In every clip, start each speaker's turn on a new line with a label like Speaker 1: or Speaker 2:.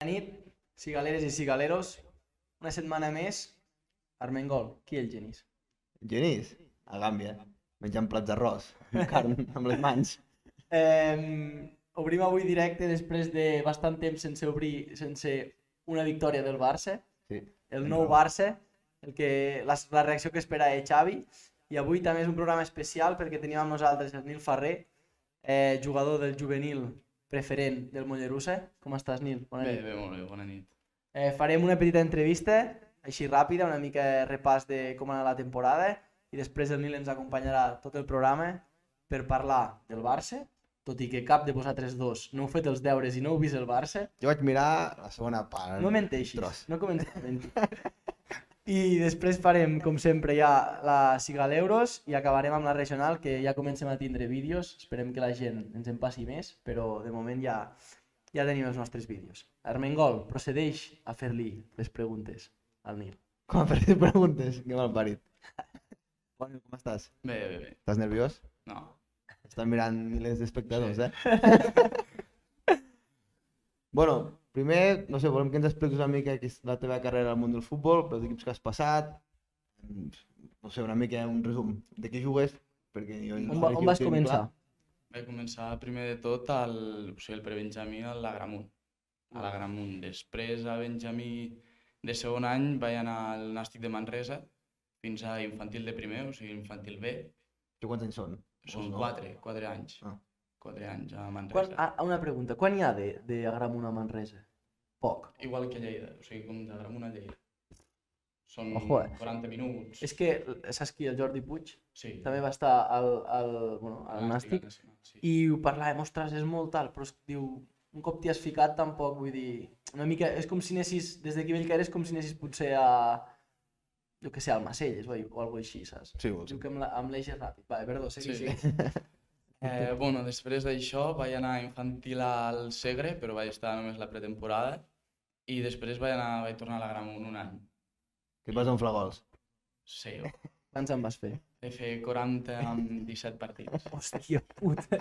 Speaker 1: Bona nit, cigaleres i cigaleros. Una setmana més, Armengol, qui el genís?
Speaker 2: Genís, a Gàmbia, menjant plats d'arròs, amb carn amb les mans.
Speaker 1: Eh, obrim avui directe després de bastant temps sense obrir, sense una victòria del Barça,
Speaker 2: Sí.
Speaker 1: el
Speaker 2: tens
Speaker 1: nou
Speaker 2: raó.
Speaker 1: Barça, el que, la, la reacció que espera de Xavi. I avui també és un programa especial perquè tenim amb nosaltres el Nil Ferrer, eh, jugador del juvenil preferent del Mollerussa. Com estàs, Nil? Bona
Speaker 3: Bé,
Speaker 1: nit.
Speaker 3: bé, molt bé, bona nit.
Speaker 1: Eh, farem una petita entrevista, així ràpida, una mica repàs de com ha anat la temporada i després el Nil ens acompanyarà tot el programa per parlar del Barça, tot i que cap de vosaltres dos no heu fet els deures i no heu vist el Barça,
Speaker 2: Jo vaig mirar la segona part.
Speaker 1: no menteixis,
Speaker 2: Tros.
Speaker 1: no comencis a mentir. I després farem, com sempre, ja la Sigal Euros i acabarem amb la regional, que ja comencem a tindre vídeos. Esperem que la gent ens en passi més, però de moment ja, ja tenim els nostres vídeos. Armengol, procedeix a fer-li les preguntes al Nil.
Speaker 2: Com per fer preguntes, que mal parit. Bueno, com estàs?
Speaker 3: Bé, bé, bé.
Speaker 2: Estàs nerviós?
Speaker 3: No.
Speaker 2: Estan mirant milers d'espectadors,
Speaker 3: Sí.
Speaker 2: eh? bueno, primer, no sé, volem que ens expliquis una mica què és la teva carrera al món del futbol, pels equips que has passat, mm, no sé, una mica un resum de què jugues, perquè jo...
Speaker 1: On, va, on vas començar?
Speaker 3: Vaig començar primer de tot al, o sigui, el prebenjamí a l'Agramunt. A l'Agramunt. Després a Benjamí de segon any vaig anar al Nàstic de Manresa fins a infantil de primer, o sigui, infantil B.
Speaker 2: Jo quants anys són?
Speaker 3: Són
Speaker 2: no.
Speaker 3: quatre, quatre anys.
Speaker 2: Ah.
Speaker 3: Quatre anys a
Speaker 1: Quan,
Speaker 3: Manresa.
Speaker 1: ah, una pregunta, quan hi ha de, de Agramunt a Manresa? Poc.
Speaker 3: Igual que a Lleida, o sigui, com d'Agramunt a Lleida. Són
Speaker 1: Ojo, eh.
Speaker 3: 40 minuts.
Speaker 1: És que, saps qui? El Jordi Puig
Speaker 3: Sí.
Speaker 1: també va estar al, al, bueno, al Nàstic
Speaker 3: Nacional, sí.
Speaker 1: i ho parlàvem, ostres, és molt tal, però és que diu, un cop t'hi has ficat tampoc, vull dir, una mica, és com si anessis, des d'aquí vell que eres, com si anessis potser a, jo que sé, al Macelles o, o alguna així, saps?
Speaker 2: Sí, vols.
Speaker 1: Diu que amb la- amb l'eix és ràpid. Va, perdó, segueix.
Speaker 3: Sí.
Speaker 1: Sí, sí.
Speaker 3: Eh, bueno, després d'això vaig anar a infantil al Segre, però vaig estar només la pretemporada, i després vaig, anar, vaig tornar a la Gramunt un any.
Speaker 2: Que et vas enflar gols.
Speaker 3: Sí,
Speaker 1: Quants en vas fer?
Speaker 3: de fer 40 amb 17 partits.
Speaker 1: Hòstia puta.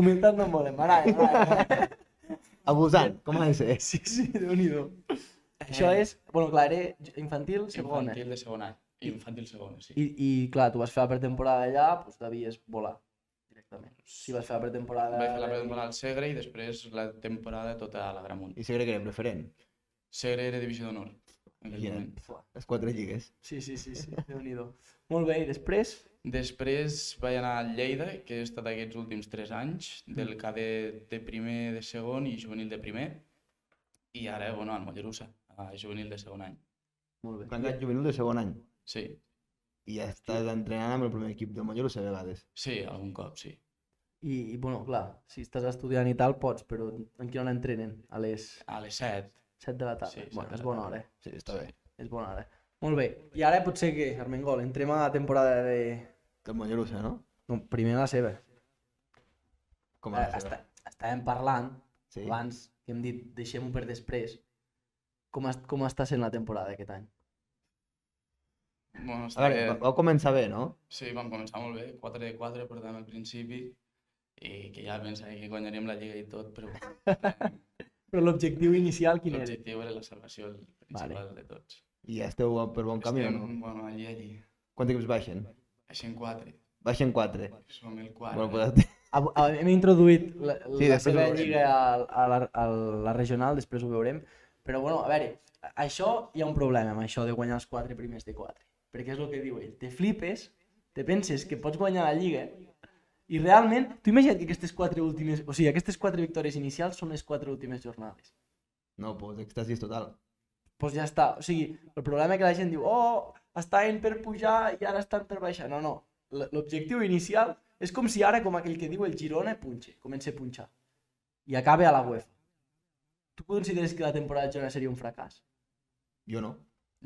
Speaker 1: Humilitat no volem, m'agrada, m'agrada.
Speaker 2: Abusant, com ha de ser?
Speaker 1: Sí, sí, déu-n'hi-do. Això és, bueno, clar, era infantil, segona.
Speaker 3: Eh. Infantil de segon any. Infantil segona, sí.
Speaker 1: I, i clar, tu vas fer la pretemporada allà, doncs devies volar directament. Si vas fer la pretemporada...
Speaker 3: Vaig fer la pretemporada al Segre i després la temporada tota a la Gramunt.
Speaker 2: I segre que era preferent.
Speaker 3: Segre era divisió d'honor. en aquell
Speaker 2: Ja.
Speaker 3: moment.
Speaker 1: Fuà.
Speaker 2: Les quatre lligues.
Speaker 1: Sí, sí, sí, sí, déu nhi Molt bé, i després?
Speaker 3: Després vaig anar a Lleida, que he estat aquests últims 3 anys, del
Speaker 2: Mm.
Speaker 3: cadet de primer, de segon i juvenil de primer. I ara, bueno, al Mollerussa, a juvenil de segon any.
Speaker 1: Molt bé.
Speaker 2: Candidat juvenil de segon any.
Speaker 3: Sí,
Speaker 2: I ja estàs entrenant amb el primer equip de Mollerussa a vegades.
Speaker 3: sí, algun cop, sí.
Speaker 1: I, I, bueno, clar, si estàs estudiant i tal, pots, però en quina hora entrenen? A les
Speaker 3: A les 7.
Speaker 1: 7 de la tarda.
Speaker 3: Sí, set
Speaker 1: bueno,
Speaker 3: de
Speaker 1: és
Speaker 3: la
Speaker 1: bona
Speaker 3: tarda.
Speaker 1: hora, eh?
Speaker 2: Sí, està bé.
Speaker 1: és bona hora. Molt bé, i ara potser que, Armengol, entrem a la temporada de...
Speaker 2: Del Mollerussa, no?
Speaker 1: No, primer la seva.
Speaker 2: Com a
Speaker 1: Eh,
Speaker 2: la seva.
Speaker 1: està, estàvem parlant
Speaker 2: Sí.
Speaker 1: abans que hem dit deixem-ho per després. Com, es, com està sent la temporada aquest any?
Speaker 3: Bueno,
Speaker 2: A veure, va-
Speaker 3: estava...
Speaker 2: vau començar bé, no?
Speaker 3: Sí, vam començar molt bé, 4 de 4, per tant, al principi, i que ja pensava que guanyaríem la Lliga i tot, però bueno,
Speaker 1: Però l'objectiu inicial quin era?
Speaker 3: l'objectiu era la salvació, el principal de tots.
Speaker 2: I ja esteu per bon camí, o
Speaker 3: Estem,
Speaker 2: no?
Speaker 3: bueno, allí, allí.
Speaker 2: Quants equips baixen?
Speaker 3: Així en 4.
Speaker 2: Baixen quatre.
Speaker 3: Som el quart.
Speaker 2: Bueno, pues,
Speaker 1: Av- av- Hem introduït la,
Speaker 2: Sí,
Speaker 1: la
Speaker 2: després ho
Speaker 1: seva
Speaker 2: veurem.
Speaker 1: lliga a, a, la, a la regional, després ho veurem. Però bueno, a veure, a- això hi ha un problema amb això de guanyar els quatre primers de quatre. Perquè és el que diu ell, te flipes, te penses que pots guanyar la lliga i realment, tu imagina't que aquestes quatre últimes, o sigui, aquestes quatre victòries inicials són les quatre últimes jornades.
Speaker 2: no, pues, èxtasis total.
Speaker 1: pues ja està. O sigui, el problema que la gent diu, oh, estaven per pujar i ara estan per baixar. No, no. L- L'objectiu inicial és com si ara, com aquell que diu el Girona, punxe, comença a punxar. I acaba a la UEFA. Tu consideres que la temporada de Girona seria un fracàs?
Speaker 2: Jo no.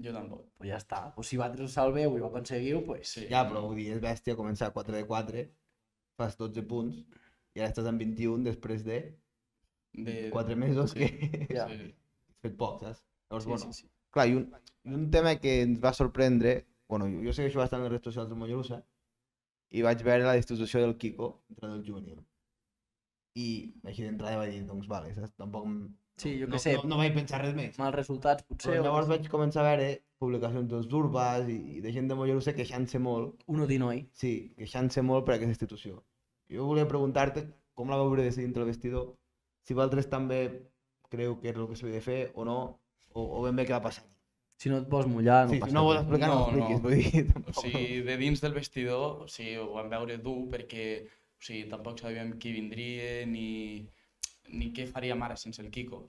Speaker 3: Jo tampoc.
Speaker 1: Pues ja està. O si vosaltres us salveu i ho aconseguiu, pues...
Speaker 3: Sí.
Speaker 2: Ja, però vull dir, és bèstia començar 4 de 4, fas 12 punts, i ara estàs en 21 després de
Speaker 3: De...
Speaker 2: 4 mesos
Speaker 3: Sí.
Speaker 2: que
Speaker 1: Ja.
Speaker 3: Sí.
Speaker 2: has fet poc, saps? Llavors,
Speaker 1: sí,
Speaker 2: bueno,
Speaker 1: sí, sí.
Speaker 2: Clar, i un, i un tema que ens va sorprendre, bueno, jo, jo segueixo bastant les redes socials del Mollerussa, i vaig veure la destitució del Kiko, entrenador juvenil. I així d'entrada vaig dir, doncs vale, saps? tampoc em-
Speaker 1: Sí, jo
Speaker 2: no,
Speaker 1: què sé,
Speaker 2: no, no vaig pensar res més.
Speaker 1: mals resultats
Speaker 2: Però
Speaker 1: potser, o
Speaker 2: llavors vaig començar a veure publicacions dels urbas i, i de gent de Mollerussa queixant-se molt,
Speaker 1: un odinoi.
Speaker 2: sí, queixant-se molt per aquesta institució. Jo volia preguntar-te com la veure des de dintre el vestidor, si vosaltres també creu que és el que s'havia de fer o no, o, o ben bé què va passar.
Speaker 1: Si no et vols mullar, no
Speaker 2: sí,
Speaker 1: passa
Speaker 2: si no vols
Speaker 1: res.
Speaker 2: explicar, no,
Speaker 3: No,
Speaker 2: no,
Speaker 3: no.
Speaker 2: expliquis, vull dir,
Speaker 3: O
Speaker 2: tampoc.
Speaker 3: sigui, de dins del vestidor, o sigui, ho vam veure dur perquè o sigui, tampoc sabíem qui vindria ni, ni què faríem ara sense el Kiko.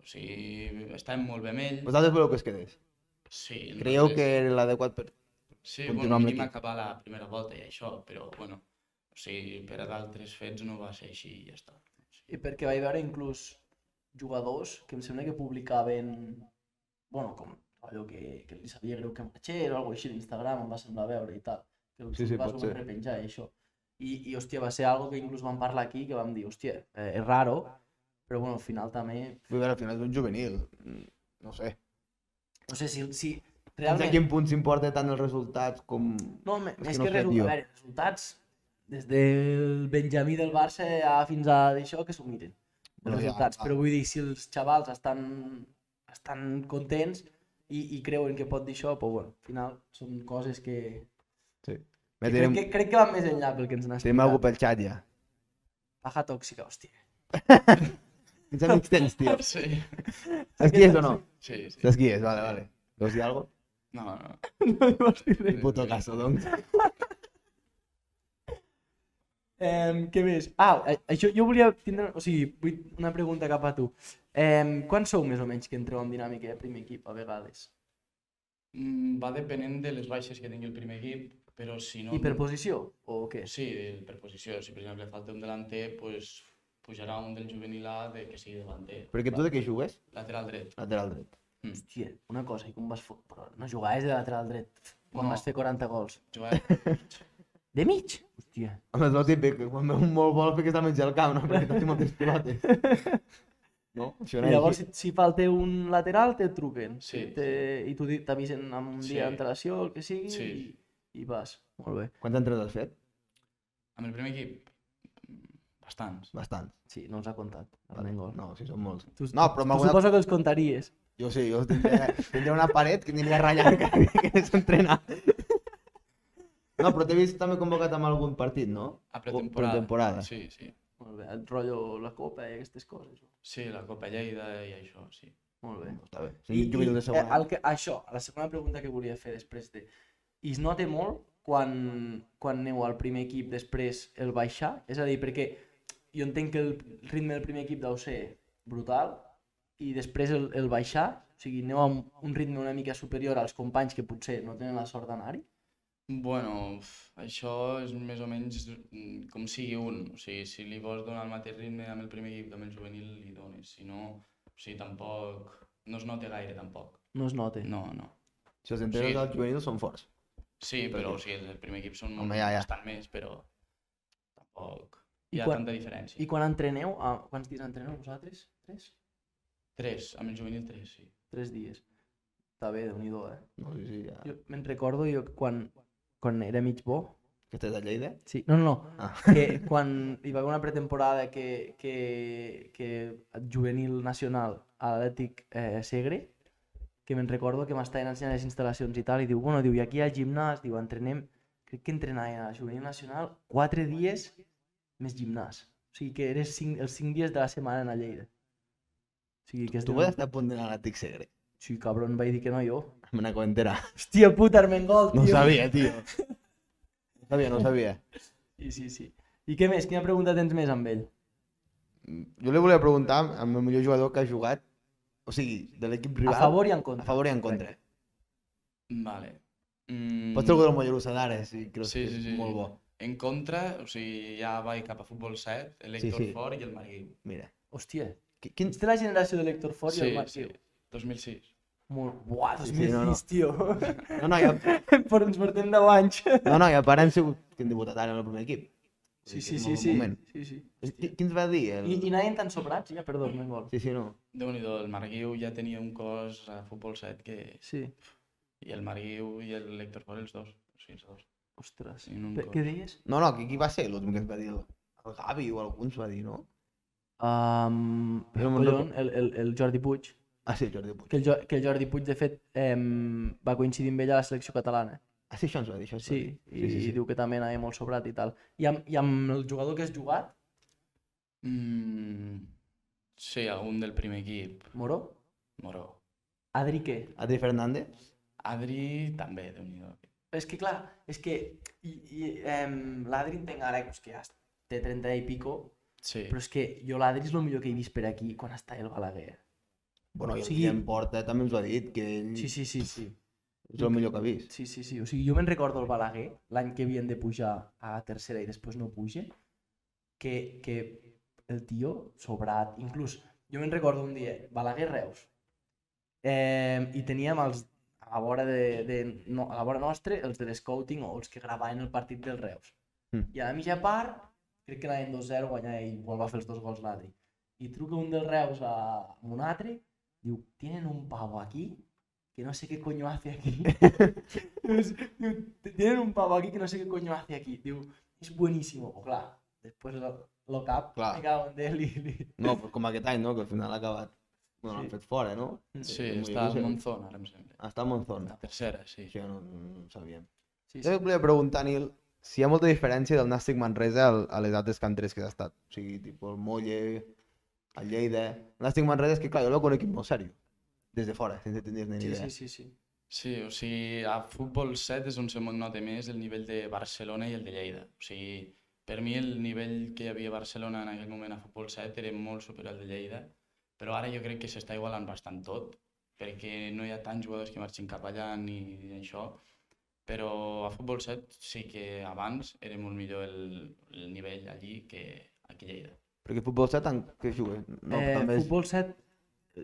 Speaker 3: O sigui, estàvem molt bé amb ell.
Speaker 2: Vosaltres voleu que es quedés.
Speaker 3: Sí,
Speaker 2: Creieu
Speaker 3: nosaltres-
Speaker 2: que era l'adequat per...
Speaker 3: Sí,
Speaker 2: continuar
Speaker 3: bueno,
Speaker 2: amb
Speaker 3: mínim
Speaker 2: l'equip?
Speaker 3: acabar la primera volta i això, però bueno, o sigui, per a d'altres fets no va ser així i ja està.
Speaker 1: I perquè vaig veure inclús jugadors que em sembla que publicaven, bueno, com allò que, que li sabia greu que marxés o alguna així d'Instagram, em va semblar veure i tal. Que
Speaker 2: Sí, sí,
Speaker 1: va
Speaker 2: pot
Speaker 1: super
Speaker 2: ser.
Speaker 1: repenjar i això. I, i hòstia, va ser algo que inclús vam parlar aquí, que vam dir, hòstia, eh, és raro, però bueno, al final també...
Speaker 2: Vull veure, al final és un juvenil. Mm, No sé.
Speaker 1: No sé si, si
Speaker 2: Fins a
Speaker 1: realment...
Speaker 2: quin punt s'importa tant els resultats com...
Speaker 1: No, me-
Speaker 2: que
Speaker 1: més
Speaker 2: no
Speaker 1: que,
Speaker 2: sé,
Speaker 1: resu-
Speaker 2: tio.
Speaker 1: a veure, resultats, des del Benjamí del Barça a fins a això que s'ho miren, els
Speaker 2: Bueno, ja,
Speaker 1: resultats.
Speaker 2: clar.
Speaker 1: Però vull dir, si els xavals estan, estan contents i, i creuen que pot dir això, però bueno, al final són coses que...
Speaker 2: Ja
Speaker 1: Crec
Speaker 2: tenim,
Speaker 1: que, crec que van més enllà pel que ens n'ha
Speaker 2: tenim algú
Speaker 1: explicat.
Speaker 2: pel xat ja.
Speaker 1: Paja tòxica, hòstia.
Speaker 2: Quins amics tens, tio?
Speaker 3: Sí,
Speaker 2: Saps qui és o no?
Speaker 3: sí, sí.
Speaker 2: Saps qui és? Vale, vale. Vols dir algo?
Speaker 3: No, no.
Speaker 2: No li vols dir res.
Speaker 3: Sí,
Speaker 2: Puto
Speaker 3: sí.
Speaker 2: caso, doncs.
Speaker 1: Eh, què més? Ah, a- això jo volia tindre... O sigui, vull una pregunta cap a tu. Eh, quan sou més o menys que entreu en dinàmica de primer equip a vegades?
Speaker 3: Mm, Va depenent de les baixes que tingui el primer equip, però si no...
Speaker 1: I per posició? O què?
Speaker 3: Sí, el- per posició. Si, per exemple, falta un delanter, pues, pujarà un del juvenil A de que sigui delanter.
Speaker 2: Perquè tu de què jugues?
Speaker 3: Lateral dret.
Speaker 2: Lateral dret.
Speaker 1: Hòstia, una cosa, i com vas fot... Però no jugaves de lateral dret quan
Speaker 3: No.
Speaker 1: vas fer 40 gols.
Speaker 3: Joan,
Speaker 1: De mig? Hòstia.
Speaker 2: Home, és el típic, que quan veu un molt vol perquè està menjar el camp, no? Perquè t'has moltes pilotes. No? Això
Speaker 1: I
Speaker 2: no
Speaker 1: llavors,
Speaker 2: és
Speaker 1: si,
Speaker 2: així.
Speaker 1: si falta un lateral, te truquen.
Speaker 3: Sí,
Speaker 1: Te, I tu di- t'avisen amb un
Speaker 3: Sí.
Speaker 1: dia d'antelació, el que sigui,
Speaker 3: Sí.
Speaker 1: i, i vas. Molt bé.
Speaker 2: Quants entrades has fet?
Speaker 3: amb el primer equip, mm, bastants.
Speaker 2: Bastants.
Speaker 1: Sí, no ens ha contat.
Speaker 2: Vale.
Speaker 1: Vale. Gol.
Speaker 2: No, sí, són molts.
Speaker 1: Tu,
Speaker 2: No, però
Speaker 1: tu
Speaker 2: m'ha guanyat...
Speaker 1: suposo que els contaries.
Speaker 2: Jo sí, jo tindria, tindria una paret que aniria ratllant cada dia que anés a entrenar. No, però t'he vist també convocat amb algun partit, no?
Speaker 3: A
Speaker 2: O
Speaker 3: pretemporada.
Speaker 2: pretemporada.
Speaker 3: Sí, sí.
Speaker 1: Molt bé, el rotllo la copa i aquestes coses.
Speaker 3: Sí, la Copa Lleida i això, sí.
Speaker 1: Molt bé.
Speaker 2: Està bé. Sí, jo de
Speaker 1: eh,
Speaker 2: segona.
Speaker 1: el que, això, la segona pregunta que volia fer després de... I es nota molt quan, quan aneu al primer equip després el baixar? És a dir, perquè jo entenc que el ritme del primer equip deu ser brutal i després el, el baixar, o sigui, aneu amb un ritme una mica superior als companys que potser no tenen la sort d'anar-hi.
Speaker 3: Bueno, uf, això és més o menys mm, com sigui un. O sigui, si li vols donar el mateix ritme amb el primer equip que amb el juvenil, li dones. Si no, o sigui, tampoc... No es nota gaire, tampoc.
Speaker 1: No es nota.
Speaker 3: No, no.
Speaker 2: Si els entrenes
Speaker 3: Sí.
Speaker 2: dels juvenils són forts.
Speaker 3: Sí,
Speaker 2: Per
Speaker 3: però
Speaker 2: què?
Speaker 3: o sigui, el primer equip són
Speaker 2: Home, ja, ja.
Speaker 3: bastant més, però tampoc
Speaker 1: I
Speaker 3: hi ha
Speaker 1: quan-
Speaker 3: tanta diferència.
Speaker 1: I quan entreneu, a, quants dies entreneu vosaltres? Tres?
Speaker 3: Tres, amb el juvenil tres, sí.
Speaker 1: Tres dies. Està bé, déu nhi eh?
Speaker 2: No, sí, sí, ja.
Speaker 1: Jo me'n recordo jo que quan, quan era mig bo,
Speaker 2: Que estàs a Lleida?
Speaker 1: Sí, no, no, no.
Speaker 2: Ah.
Speaker 1: Que quan hi va haver una pretemporada que, que, que el juvenil nacional a l'Atlètic eh, Segre, que me'n recordo que m'estaven ensenyant les instal·lacions i tal, i diu, bueno, diu, i aquí al gimnàs, diu, entrenem, crec que entrenaven a la juvenil nacional quatre dies més gimnàs. O sigui que eres cinc, els cinc dies de la setmana en a Lleida. O sigui que és...
Speaker 2: Tu vas estar a punt d'anar a l'Àtic Segre.
Speaker 1: Sí, cabron, vaig dir que no jo.
Speaker 2: Me n'acabo d'enterar.
Speaker 1: Hòstia puta, Armengol,
Speaker 2: No
Speaker 1: tio.
Speaker 2: ho sabia, tio. No ho sabia, no ho sabia.
Speaker 1: Sí, sí, sí. I què més? Quina pregunta tens més amb ell?
Speaker 2: Jo li volia preguntar amb el millor jugador que ha jugat, o sigui, de l'equip rival,
Speaker 1: A favor i en
Speaker 2: a
Speaker 1: contra.
Speaker 2: favor i en contra. Pues
Speaker 3: Vale. Mm,
Speaker 2: Pots treure el Mollerussa d'ara, sí, crec que
Speaker 3: Sí,
Speaker 2: és
Speaker 3: sí, sí.
Speaker 2: molt bo.
Speaker 3: En contra, o sigui, ja vaig cap a futbol 7, l'Hector
Speaker 2: sí.
Speaker 3: Fort i el Marguiu.
Speaker 2: Mira,
Speaker 1: Hòstia,
Speaker 2: qui- quin...
Speaker 1: Ets de la generació de l'Hector Fort i
Speaker 3: Sí,
Speaker 1: el Marc
Speaker 3: sí,
Speaker 1: Guiu.
Speaker 3: 2006.
Speaker 1: Molt... Buah,
Speaker 2: Sí, sí, no, no.
Speaker 1: 2006, tio.
Speaker 2: No, no, jo...
Speaker 1: Però ens portem 10 anys.
Speaker 2: no, no, i a part hem sigut candidataris en el primer equip.
Speaker 1: Sí,
Speaker 2: Vull dir
Speaker 1: sí,
Speaker 2: que és
Speaker 1: sí,
Speaker 2: molt
Speaker 1: sí.
Speaker 2: bon moment.
Speaker 1: sí, sí.
Speaker 2: Qui, qui ens va dir? El...
Speaker 1: I, I anaven tan sobrats, ja, perdó, me'n vol.
Speaker 2: Sí, sí, no.
Speaker 3: Déu-n'hi-do, el Marguiu ja tenia un cos a futbol 7 que...
Speaker 1: Sí,
Speaker 3: I el Marguiu i el Lector Fort, els dos. O sigui, els dos.
Speaker 1: ostres.
Speaker 3: Sí, en un
Speaker 1: Pe-
Speaker 3: cos.
Speaker 1: Què deies?
Speaker 2: No, no, qui, qui va ser l'últim que ens va dir? El, el Gavi o algú ens va dir, no?
Speaker 1: Um,
Speaker 2: Jo no me'n
Speaker 1: collon, el, el, el Jordi Puig.
Speaker 2: Ah, sí, Jordi Puig.
Speaker 1: Que el, Jo- que el Jordi Puig, de fet, em, va coincidir amb ell a la selecció catalana.
Speaker 2: Ah, sí, això ens va dir, això ens va
Speaker 1: Sí,
Speaker 2: dir.
Speaker 1: i, i diu que també anava molt sobrat i tal. I amb, I amb el jugador que has jugat,
Speaker 3: Mm, sí, algun del primer equip,
Speaker 1: Moró,
Speaker 3: Moró.
Speaker 1: Adri què?
Speaker 2: Adri Fernández?
Speaker 3: Adri també, déu nhi
Speaker 1: És que clar, és que i, i, em, l'Adri entenc ara pues, que ja té 30 i pico,
Speaker 3: Sí,
Speaker 1: però és que jo l'Adri és el millor que he vist per aquí quan està el Balaguer.
Speaker 2: Bueno, i
Speaker 1: O
Speaker 2: el
Speaker 1: sigui-
Speaker 2: Guillem Porta també ens ho ha dit, que ell
Speaker 1: Sí, sí, sí, sí.
Speaker 2: és el millor que ha vist.
Speaker 1: Sí, sí, sí. O sigui, jo me'n recordo el Balaguer, l'any que havien de pujar a tercera i després no puja, que, que el tio sobrat, inclús, jo me'n recordo un dia, Balaguer Reus, eh, i teníem els, a la vora, de, de, no, a la vora nostra els de l'escouting o els que gravaven el partit del Reus.
Speaker 2: Mm.
Speaker 1: I a la mitja part, crec que anaven 2-0, guanyar i igual va fer els dos gols l'Adri. I truca un dels Reus a a un altre, diu, tienen un pavo aquí que no sé qué coño hace aquí. Dius- diu, tienen un pavo aquí que no sé qué coño hace aquí. Diu, es buenísimo. O clar, després lo, lo cap,
Speaker 2: Clar.
Speaker 1: me cago en Déu i- i-
Speaker 2: No, però com aquest any, no? Que al final ha acabat... Bueno, l'han
Speaker 1: Sí.
Speaker 2: fet fora, no?
Speaker 3: sí,
Speaker 2: Mollerussa.
Speaker 3: està al Monzón, ara em sembla.
Speaker 2: Ah, Està a Monzón.
Speaker 3: La tercera, sí.
Speaker 2: Això no, no, no ho sabíem.
Speaker 1: Sí,
Speaker 2: Jo
Speaker 1: sí.
Speaker 2: et volia preguntar, Nil, si hi ha molta diferència del Nàstic Manresa al- a les altres canteres que has estat. O sigui, tipus el Molle, el Lleida... El Nàstic Manresa és que, clar, jo el veig un equip molt seriós. Des de fora, sense tenir ni
Speaker 1: Sí,
Speaker 2: idea.
Speaker 1: sí, sí, sí.
Speaker 3: Sí, o sigui, a futbol 7 és on se'm nota més el nivell de Barcelona i el de Lleida. O sigui, per mi el nivell que hi havia a Barcelona en aquell moment a futbol 7 era molt superior al de Lleida, però ara jo crec que s'està igualant bastant tot, perquè no hi ha tants jugadors que marxin cap allà ni això, però a futbol 7 sí que abans era molt millor el, el nivell allí que aquí a Lleida.
Speaker 2: Perquè futbol 7, en... què juga? No,
Speaker 1: eh,
Speaker 2: també és...
Speaker 1: Futbol 7,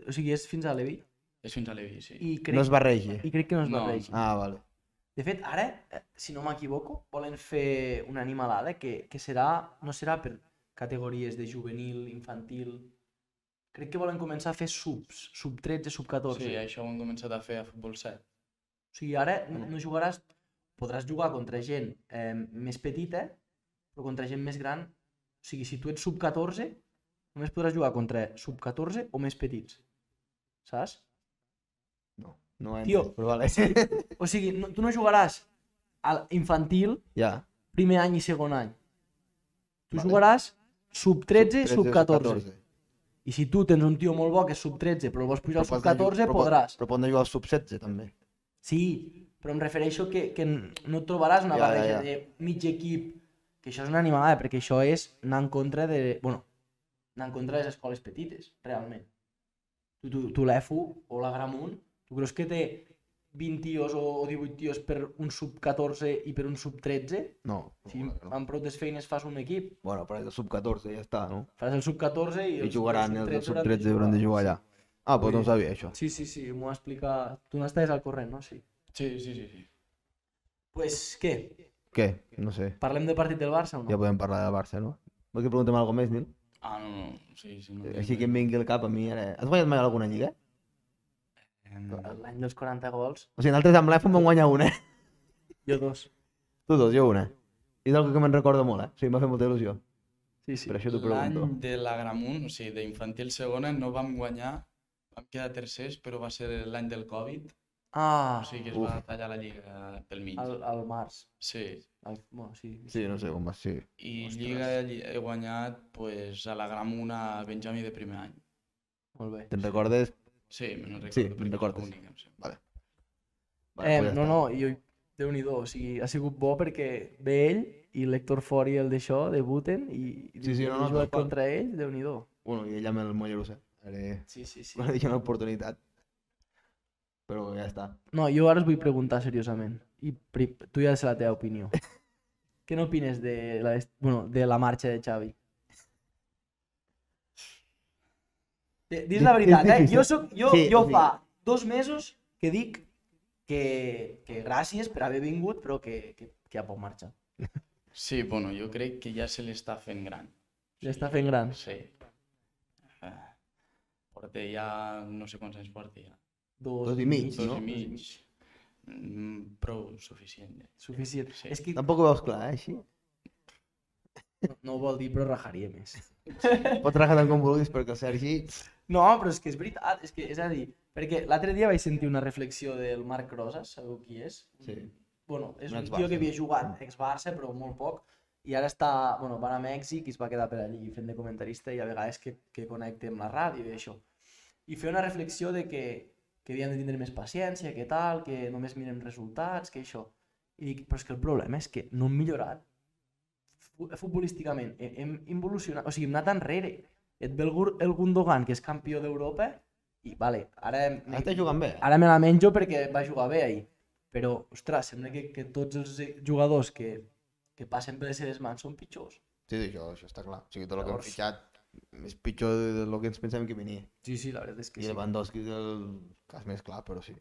Speaker 1: o sigui, és fins a l'Evi
Speaker 3: És fins a l'Evi, sí.
Speaker 1: i crec,
Speaker 2: No es barregi.
Speaker 1: i crec que no es
Speaker 3: No.
Speaker 1: barregi.
Speaker 2: Ah, vale.
Speaker 1: De fet, ara, eh, si no m'equivoco, volen fer una animalada que, que serà, no serà per categories de juvenil, infantil... Crec que volen començar a fer subs, sub 13, sub 14.
Speaker 3: Sí, això ho han començat a fer a futbol 7.
Speaker 1: O sigui, ara no no jugaràs... Podràs jugar contra gent eh, més petita, però contra gent més gran. O sigui, si tu ets sub-14, només podràs jugar contra sub-14 o més petits. Saps?
Speaker 2: No, no ho he
Speaker 1: Tio.
Speaker 2: entès, però vale.
Speaker 1: O sigui, no, tu no jugaràs al infantil,
Speaker 2: ja.
Speaker 1: primer any i segon any. Tu
Speaker 2: Vale.
Speaker 1: jugaràs sub-13,
Speaker 2: 13,
Speaker 1: sub-14. I si tu tens un tio molt bo que és sub-13, però el vols pujar al
Speaker 2: pots anar a
Speaker 1: sub-14,
Speaker 2: jugar- però pot-
Speaker 1: podràs.
Speaker 2: Però poden jugar al sub-16, també.
Speaker 1: Sí, però em refereixo que, que no et trobaràs una
Speaker 2: Ja, ja,
Speaker 1: barreja
Speaker 2: ja.
Speaker 1: de mig equip, que això és una animalada, perquè això és anar en contra de... Bueno, anar en contra de les escoles petites, realment. Tu, tu, tu l'EFU o la Gramunt, tu creus que té 20 tios o, o 18 tios per un sub-14 i per un sub-13?
Speaker 2: No.
Speaker 1: Si
Speaker 2: no, no.
Speaker 1: amb prou des feines fas un equip,
Speaker 2: Bueno, però és el sub-14, ja està, no?
Speaker 1: fas el sub-14 i,
Speaker 2: I jugaran, els del sub-13
Speaker 1: hauran
Speaker 2: hauran de jugar allà. Ah,
Speaker 1: Vull
Speaker 2: doncs no ho
Speaker 1: dir-
Speaker 2: sabia, això.
Speaker 1: Sí, sí, sí, m'ho va explicar... Tu n'estàs al corrent, no? Sí.
Speaker 3: Sí, sí, sí, sí.
Speaker 1: Pues, què?
Speaker 2: Què? No sé.
Speaker 1: Parlem de partit del Barça o no?
Speaker 2: Ja podem parlar del Barça, no? Vols que preguntem alguna més, Nil?
Speaker 3: Ah, no, no, sí, sí. No,
Speaker 2: Així que em vingui al cap a mi ara... Has guanyat mai alguna lliga?
Speaker 3: Em,
Speaker 1: L'any dels 40 gols,
Speaker 2: O sigui, nosaltres amb l'iPhone vam guanyar una.
Speaker 1: jo dos.
Speaker 2: Tu dos, jo una. I és una que me'n recorda molt, eh? O sigui, em va fer molta il·lusió.
Speaker 1: Sí, sí.
Speaker 2: Per això t'ho pregunto.
Speaker 3: L'any de la Gramunt, o sigui, d'infantil segona, no vam guanyar, vam quedar tercers, però va ser l'any del Covid,
Speaker 1: Ah,
Speaker 3: o sigui que es
Speaker 2: Uf.
Speaker 3: va tallar la lliga pel mig.
Speaker 1: al, al març.
Speaker 3: Sí,
Speaker 1: Al, bueno, sí.
Speaker 2: Sí, no sé com va, sí.
Speaker 3: i
Speaker 1: Ostres.
Speaker 3: lliga lli- he guanyat pues, a la Gramunt a Benjamí de primer any.
Speaker 1: Molt bé.
Speaker 2: Te'n recordes?
Speaker 3: Sí, me'n recordo
Speaker 2: Sí, me'n
Speaker 3: perquè és la
Speaker 2: recordes.
Speaker 3: única, em sembla.
Speaker 1: Eh,
Speaker 2: pues ja
Speaker 1: no,
Speaker 2: està.
Speaker 1: no, jo, Déu-n'hi-do, o sigui, ha sigut bo perquè ve ell i l'Hector Fori el d'això debuten i, i
Speaker 2: Sí, sí,
Speaker 1: diu que
Speaker 2: no, no,
Speaker 1: he jugat
Speaker 2: tal qual.
Speaker 1: contra ell, Déu-n'hi-do.
Speaker 2: Bueno, i ella amb el Mollerussa. Ara...
Speaker 1: Sí, sí, sí.
Speaker 2: Quan li una oportunitat. Però ja està.
Speaker 1: No, jo ara us vull preguntar seriosament. I pri... tu ja sé la teva opinió. Què n'opines de la, bueno, de la marxa de Xavi? De, dis la
Speaker 2: Di- és
Speaker 1: veritat, eh?
Speaker 2: difícil.
Speaker 1: Jo, soc, jo,
Speaker 2: Sí,
Speaker 1: jo
Speaker 2: o sigui-
Speaker 1: fa dos mesos que dic que, que gràcies per haver vingut, però que, que, que ja pot marxar.
Speaker 3: Sí, bueno, jo crec que ja se l'està fent gran.
Speaker 1: Ja està fent gran.
Speaker 3: Sí. Eh, Porta ja, no sé quants anys porta ja.
Speaker 1: Dos,
Speaker 2: Dos i mig,
Speaker 3: Dos
Speaker 2: no?
Speaker 3: i mig. Mm, Prou suficient.
Speaker 1: Suficient.
Speaker 3: Sí.
Speaker 1: És que
Speaker 2: Tampoc ho veus clar, eh, així?
Speaker 1: No, no ho vol dir, però rajaria més.
Speaker 2: Pots rajar tant com vulguis perquè el Sergi...
Speaker 1: No, però és que és veritat, és que és a dir, perquè l'altre dia vaig sentir una reflexió del Marc Rosas, sabeu qui és?
Speaker 2: Sí.
Speaker 1: Bueno, és
Speaker 2: Un
Speaker 1: un tio
Speaker 2: ex-Barça,
Speaker 1: que havia
Speaker 2: no?
Speaker 1: jugat ex-Barça, però molt poc, i ara està, bueno, va anar a Mèxic i es va quedar per allí fent de comentarista i a vegades que, que connecta amb la ràdio i això. I fer una reflexió de que, que havíem de tindre més paciència, que tal, que només mirem resultats, que això. I dic, però és que el problema és que no hem millorat fu- futbolísticament, he- hem involucionat, o sigui, hem anat enrere. Et ve el, Gur- el Gundogan, que és campió d'Europa, i vale, ara...
Speaker 2: Ara està jugant bé. eh?
Speaker 1: Ara me la menjo perquè va jugar bé ahir. Però, ostres, sembla que, que tots els eh, jugadors que, que passen per les seves mans són pitjors.
Speaker 2: Sí, sí, això, això està clar. O sigui, tot el que hem
Speaker 1: Llavors-
Speaker 2: fitxat és pitjor del que ens pensàvem que venia.
Speaker 1: Sí, sí, la veritat és
Speaker 2: I Lewandowski és el cas més clar, però sí.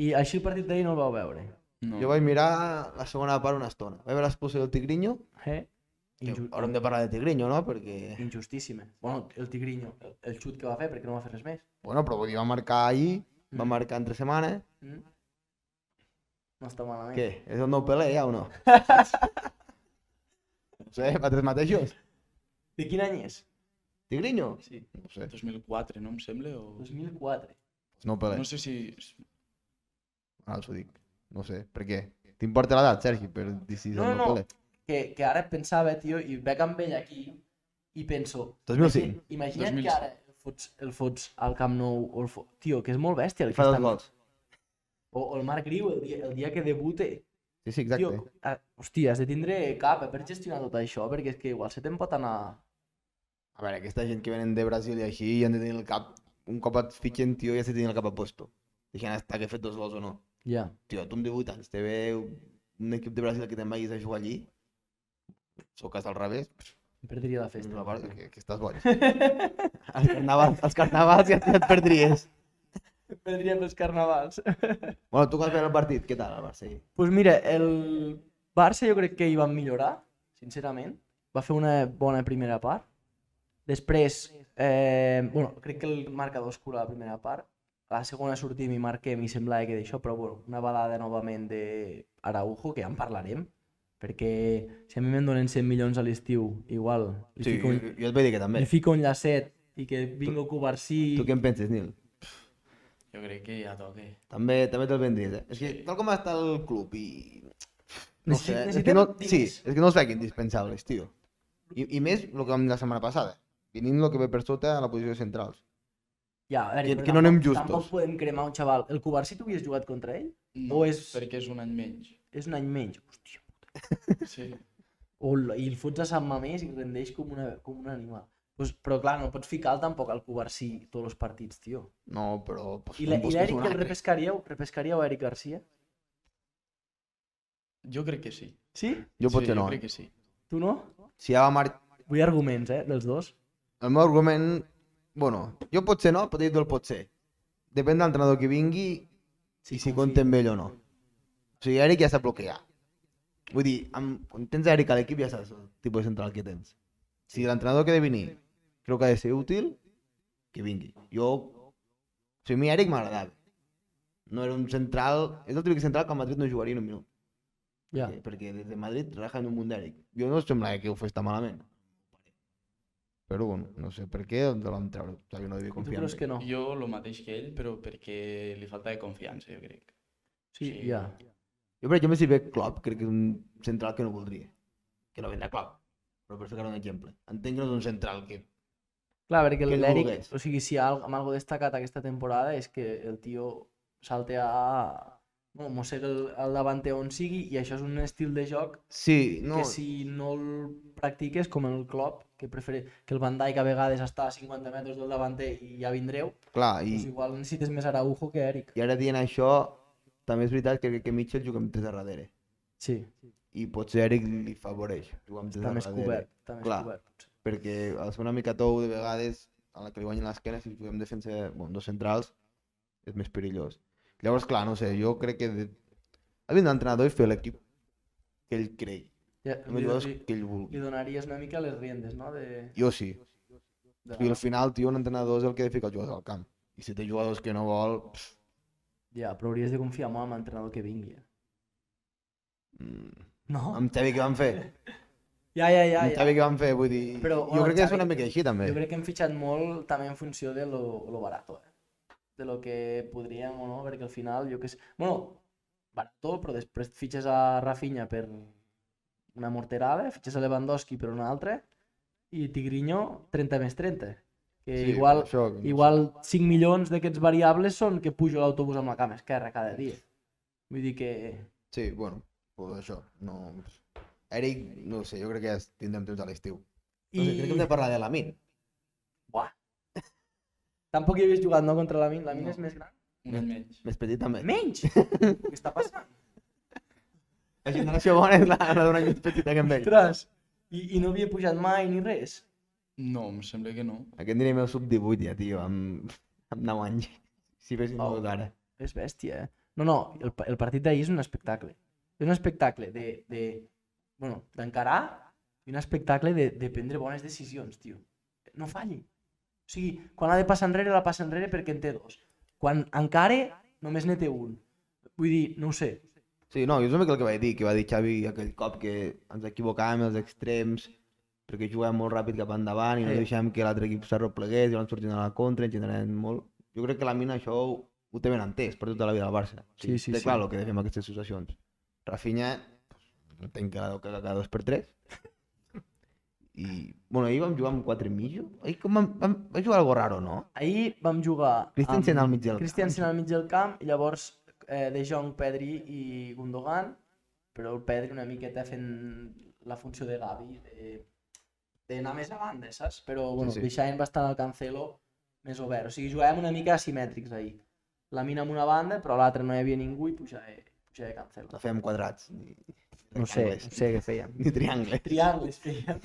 Speaker 1: I així el partit d'ahir no el vau veure.
Speaker 3: No.
Speaker 2: Jo vaig mirar la segona part una estona. Vaig veure l'expulsió del Tigrinho.
Speaker 1: Eh?
Speaker 2: que
Speaker 1: Inju
Speaker 2: Haurem de parlar de Tigrinho, no? Perquè...
Speaker 1: Injustíssima. Bueno, el Tigrinho, el, el xut que va fer, perquè no va fer res més.
Speaker 2: Bueno, però vull dir, va marcar ahir, va
Speaker 1: Mm.
Speaker 2: marcar entre setmanes.
Speaker 1: Mm? No està malament.
Speaker 2: Què? És el nou Pelé, ja, o no? no sé, vosaltres mateixos.
Speaker 1: De quin any és?
Speaker 2: Tigrinho?
Speaker 1: Sí.
Speaker 2: No sé.
Speaker 3: 2004, no em sembla? O...
Speaker 1: 2004.
Speaker 2: No Pelé.
Speaker 3: No sé si...
Speaker 2: Ara us ho dic. No sé, per què? T'importa l'edat, Sergi, per decidir
Speaker 1: No, no,
Speaker 2: el nou
Speaker 1: no.
Speaker 2: Pelé.
Speaker 1: Que, que ara pensava, tio, i veig amb ell aquí i penso...
Speaker 2: 2005.
Speaker 1: imagi- Imagina't
Speaker 3: 2005.
Speaker 1: que ara el fots, el fots al Camp Nou o el fo... Tio, que és molt bèstia el
Speaker 2: I
Speaker 1: que
Speaker 2: fa
Speaker 1: està...
Speaker 2: dos gols.
Speaker 1: O, o el Marc Griu, el dia, el dia que debute.
Speaker 2: Sí, sí,
Speaker 1: Tio,
Speaker 2: exacte.
Speaker 1: a, hòstia, has de tindre cap eh, per gestionar tot això, perquè és que igual se te'n pot anar...
Speaker 2: A veure, aquesta gent que venen de Brasil i així i han de tenir el cap... Un cop et fitxen, tio, ja se tenen el cap a puesto. Deixant estar que he fet dos gols o no.
Speaker 1: Ja.
Speaker 2: Tio, tu amb 18 anys, te ve un equip de Brasil que te'n vagis a jugar allí, soques al revés,
Speaker 1: Em perdria la
Speaker 2: és
Speaker 1: festa.
Speaker 2: una part que, que estàs boig. Els carnavals, els carnavals ja, ja et perdries.
Speaker 1: Em perdria pels carnavals.
Speaker 2: Bueno, tu que vas veure el partit, què tal el Barça? ahir?
Speaker 1: Doncs pues mira, el Barça jo crec que hi van millorar, sincerament. Va fer una bona primera part. Després, eh, bueno, crec que el marcador escura la primera part. A la segona sortim i marquem i semblava que d'això, però bueno, una balada novament de Araujo, que ja en parlarem, perquè si a mi me'n donen 100 milions a l'estiu, igual, li,
Speaker 2: Sí,
Speaker 1: fico
Speaker 2: jo,
Speaker 1: un,
Speaker 2: jo et vaig dir que també.
Speaker 1: li fico un llacet i que vingo Covarsí...
Speaker 2: Tu què en penses, Nil?
Speaker 3: Jo crec que ja toca.
Speaker 2: També, també te'l ben dit, eh? És que tal com està el club i... No
Speaker 1: Necessi-
Speaker 2: sé, és que
Speaker 1: necessitem
Speaker 2: no, sí,
Speaker 1: diners.
Speaker 2: és que no els veig indispensables, tio. I, I més el que vam dir la setmana passada, venint el que ve per sota a la posició de centrals.
Speaker 1: Ja, a veure,
Speaker 2: Que-
Speaker 1: però
Speaker 2: que no anem
Speaker 1: tampoc-
Speaker 2: justos.
Speaker 1: Tampoc podem cremar un xaval. El Covarsí tu havies jugat contra ell? O
Speaker 3: No,
Speaker 1: és-
Speaker 3: Perquè és un any menys.
Speaker 1: És un any menys. Hòstia,
Speaker 3: Sí.
Speaker 1: Hola, i el fots a Sant Mamés i rendeix com, una, com un animal. Pues, però clar, no pots ficar tampoc al Covarsí tots els partits, tio.
Speaker 2: No, però... Pues,
Speaker 1: I la-
Speaker 2: em
Speaker 1: i
Speaker 2: busques
Speaker 1: l'Eric
Speaker 2: un
Speaker 1: que el
Speaker 2: altre.
Speaker 1: repescaríeu? Repescaríeu a Eric Garcia?
Speaker 3: Jo crec que sí.
Speaker 1: Sí?
Speaker 2: Jo
Speaker 3: sí,
Speaker 2: potser
Speaker 3: jo
Speaker 2: no.
Speaker 3: crec
Speaker 2: eh?
Speaker 3: que sí.
Speaker 1: Tu no?
Speaker 2: Si ja va mar...
Speaker 1: Vull arguments, eh, dels dos.
Speaker 2: El meu argument... Bueno, jo potser no, però he dit el potser. Depèn de l'entrenador que vingui i si compta amb ell o no. O sigui, Eric ja sap el que hi ha. Vull dir, amb, quan tens Eric a l'equip ja saps el tipus de central que tens. Si l'entrenador que ha de venir creu que ha de ser útil, que vingui. Jo... O sigui, a mi Eric m'agradava. No era un central... És el típic central que a Madrid no jugaria ni un minut.
Speaker 1: Ja.
Speaker 2: Perquè, perquè des de Eh, Madrid rajen un munt d'Eric. Jo no semblava que ho fes tan malament. Però bueno, no sé per què el vam treure. O sigui, no devia
Speaker 1: Tu
Speaker 2: confiar en
Speaker 1: creus
Speaker 2: ell.
Speaker 1: que no?
Speaker 3: Jo el mateix que ell, però perquè li falta de confiança, jo crec.
Speaker 1: Sí,
Speaker 3: sí.
Speaker 1: ja.
Speaker 2: Jo, per exemple, si ve Klopp, crec que és un central que no voldria. Que no vendrà Klopp, però per ficar un exemple. Entenc que no és un central que...
Speaker 1: Clar, perquè
Speaker 2: Que no
Speaker 1: l'Eric,
Speaker 2: vulgués.
Speaker 1: o sigui, si hi ha al- amb algo destacat aquesta temporada és que el tio salte a... Bueno, mossega el, el davanter on sigui i això és un estil de joc
Speaker 2: Sí,
Speaker 1: no.
Speaker 2: no...
Speaker 1: que si no el practiques, com el Klopp, que prefer... que el Van Dijk a vegades està a 50 metres del davanter i ja vindreu,
Speaker 2: Clar,
Speaker 1: I...
Speaker 2: i,
Speaker 1: doncs igual necessites més Araujo que Eric.
Speaker 2: i ara dient això, també és veritat que crec que Mitchell juga amb tres a darrere.
Speaker 1: Sí,
Speaker 2: I potser Eric li favoreix jugar amb tres
Speaker 1: està
Speaker 2: a
Speaker 1: més
Speaker 2: darrere.
Speaker 1: cobert, està més
Speaker 2: Clar.
Speaker 1: cobert. potser.
Speaker 2: Perquè al ser una mica tou de vegades, a la que li guanyen l'esquena, si juguem defensa, bueno, dos centrals, és més perillós. Llavors, clar, no sé, jo crec que... De... Ha vindre l'entrenador i fer l'equip que ell cregui.
Speaker 1: Ja,
Speaker 2: Amb els
Speaker 1: li,
Speaker 2: jugadors
Speaker 1: li,
Speaker 2: que ell vulgui.
Speaker 1: li donaries una mica les riendes, no? De,
Speaker 2: Jo sí.
Speaker 1: de...
Speaker 2: I al final, tio, un entrenador és el que ha de ficar els jugadors al camp. I si té jugadors que no vol... Pff,
Speaker 1: Ja, però hauries de confiar molt en l'entrenador que vingui. eh?
Speaker 2: mm.
Speaker 1: No?
Speaker 2: Amb Xavi què van fer?
Speaker 1: Ja, ja, ja.
Speaker 2: Ja,
Speaker 1: ja.
Speaker 2: Xavi que van fer, vull dir...
Speaker 1: Però,
Speaker 2: jo
Speaker 1: bueno,
Speaker 2: crec que és
Speaker 1: Xavi-
Speaker 2: una mica així, també.
Speaker 1: Jo crec que hem fitxat molt també en funció de lo, lo barato, eh? De lo que podríem o no, perquè al final, jo que sé... Bueno, barato, però després fitxes a Rafinha per una morterada, fitxes a Lewandowski per una altra, i Tigrinho 30 més 30. Que
Speaker 2: Sí,
Speaker 1: igual,
Speaker 2: això,
Speaker 1: igual 5 milions d'aquests variables són que pujo a l'autobús amb la cama esquerra cada dia. Vull dir que...
Speaker 2: Sí, bueno, pues això, no... Eric, no ho sé, jo crec que ja tindrem temps a l'estiu. No sé, crec que hem de parlar de la min.
Speaker 1: Buah. Tampoc hi havies jugat, no, contra la Min? La Min
Speaker 2: No.
Speaker 1: és més gran?
Speaker 3: Un any menys.
Speaker 2: Més petit també.
Speaker 1: Menys! Què està passant?
Speaker 2: La generació bona és la, la d'un any més petita que amb ell.
Speaker 1: Ostres! I, I no havia pujat mai ni res.
Speaker 3: No, em sembla que no.
Speaker 2: Aquest anirem al sub-18 ja, tio, amb, amb 9 anys. Si féssim
Speaker 1: Oh.
Speaker 2: oh. d'ara.
Speaker 1: És bèstia, eh? No, no, el, pa- el partit d'ahir és un espectacle. És un espectacle de... de bueno, d'encarar i un espectacle de, de prendre bones decisions, tio. No falli. O sigui, quan ha de passar enrere, la passa enrere perquè en té dos. Quan encare, només n'hi té un. Vull dir, no ho sé.
Speaker 2: Sí, no, jo és una mica el que vaig dir, que va dir Xavi aquell cop que ens equivocàvem als extrems, perquè jugàvem molt ràpid cap endavant i no
Speaker 1: Sí.
Speaker 2: deixàvem que l'altre equip s'arreplegués, i vam sortir a la contra, ens generàvem molt. Jo crec que la mina això ho, ho té ben entès per tota la vida del Barça. O sigui,
Speaker 1: Sí, sí,
Speaker 2: té
Speaker 1: sí.
Speaker 2: clar el que fem aquestes situacions. Rafinha, no entenc que la deu cagar cada dos per tres. I, bueno, ahir vam jugar amb quatre i mig. Ahir com vam, vam, vam jugar algo raro, no?
Speaker 1: Ahir vam jugar
Speaker 2: Christensen al mig del camp.
Speaker 1: Christensen al mig del camp i llavors eh, De Jong, Pedri i Gundogan, però el Pedri una miqueta fent la funció de Gavi, de- d'anar més a banda, saps? Però bueno, sí,
Speaker 2: sí.
Speaker 1: sí. deixant bastant el Cancelo més obert. O sigui, jugàvem una mica asimètrics ahir. La mina en una banda, però a l'altra no hi havia ningú i pujava, pujava Cancelo.
Speaker 2: La fèiem quadrats. Ni,
Speaker 1: No sé,
Speaker 2: rectangles,
Speaker 1: no sé què fèiem.
Speaker 2: Ni triangles.
Speaker 1: Triangles fèiem.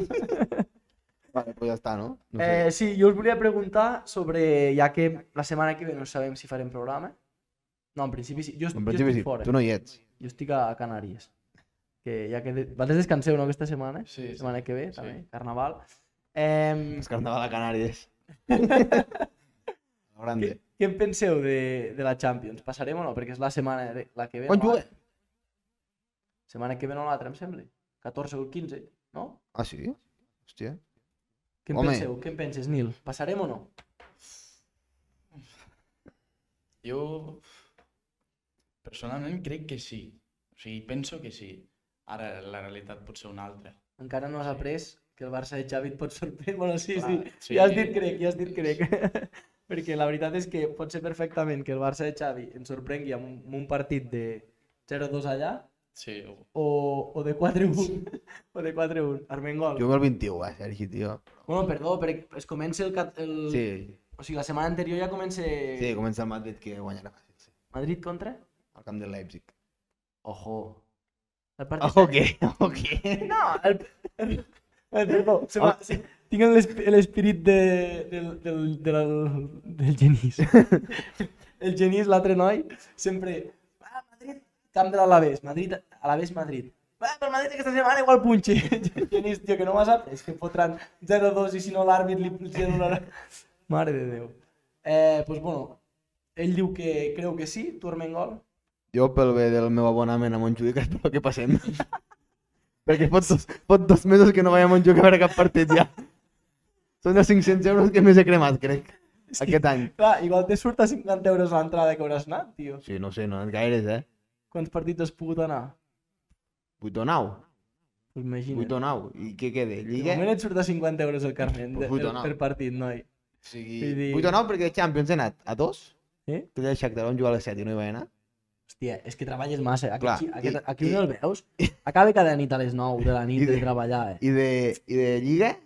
Speaker 2: Vale, pues ja està, no? no sé.
Speaker 1: Eh, sí, jo us volia preguntar sobre, ja que la setmana que ve no sabem si farem programa. No, en principi sí. Jo, est-
Speaker 2: en
Speaker 1: jo
Speaker 2: principi
Speaker 1: estic
Speaker 2: sí,
Speaker 1: fora.
Speaker 2: tu no hi ets.
Speaker 1: Jo estic a Canàries. Que ja que... De... Vosaltres descanseu, no, aquesta setmana?
Speaker 3: Sí, sí.
Speaker 1: setmana que ve,
Speaker 3: Sí.
Speaker 1: també, carnaval. Eh,
Speaker 2: És carnaval a Canàries. Lo
Speaker 1: què,
Speaker 2: grande.
Speaker 1: què en penseu de, de la Champions? Passarem o no? Perquè és la setmana de, la que ve.
Speaker 2: Quan
Speaker 1: no
Speaker 2: juguem?
Speaker 1: l'altra. Setmana que ve no l'altra, em sembla. 14 o el 15, no?
Speaker 2: Ah, sí? Hòstia.
Speaker 1: Què en
Speaker 2: Home.
Speaker 1: penseu? Què en penses, Nil? Passarem o no?
Speaker 3: Jo, personalment, crec que sí. O sigui, penso que sí. Ara, la realitat pot ser una altra.
Speaker 1: Encara no has après que el Barça de Xavi et pot sorprendre. Bueno, sí,
Speaker 3: Clar,
Speaker 1: sí.
Speaker 3: sí.
Speaker 1: Ja has dit crec, ja has dit crec. Perquè la veritat és que pot ser perfectament que el Barça de Xavi ens sorprengui amb un, amb un partit de 0-2 allà
Speaker 3: Sí, o-
Speaker 1: o, o de 4-1. o de 4-1. Armengol.
Speaker 2: Juguem el 21, eh, Sergi, tio.
Speaker 1: Bueno, perdó, perquè es comença el... cat- el...
Speaker 2: Sí,
Speaker 1: O sigui, la setmana anterior ja comença...
Speaker 2: sí, comença el Madrid que guanyarà. Sí.
Speaker 1: Madrid contra?
Speaker 2: Al camp de Leipzig.
Speaker 1: Ojo. El partit...
Speaker 2: Ojo que, ojo que.
Speaker 1: No, el... el... Perdó, se m'ha... se- Ah, Tinc l'esp- l'esperit de, del, del, del, del genís. El genís, l'altre noi, sempre... Va, Madrid, camp de l'Alavés. Madrid, Alavés, Madrid. Va, pel Madrid aquesta setmana igual punxi. El genís, tio, que no m'ha sap. És que fotran 0-2 i si no l'àrbit li li anul·larà. Mare de Déu. Eh, doncs, bueno, ell diu que creu que sí, tu, Armengol.
Speaker 2: Jo, pel bé del meu abonament a Montjuïc, espero que passem. Perquè fot dos, fot dos mesos que no vaig a Montjuïc a veure cap partit, ja. Són els 500 euros que més he cremat, crec,
Speaker 1: Sí.
Speaker 2: aquest any.
Speaker 1: Clar, igual te surt a 50 euros l'entrada que hauràs anat, tio.
Speaker 2: Sí, no sé, no en gaires, eh?
Speaker 1: Quants partits has pogut anar?
Speaker 2: 8 o 9.
Speaker 1: Pues imagina't.
Speaker 2: 8 o 9. I què queda?
Speaker 1: De
Speaker 2: Lliga?
Speaker 1: moment et surt a 50 euros el carnet
Speaker 2: Pues
Speaker 1: de,
Speaker 2: vuit o
Speaker 1: el,
Speaker 2: nou.
Speaker 1: per partit, noi.
Speaker 3: o sigui,
Speaker 1: Vull dir-
Speaker 2: 8 o 9 perquè Champions he anat a 2.
Speaker 1: Eh?
Speaker 2: Que el Shakhtar vam jugar a les 7 i no hi vaig anar.
Speaker 1: Hòstia, és que treballes massa. Aquí,
Speaker 2: Clar,
Speaker 1: Clar, aquest,
Speaker 2: i-
Speaker 1: aquí
Speaker 2: i-
Speaker 1: on el veus? Acaba cada nit a les 9 de la
Speaker 2: I
Speaker 1: nit de
Speaker 2: de-
Speaker 1: treballar, eh?
Speaker 2: I de, i de Lliga?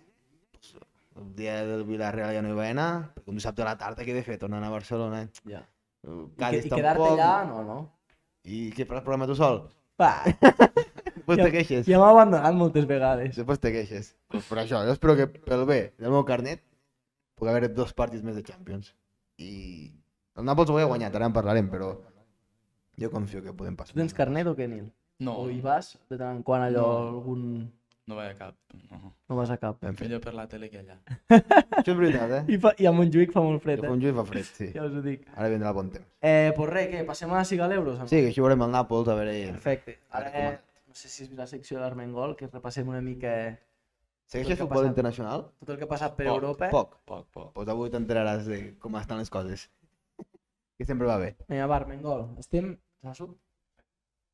Speaker 2: El dia del Villarreal ja no hi vaig anar. Perquè un dissabte a la tarda què he de fer? Tornar a anar a Barcelona. eh?
Speaker 1: Ja. I, que,
Speaker 2: Cádiz
Speaker 1: i quedar-te
Speaker 2: tampoc.
Speaker 1: allà, no, no.
Speaker 2: I què faràs programa tu sol?
Speaker 1: Va,
Speaker 2: Després
Speaker 1: Ja-
Speaker 2: te queixes.
Speaker 1: ja m'ha abandonat moltes vegades.
Speaker 2: Després te queixes. Pues per això, jo espero que pel bé del meu carnet pugui haver dos partits més de Champions. I el Nàpols ho ha guanyat, ara en parlarem, però jo confio que podem passar.
Speaker 1: Tu tens carnet o què, Nil?
Speaker 3: no,
Speaker 1: O hi vas de tant en quant allò
Speaker 3: No.
Speaker 1: algun...
Speaker 3: no vaig a cap. No.
Speaker 1: No vas a cap.
Speaker 2: Ben fet.
Speaker 3: Millor per la tele que allà.
Speaker 2: Això és veritat, eh?
Speaker 1: I, fa, i a Montjuïc fa molt fred,
Speaker 2: El
Speaker 1: eh?
Speaker 2: conjunt fa fred, sí.
Speaker 1: Ja us ho dic.
Speaker 2: Ara vindrà bon temps.
Speaker 1: Eh, pues res, què? Passem a la Siga l'Euros? o no?
Speaker 2: Sí, que així veurem el Nàpols, a veure...
Speaker 1: Perfecte. Eh,
Speaker 2: Ara
Speaker 1: Ara,
Speaker 2: com ara.
Speaker 1: no sé si és la secció de l'Armengol, que repassem una mica
Speaker 2: Segueixes
Speaker 1: que ha
Speaker 2: futbol
Speaker 1: passat.
Speaker 2: internacional? Pues
Speaker 1: Tot el que ha passat per
Speaker 3: Poc,
Speaker 1: Europa... eh?
Speaker 2: Poc.
Speaker 3: Poc, poc.
Speaker 2: Doncs avui t'entraràs de com estan les coses. que sempre va bé.
Speaker 1: Vinga, va, Armengol. Estem... Sasso?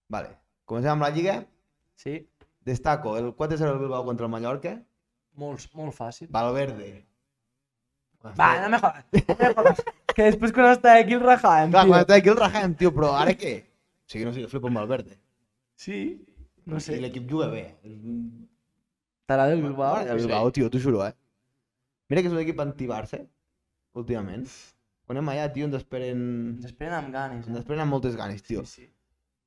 Speaker 2: Vale. Comencem amb la Lliga.
Speaker 1: Sí.
Speaker 2: Destaco el 4-0 del Bilbao contra el Mallorca.
Speaker 1: Molt, molt fàcil.
Speaker 2: Valverde.
Speaker 1: Va, no me jodas. No me jodas. que després quan està aquí el rajàvem,
Speaker 2: Clar,
Speaker 1: tio.
Speaker 2: quan està aquí el Rajan, tio, però ara què? O sigui, no sé, jo flipo amb Valverde.
Speaker 1: Sí. No sé.
Speaker 2: I l'equip juga bé.
Speaker 1: T'agrada el Bilbao?
Speaker 2: Mare de Bilbao, tio, t'ho juro, eh? Mira que és un equip anti-Barça, últimament. Quan anem allà, tio, ens esperen...
Speaker 1: Ens esperen amb ganes,
Speaker 2: Ens
Speaker 1: eh?
Speaker 2: esperen amb moltes ganes, tio.
Speaker 1: Sí, sí.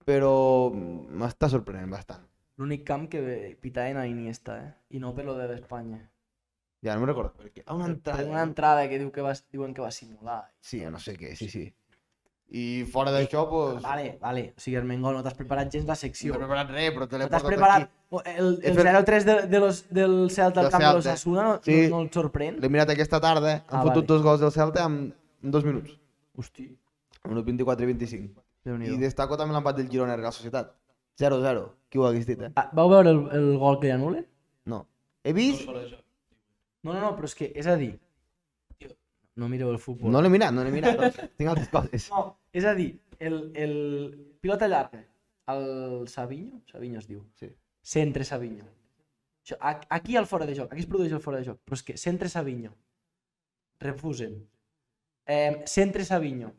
Speaker 2: Però mm, m'està sorprenent bastant.
Speaker 1: L'únic camp que pitaven a Iniesta, eh? I no per lo de l'Espanya.
Speaker 2: Ja no me'n recordo. Perquè... Ah, una entrada.
Speaker 1: Per una entrada que diu que va, diuen que va simular.
Speaker 2: Sí, no sé què, sí, sí. I fora d'això, doncs... Pues,
Speaker 1: Vale, vale. O sigui, Armengol, no t'has preparat gens la
Speaker 2: no
Speaker 1: secció.
Speaker 2: he preparat res, però te l'he
Speaker 1: No t'has
Speaker 2: portat
Speaker 1: preparat
Speaker 2: aquí.
Speaker 1: el,
Speaker 2: És
Speaker 1: el
Speaker 2: ver-
Speaker 1: 0-3 de, de los, del Celta
Speaker 2: Del
Speaker 1: al camp de
Speaker 2: Celta.
Speaker 1: l'Ossassuna no,
Speaker 2: Sí.
Speaker 1: no, no et sorprèn?
Speaker 2: L'he mirat aquesta tarda, eh? han
Speaker 1: Ah,
Speaker 2: fotut
Speaker 1: vale.
Speaker 2: dos gols del Celta en, en dos minuts.
Speaker 1: Hosti,
Speaker 2: En un 24 i 25. I
Speaker 1: déu-n'hi-do.
Speaker 2: destaco també l'empat del Girona a Real Societat. 0-0. Qui ho hagués dit, eh?
Speaker 1: Ah, vau veure el, el gol que li anul·len?
Speaker 2: No. He
Speaker 3: No
Speaker 2: vist...
Speaker 3: fora de joc.
Speaker 1: No, no, no, però és que, és a dir, tio, no mireu el futbol.
Speaker 2: No l'he mirat, no l'he mirat. però Tinc altres coses.
Speaker 1: No, és a dir, el, el pilota llarga, el Savinho, Savinho es diu,
Speaker 2: Sí.
Speaker 1: centre Savinho. Això, a- aquí al fora de joc, aquí es produeix el fora de joc, però és que centre Savinho, refusen. Eh, centre Savinho,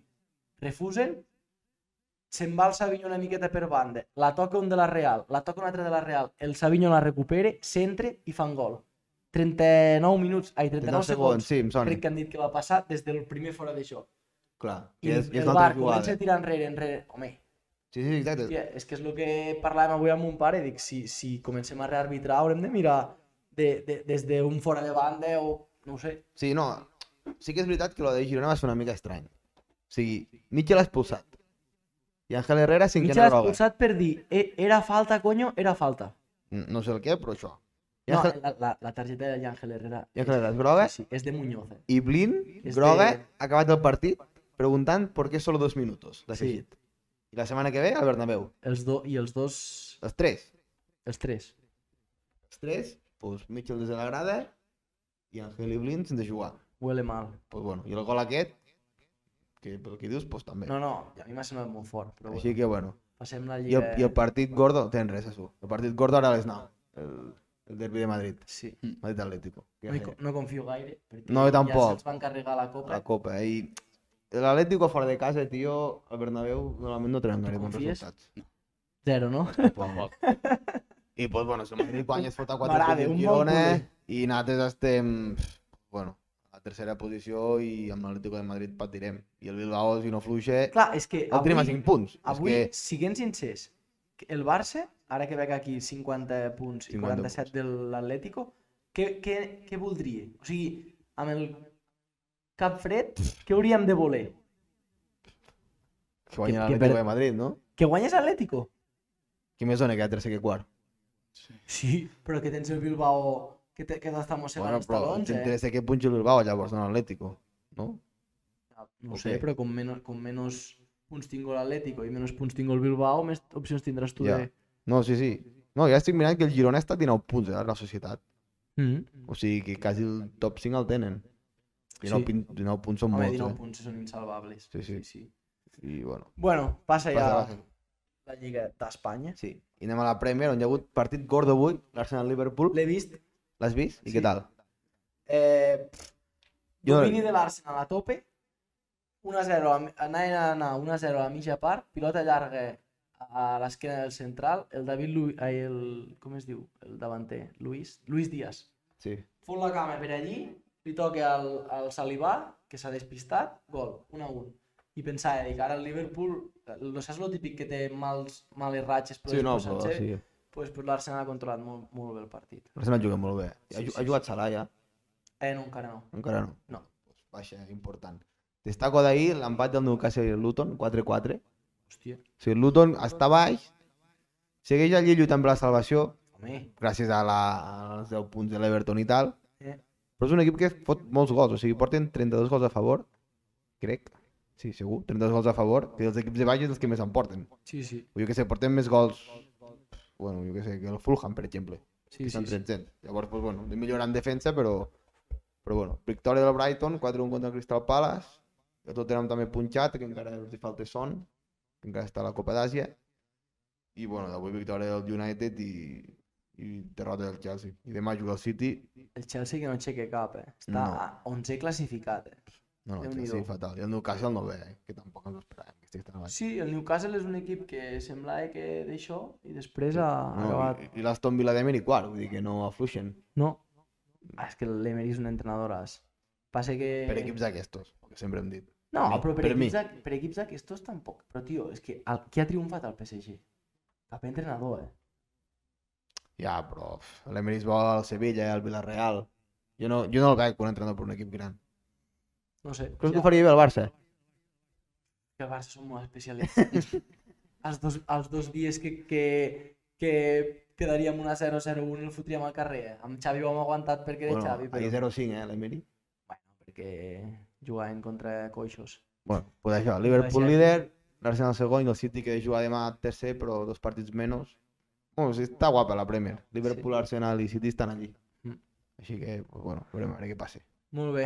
Speaker 1: refusen, se'n va el Savinho una miqueta per banda, la toca un de la Real, la toca un altre de la Real, el Savinho la recupere, centre i fan gol. 39 minuts, ai, 39 segons,
Speaker 2: 39 segons, sí, em sona.
Speaker 1: crec que han dit que va passar des del primer fora de joc.
Speaker 2: Clar.
Speaker 1: I
Speaker 2: I és, i és
Speaker 1: el
Speaker 2: una altra
Speaker 1: bar comença
Speaker 2: jugada.
Speaker 1: a tirar enrere, enrere. Home,
Speaker 2: Sí, sí, exacte.
Speaker 1: tia, és que és el que parlàvem avui amb mon pare. Dic, si, si comencem a rearbitrar, haurem de mirar de, de, des d'un fora de banda o... No ho sé.
Speaker 2: Sí, no. Sí que és veritat que lo de Girona va ser una mica estrany. O sigui, Mitchell ha expulsat. I Ángel Herrera,
Speaker 1: Mitja
Speaker 2: cinquena
Speaker 1: l'ha
Speaker 2: groga.
Speaker 1: expulsat per dir, "E- era falta, conyo, era falta.
Speaker 2: No sé el què, però això. I
Speaker 1: No,
Speaker 2: Ángel,
Speaker 1: la, la, la targeta de l'Àngel Herrera
Speaker 2: i Ángel Herrera és groga.
Speaker 1: sí, és de Muñoz. Eh?
Speaker 2: I Blin,
Speaker 1: És
Speaker 2: groga,
Speaker 1: de-
Speaker 2: ha acabat el partit preguntant per què solo dos minuts.
Speaker 1: Sí.
Speaker 2: Sí. I la setmana que ve, al Bernabéu.
Speaker 1: Els do, I els dos,
Speaker 2: Els tres.
Speaker 1: els tres.
Speaker 2: Els tres, doncs Mitchell des de la grada i Ángel i Blin sense jugar.
Speaker 1: Huele mal.
Speaker 2: Pues bueno, i el gol aquest, que pel que dius, pues també.
Speaker 1: No, no, a mi m'ha semblat molt fort. Però
Speaker 2: Així
Speaker 1: bueno,
Speaker 2: que bueno.
Speaker 1: passem la
Speaker 2: I
Speaker 1: lliga...
Speaker 2: el, i el partit gordo, tens res a su. El partit gordo ara a les 9. El, el derbi de Madrid.
Speaker 1: Sí.
Speaker 2: Madrid Atlético.
Speaker 1: No, hi co- no confio gaire. perquè
Speaker 2: No, jo
Speaker 1: Ja
Speaker 2: tampoc.
Speaker 1: se'ns van carregar la copa.
Speaker 2: La Copa, eh? I l'Atlético fora de casa, tio, al Bernabéu, normalment no tenen gaire bons
Speaker 1: confies?
Speaker 2: resultats.
Speaker 1: Zero, no?
Speaker 2: Tampoc. I pues, bueno, si el Madrid guanya es fota 4
Speaker 1: M'agrada,
Speaker 2: punts del
Speaker 1: un bon
Speaker 2: Girona
Speaker 1: culer.
Speaker 2: i nosaltres estem, pff, bueno, a la tercera posició i amb l'Atlético de Madrid patirem. I el Bilbao, si no fluixa,
Speaker 1: Clar, és que
Speaker 2: el tenim a 5 punts.
Speaker 1: avui
Speaker 2: És que...
Speaker 1: siguem sincers, que el Barça, ara que veig aquí 50 punts i
Speaker 2: 50
Speaker 1: 47 de l'Atlético, què, què, què voldria? O sigui, amb el cap fred, què hauríem de voler?
Speaker 2: Que guanya
Speaker 1: que- que
Speaker 2: l'Atlético
Speaker 1: per-
Speaker 2: de Madrid, no?
Speaker 1: Que guanyes l'Atlético?
Speaker 2: Qui més dona que el tercer que quart?
Speaker 1: Sí, però que tens el Bilbao que te- que t'està mossegant
Speaker 2: Bueno,
Speaker 1: els
Speaker 2: però
Speaker 1: talons, eh?
Speaker 2: t'interessa que punxi el Bilbao, llavors, no l'Atlético, no?
Speaker 1: No
Speaker 2: o
Speaker 1: ho sé,
Speaker 2: què?
Speaker 1: però com menos, com menos punts tingo l'Atlético i menos punts tingo el Bilbao, més opcions tindràs tu
Speaker 2: Ja.
Speaker 1: de...
Speaker 2: No, sí, sí. No, ja estic mirant que el Girona està a 19 punts, eh, la societat.
Speaker 1: Mm.
Speaker 2: O sigui que quasi el top 5 el tenen. 19,
Speaker 1: Sí.
Speaker 2: pin- 19 punts són
Speaker 1: Home,
Speaker 2: molts,
Speaker 1: 19
Speaker 2: eh?
Speaker 1: punts són insalvables.
Speaker 2: Sí, sí.
Speaker 1: sí.
Speaker 2: I bueno,
Speaker 1: Bueno, passa ja
Speaker 2: passa la
Speaker 1: la Lliga d'Espanya.
Speaker 2: Sí. I anem a la Premier, on hi ha hagut partit gordo avui, l'Arsenal-Liverpool.
Speaker 1: L'he vist.
Speaker 2: L'has vist? I
Speaker 1: Sí.
Speaker 2: què tal?
Speaker 1: Eh,
Speaker 2: Jo no l'he
Speaker 1: domini de l'Arsenal a tope. 1-0, a mi- anaven a anar 1-0 a la mitja part, pilota llarga a l'esquena del central, el David Lu... ai, el... com es diu? El davanter, Luis, Luis Díaz.
Speaker 2: Sí.
Speaker 1: Fot la cama per allí, li toca al, al Salivà, que s'ha despistat, gol, 1-1. I pensava, dic, ara el Liverpool, eh, no saps lo típic que té mals, males ratxes, però
Speaker 2: Sí, no,
Speaker 1: després
Speaker 2: però
Speaker 1: sencer?
Speaker 2: sí.
Speaker 1: pues, pues l'Arsenal ha controlat molt, molt bé el partit.
Speaker 2: L'Arsenal juga molt bé. Ha,
Speaker 1: Sí,
Speaker 2: ju-
Speaker 1: sí,
Speaker 2: ha jugat Salah, ja?
Speaker 1: Eh, no, encara no.
Speaker 2: Encara no.
Speaker 1: No.
Speaker 2: Doncs Baixa, important. Destaco d'ahir l'empat del Newcastle i el Luton, 4-4.
Speaker 1: Hòstia.
Speaker 2: O sigui, el Luton està baix, segueix allí lluitant per la salvació,
Speaker 1: Home,
Speaker 2: gràcies a la, als 10 punts de l'Everton i tal.
Speaker 1: Eh.
Speaker 2: Però és un equip que fot molts gols, o sigui, porten 32 gols a favor, crec. Sí, segur, 32 gols a favor, que els equips de baix és els que més en porten.
Speaker 1: sí, sí.
Speaker 2: O jo que sé, portem més gols... Bueno, jo que sé, que el Fulham, per exemple.
Speaker 1: Sí,
Speaker 2: estan
Speaker 1: sí, sí.
Speaker 2: 13. Llavors, doncs, bueno, de millorar en defensa, però, però bueno, victòria del Brighton, 4-1 contra el Crystal Palace, el Tottenham també punxat, que encara els hi falta son, que encara està a la Copa d'Àsia, i bueno, d'avui victòria del United i, i derrota del Chelsea. I demà juga el City,
Speaker 1: El Chelsea que no aixeca cap, eh? Està
Speaker 2: No.
Speaker 1: a 11 classificat, eh?
Speaker 2: no, no, el
Speaker 1: Déu-n'hi-do.
Speaker 2: Chelsea fatal, i el Newcastle no ve, eh? que tampoc ens ho esperàvem, que estic tan avall.
Speaker 1: Sí, el Newcastle és un equip que semblava que d'això i després ha ha
Speaker 2: No,
Speaker 1: Ah, acabat...
Speaker 2: i, I l'Aston Villa de i quart, vull dir que no afluixen
Speaker 1: No. Ah, és que l'Emery és un entrenador as. Passa que...
Speaker 2: per equips d'aquestos, el que sempre hem dit.
Speaker 1: No,
Speaker 2: mi,
Speaker 1: però per,
Speaker 2: per mi.
Speaker 1: equips d'ac- per equips d'aquestos tampoc. Però, tio, és que el... qui ha triomfat al PSG? Cap entrenador, eh?
Speaker 2: Ja, però uf, l'Emery és bo al Sevilla, al Villarreal. Jo no, jo no el veig com un entrenador per un equip gran.
Speaker 1: No sé.
Speaker 2: Creus
Speaker 1: ja,
Speaker 2: que ho faria bé al Barça?
Speaker 1: que el Barça són molt especialistes. els, dos, els dos dies que, que, que quedaríem una 0-0-1 el fotríem al carrer. eh? Amb Xavi ho hem aguantat perquè de
Speaker 2: Bueno,
Speaker 1: Xavi, però...
Speaker 2: ahir 0-5, eh, l'Emery.
Speaker 1: Bueno, perquè jugaven contra coixos.
Speaker 2: Bueno, pues això, Liverpool
Speaker 1: Deixem.
Speaker 2: líder, l'Arsenal segon i el City que juga demà tercer, però dos partits menys. Bueno, sí, està guapa la Premier. Liverpool, Arsenal i City estan allí.
Speaker 1: Mm.
Speaker 2: Així que, pues, bueno, veurem a veure què passa.
Speaker 1: Molt bé.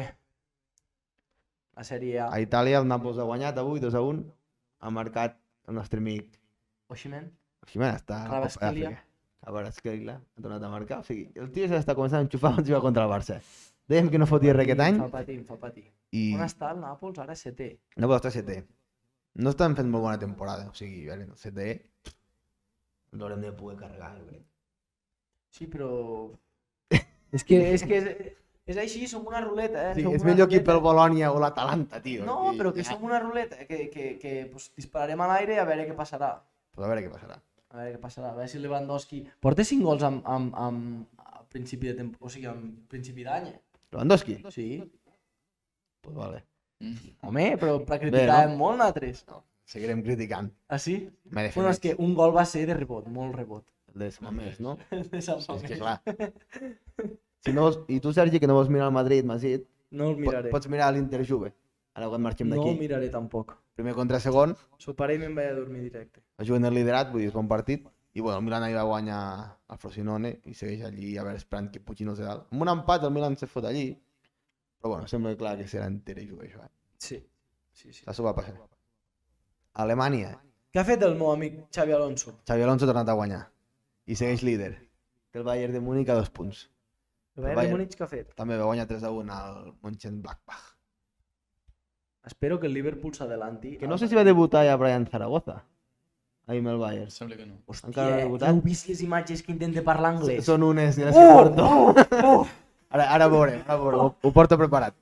Speaker 1: La sèrie A.
Speaker 2: A Itàlia el Nàpols ha guanyat avui 2-1. Ha marcat el nostre amic
Speaker 1: Oximen.
Speaker 2: Ximena està a la Copa
Speaker 1: Kvaratskhelia.
Speaker 2: d'Àfrica. Kvaratskhelia ha tornat a marcar. O sigui, el tio s'està començant a enxufar on juga contra el Barça. Dèiem que no fotia res aquest any
Speaker 1: Em fa patir, em fa patir.
Speaker 2: i
Speaker 1: On està el Nàpols? Ara setè.
Speaker 2: no pot estar setè. No estan fent molt bona temporada. O sigui, a veure, el setè l'haurem de poder carregar, jo crec.
Speaker 1: Sí, però... és que, és que és, és així, som una ruleta, eh?
Speaker 2: Sí,
Speaker 1: som
Speaker 2: és
Speaker 1: una
Speaker 2: millor equip
Speaker 1: ruleta.
Speaker 2: pel Bolònia o l'Atalanta, tio.
Speaker 1: No,
Speaker 2: I-
Speaker 1: però que
Speaker 2: ja.
Speaker 1: som una ruleta, que, que, que pues, dispararem a l'aire i a veure què passarà.
Speaker 2: Pues a veure què passarà.
Speaker 1: A veure què passarà, a veure si Lewandowski... Porta 5 gols amb, amb, amb, a principi de tempo... O sigui, amb principi d'any. eh?
Speaker 2: Lewandowski?
Speaker 1: Sí.
Speaker 2: Pues vale.
Speaker 1: Mm. Home, però la criticàvem molt nosaltres.
Speaker 2: Seguirem criticant.
Speaker 1: Ah, sí?
Speaker 2: M'he de fer
Speaker 1: Bueno,
Speaker 2: més.
Speaker 1: és que un gol va ser de rebot, molt rebot.
Speaker 2: El de Samamés, no?
Speaker 1: De Sant
Speaker 2: Sí, és
Speaker 1: Mamés.
Speaker 2: que clar. Si no vols... I tu, Sergi, que no vols mirar el Madrid, Madrid,
Speaker 1: No el
Speaker 2: Po-
Speaker 1: miraré.
Speaker 2: Pots mirar l'Interjuve, ara quan marxem
Speaker 1: No
Speaker 2: d'aquí.
Speaker 1: el miraré tampoc.
Speaker 2: Primer contra segon,
Speaker 1: Soparé i me'n vaig a dormir directe.
Speaker 2: es juguen el liderat, vull dir, és bon partit. I bueno, el Milan ahir va guanyar el Frosinone i segueix allí, a veure, esperant que Puig no se dalt. Amb un empat el Milan se fot allí, però bueno, sembla clar que serà enter i jugar això. Eh?
Speaker 1: Sí. sí, sí.
Speaker 2: Això va passar. Alemanya,
Speaker 1: Què ha fet el meu amic Xavi Alonso?
Speaker 2: Xavi Alonso ha tornat a guanyar i segueix líder. Té el Bayern de Múnich a dos punts.
Speaker 1: El
Speaker 2: Bayern.
Speaker 1: Bayern de Múnich què ha fet?
Speaker 2: També va guanyar 3 a 1 al Mönchengladbach.
Speaker 1: Espero que el Liverpool s'adelanti.
Speaker 2: Que no sé si va debutar ja Brian Zaragoza, ahir amb el Bayern.
Speaker 3: Sembla que no.
Speaker 1: Hòstia,
Speaker 2: encara no ha debutat.
Speaker 1: heu vist les imatges que intenta parlar anglès?
Speaker 2: Són unes de les que
Speaker 1: Oh,
Speaker 2: porto.
Speaker 1: oh, oh.
Speaker 2: Ara, ara veurem, ara veurem. Ho, ho porto preparat.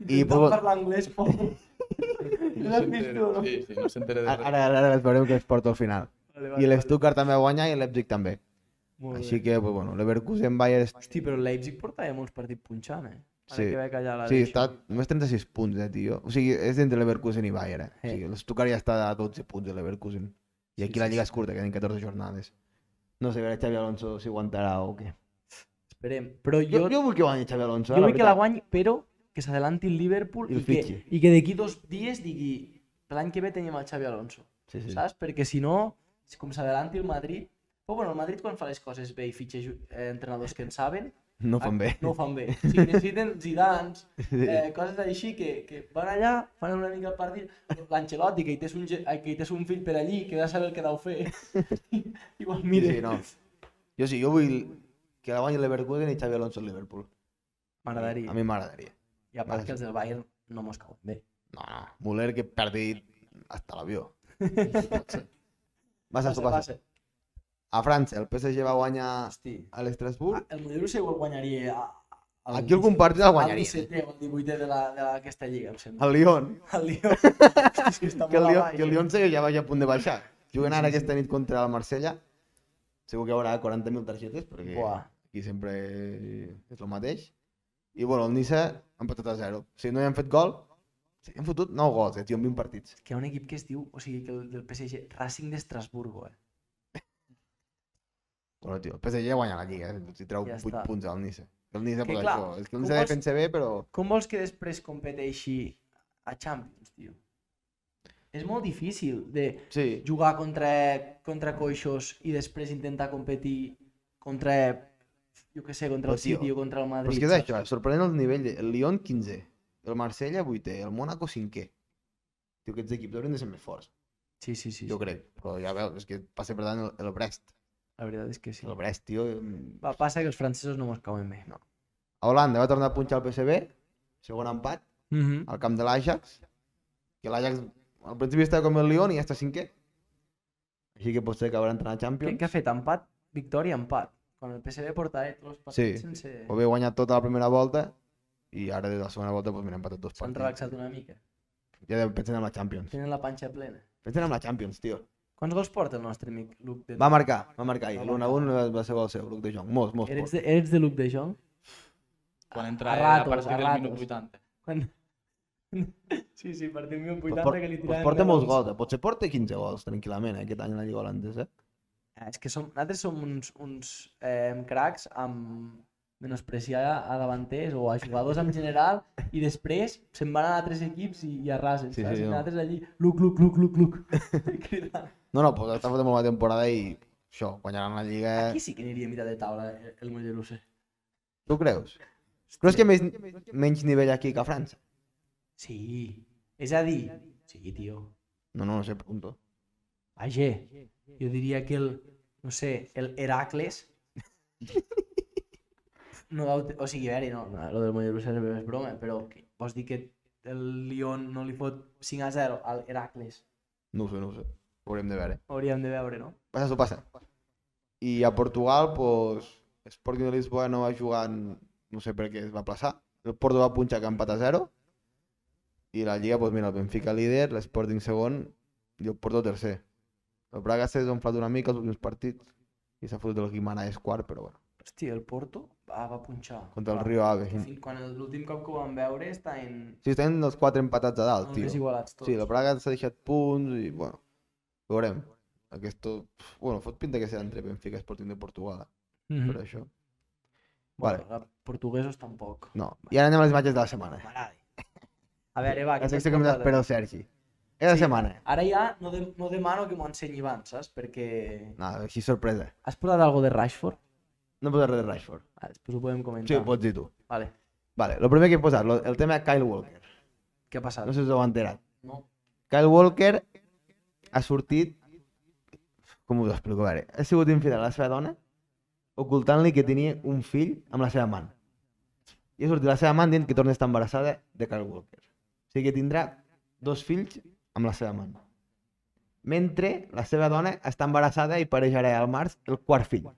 Speaker 2: I
Speaker 1: Intentant
Speaker 2: pues,
Speaker 1: parlar anglès, poc. No l'has vist tu, no?
Speaker 3: Sí, sí, no s'entera de
Speaker 2: ara,
Speaker 3: res.
Speaker 2: ara, ara les veureu que els porto al final.
Speaker 1: Vale,
Speaker 2: I l'Stuttgart també va guanyar i l'Epsic també.
Speaker 1: Molt
Speaker 2: Així
Speaker 1: bé.
Speaker 2: que, pues, bueno, l'Everkusen Bayern...
Speaker 1: Hosti, però el Leipzig portava molts partits punxant, eh? Ara
Speaker 2: Sí.
Speaker 1: que veig allà la
Speaker 2: Sí,
Speaker 1: deixo.
Speaker 2: està només 36 punts, eh, tio. O sigui, és entre l'Everkusen i Bayern, eh? O
Speaker 1: Sí.
Speaker 2: sigui, l'Stuttgart ja està a 12 punts de l'Everkusen. I
Speaker 1: Sí,
Speaker 2: aquí la
Speaker 1: sí,
Speaker 2: lliga és curta, queden 14 jornades. No sé, a veure Xavi Alonso si aguantarà o què.
Speaker 1: Esperem. Però
Speaker 2: Jo,
Speaker 1: jo,
Speaker 2: jo vull que guanyi Xavi Alonso, eh,
Speaker 1: jo vull que la
Speaker 2: veritat.
Speaker 1: guanyi, però que s'adelanti el Liverpool
Speaker 2: I el
Speaker 1: i, que,
Speaker 2: fitxi.
Speaker 1: i que d'aquí dos dies digui l'any que ve tenim el Xavi Alonso.
Speaker 2: Sí, sí.
Speaker 1: saps? Perquè si no, si com s'adelanti el Madrid... Però bueno, el Madrid quan fa les coses bé i fitxa ju- eh, entrenadors que en saben,
Speaker 2: No ho fan bé.
Speaker 1: no ho fan bé. O sigui, necessiten Zidans,
Speaker 2: Sí.
Speaker 1: eh, coses així que, que van allà, fan una mica el partit, l'Ancelotti, que hi tens un, ge- eh, que hi tens un fill per allí, que ja sabe el que deu fer, igual mira.
Speaker 2: Sí, sí, no. Jo sí, jo vull que la guanyi l'Everkusen i Xavi Alonso al Liverpool.
Speaker 1: M'agradaria.
Speaker 2: A mi m'agradaria.
Speaker 1: I a part que els del Bayern no mos cauen bé.
Speaker 2: No, no, Müller que perdi hasta l'avió. Vas a
Speaker 1: Passa,
Speaker 2: tu, passa. Ah.
Speaker 1: passa.
Speaker 2: A França, el PSG va guanyar
Speaker 1: Hosti,
Speaker 2: a l'Estrasburg.
Speaker 1: Ah, el Madrid segur el guanyaria... eh, A, al
Speaker 2: Aquí algun partit el guanyaria.
Speaker 1: 17è o el 18è de la- de la- d'aquesta lliga, em sembla.
Speaker 2: El Lyon.
Speaker 1: El Lyon. Sí, està
Speaker 2: Que el
Speaker 1: molt a
Speaker 2: Lyon,
Speaker 1: baix,
Speaker 2: que el
Speaker 1: eh?
Speaker 2: Lyon segueix ja vaig a punt de baixar. Juguen ara aquesta nit contra el Marsella. Segur que hi haurà 40.000 targetes, perquè
Speaker 1: Buah.
Speaker 2: aquí sempre és el mateix. I bueno, el Niça ha empatat a 0. O sigui, no hi han fet gol. Sí, han fotut 9 gols, eh, tio, en 20 partits.
Speaker 1: Que hi ha un equip que es diu, o sigui, que el del PSG, Racing d'Estrasburgo, eh?
Speaker 2: Bueno, tio, el PSG guanya la Lliga, eh? Si treu
Speaker 1: Ja
Speaker 2: 8
Speaker 1: està.
Speaker 2: punts al Niça. El Niça,
Speaker 1: Que
Speaker 2: pues,
Speaker 1: clar,
Speaker 2: això. És que el
Speaker 1: tu
Speaker 2: Niça
Speaker 1: vols-
Speaker 2: defensa bé, però...
Speaker 1: Com vols que després competeixi a Champions, tio? És molt difícil de
Speaker 2: Sí.
Speaker 1: jugar contra, contra coixos i després intentar competir contra, jo què sé, contra el
Speaker 2: Però, tio,
Speaker 1: City o contra el Madrid.
Speaker 2: Però és que és això, és sorprenent el nivell. de- El Lyon 15, el Marsella 8, el Mónaco 5. Tio, aquests equips haurien de ser més forts,
Speaker 1: Sí, sí, sí, sí.
Speaker 2: jo crec. Però ja veus, és que passa per tant el, el Brest.
Speaker 1: La veritat és que sí.
Speaker 2: El Brest, tio... mm,
Speaker 1: Va, passa que els francesos no mos cauen bé.
Speaker 2: A Holanda va tornar a punxar el PSV, segon empat,
Speaker 1: Mm -hmm.
Speaker 2: al camp de l'Ajax, que l'Ajax al principi estava com el Lyon i ja està cinquè. Així que potser acabarà entrant a
Speaker 1: Què,
Speaker 2: Champions.
Speaker 1: què ha fet? Empat, victòria, empat. Quan el PSV porta eh, tots els partits
Speaker 2: Sí.
Speaker 1: sense...
Speaker 2: Ho havia guanyat tota la primera volta i ara des de la segona volta pues, mira, han empatat dos
Speaker 1: S'han
Speaker 2: partits.
Speaker 1: relaxat una mica.
Speaker 2: Ja pensen en la Champions.
Speaker 1: Tenen la panxa plena.
Speaker 2: Pensen en la Champions, tio.
Speaker 1: Quants gols porta el nostre amic Luc de
Speaker 2: Va marcar, va marcar ahir.
Speaker 1: Va
Speaker 2: L'1-1 va, va ser gol seu, Luc de Jong. Molts, molts.
Speaker 1: Eres
Speaker 2: Eres...
Speaker 1: de, eres de Luc de Jong?
Speaker 3: Quan
Speaker 1: A-
Speaker 3: entra
Speaker 1: a
Speaker 3: a,
Speaker 1: ratos,
Speaker 3: a partir
Speaker 1: a
Speaker 3: del minut
Speaker 1: ratos.
Speaker 3: 80.
Speaker 1: Quan... Sí, sí, partim d'un
Speaker 2: Pues,
Speaker 1: 80
Speaker 2: por,
Speaker 1: que li
Speaker 2: pues
Speaker 1: tiraven...
Speaker 2: porta
Speaker 1: gols.
Speaker 2: molts gols, eh? potser porta 15 gols tranquil·lament eh? aquest any a la Lliga Holandesa. Eh?
Speaker 1: Ah, És que som, nosaltres som uns, uns eh, cracs amb menospreciar a davanters o a jugadors en general i després se'n van a altres equips i, i arrasen,
Speaker 2: Sí,
Speaker 1: sí, saps?
Speaker 2: sí,
Speaker 1: Sí,
Speaker 2: no.
Speaker 1: nosaltres allí, Luc, Luc, Luc, Luc, Luc, cridant.
Speaker 2: No, no, pues està fent molt bona temporada i això, guanyaran la Lliga...
Speaker 1: Aquí sí que aniria a mirar de taula el, el Mollerusse.
Speaker 2: Tu creus? Però és que més, menys nivell aquí que a França.
Speaker 1: Sí, és a dir, sí, tio,
Speaker 2: No, no, no sé, pregunto.
Speaker 1: vaja, jo diria que el, no sé, el Heracles no deu, te- o sigui, a veure, no, no, lo del Mollerussa és és broma, però que, vols dir que el Lyon no li fot 5 a 0 al Heracles?
Speaker 2: No ho sé, no ho sé. Ho haurem de veure.
Speaker 1: Ho hauríem de veure, no?
Speaker 2: Passa, s'ho passa. I a Portugal, doncs, Sporting de Lisboa no va jugar, en- no sé per què es va plaçar. El Porto va punxar que empat a 0. I la Lliga, doncs mira, el Benfica líder, l'Sporting segon i el Porto tercer. El Braga s'ha desenflat una mica els últims partits i s'ha fotut el Guimaraes quart, però bueno,
Speaker 1: Hòstia, el Porto va, va punxar.
Speaker 2: contra el
Speaker 1: Va,
Speaker 2: Rio Ave.
Speaker 1: que Fins quan el- l'últim cop que ho vam veure està en...
Speaker 2: Sí, estan els quatre empatats a dalt,
Speaker 1: Molt
Speaker 2: tio.
Speaker 1: desigualats tots.
Speaker 2: Sí, la Praga s'ha deixat punts i, bueno, veurem. Aquesto... pf, Bueno, fot pinta que serà entre Benfica i Sporting de Portugal, eh,
Speaker 1: Mhm.
Speaker 2: per això.
Speaker 1: Bueno,
Speaker 2: Vale,
Speaker 1: vale. portuguesos tampoc.
Speaker 2: no. I ara anem a les imatges de la setmana.
Speaker 1: M'agrada. A veure, va,
Speaker 2: La
Speaker 1: què
Speaker 2: secció
Speaker 1: m'has
Speaker 2: que m'ha
Speaker 1: portat?
Speaker 2: d'esperar el Sergi. És la
Speaker 1: Sí.
Speaker 2: setmana.
Speaker 1: Ara ja no, de, no demano que m'ho ensenyi abans, saps? Perquè...
Speaker 2: No, així sorpresa.
Speaker 1: Has portat alguna de Rashford?
Speaker 2: No posa res de Rashford.
Speaker 1: Ah, després ho podem comentar.
Speaker 2: Sí, ho pots dir tu.
Speaker 1: Vale.
Speaker 2: Vale, el primer que he posat, lo- el tema de Kyle Walker.
Speaker 1: Què ha passat?
Speaker 2: No sé si us heu enterat.
Speaker 1: No.
Speaker 2: Kyle Walker ha sortit... Com us ho explico? A veure, ha sigut infidel a la seva dona ocultant-li que tenia un fill amb la seva amant. I ha sortit la seva amant dient que torna a estar embarassada de Kyle Walker. O sigui que tindrà dos fills amb la seva amant. Mentre la seva dona està embarassada i pareixerà al març el quart fill. O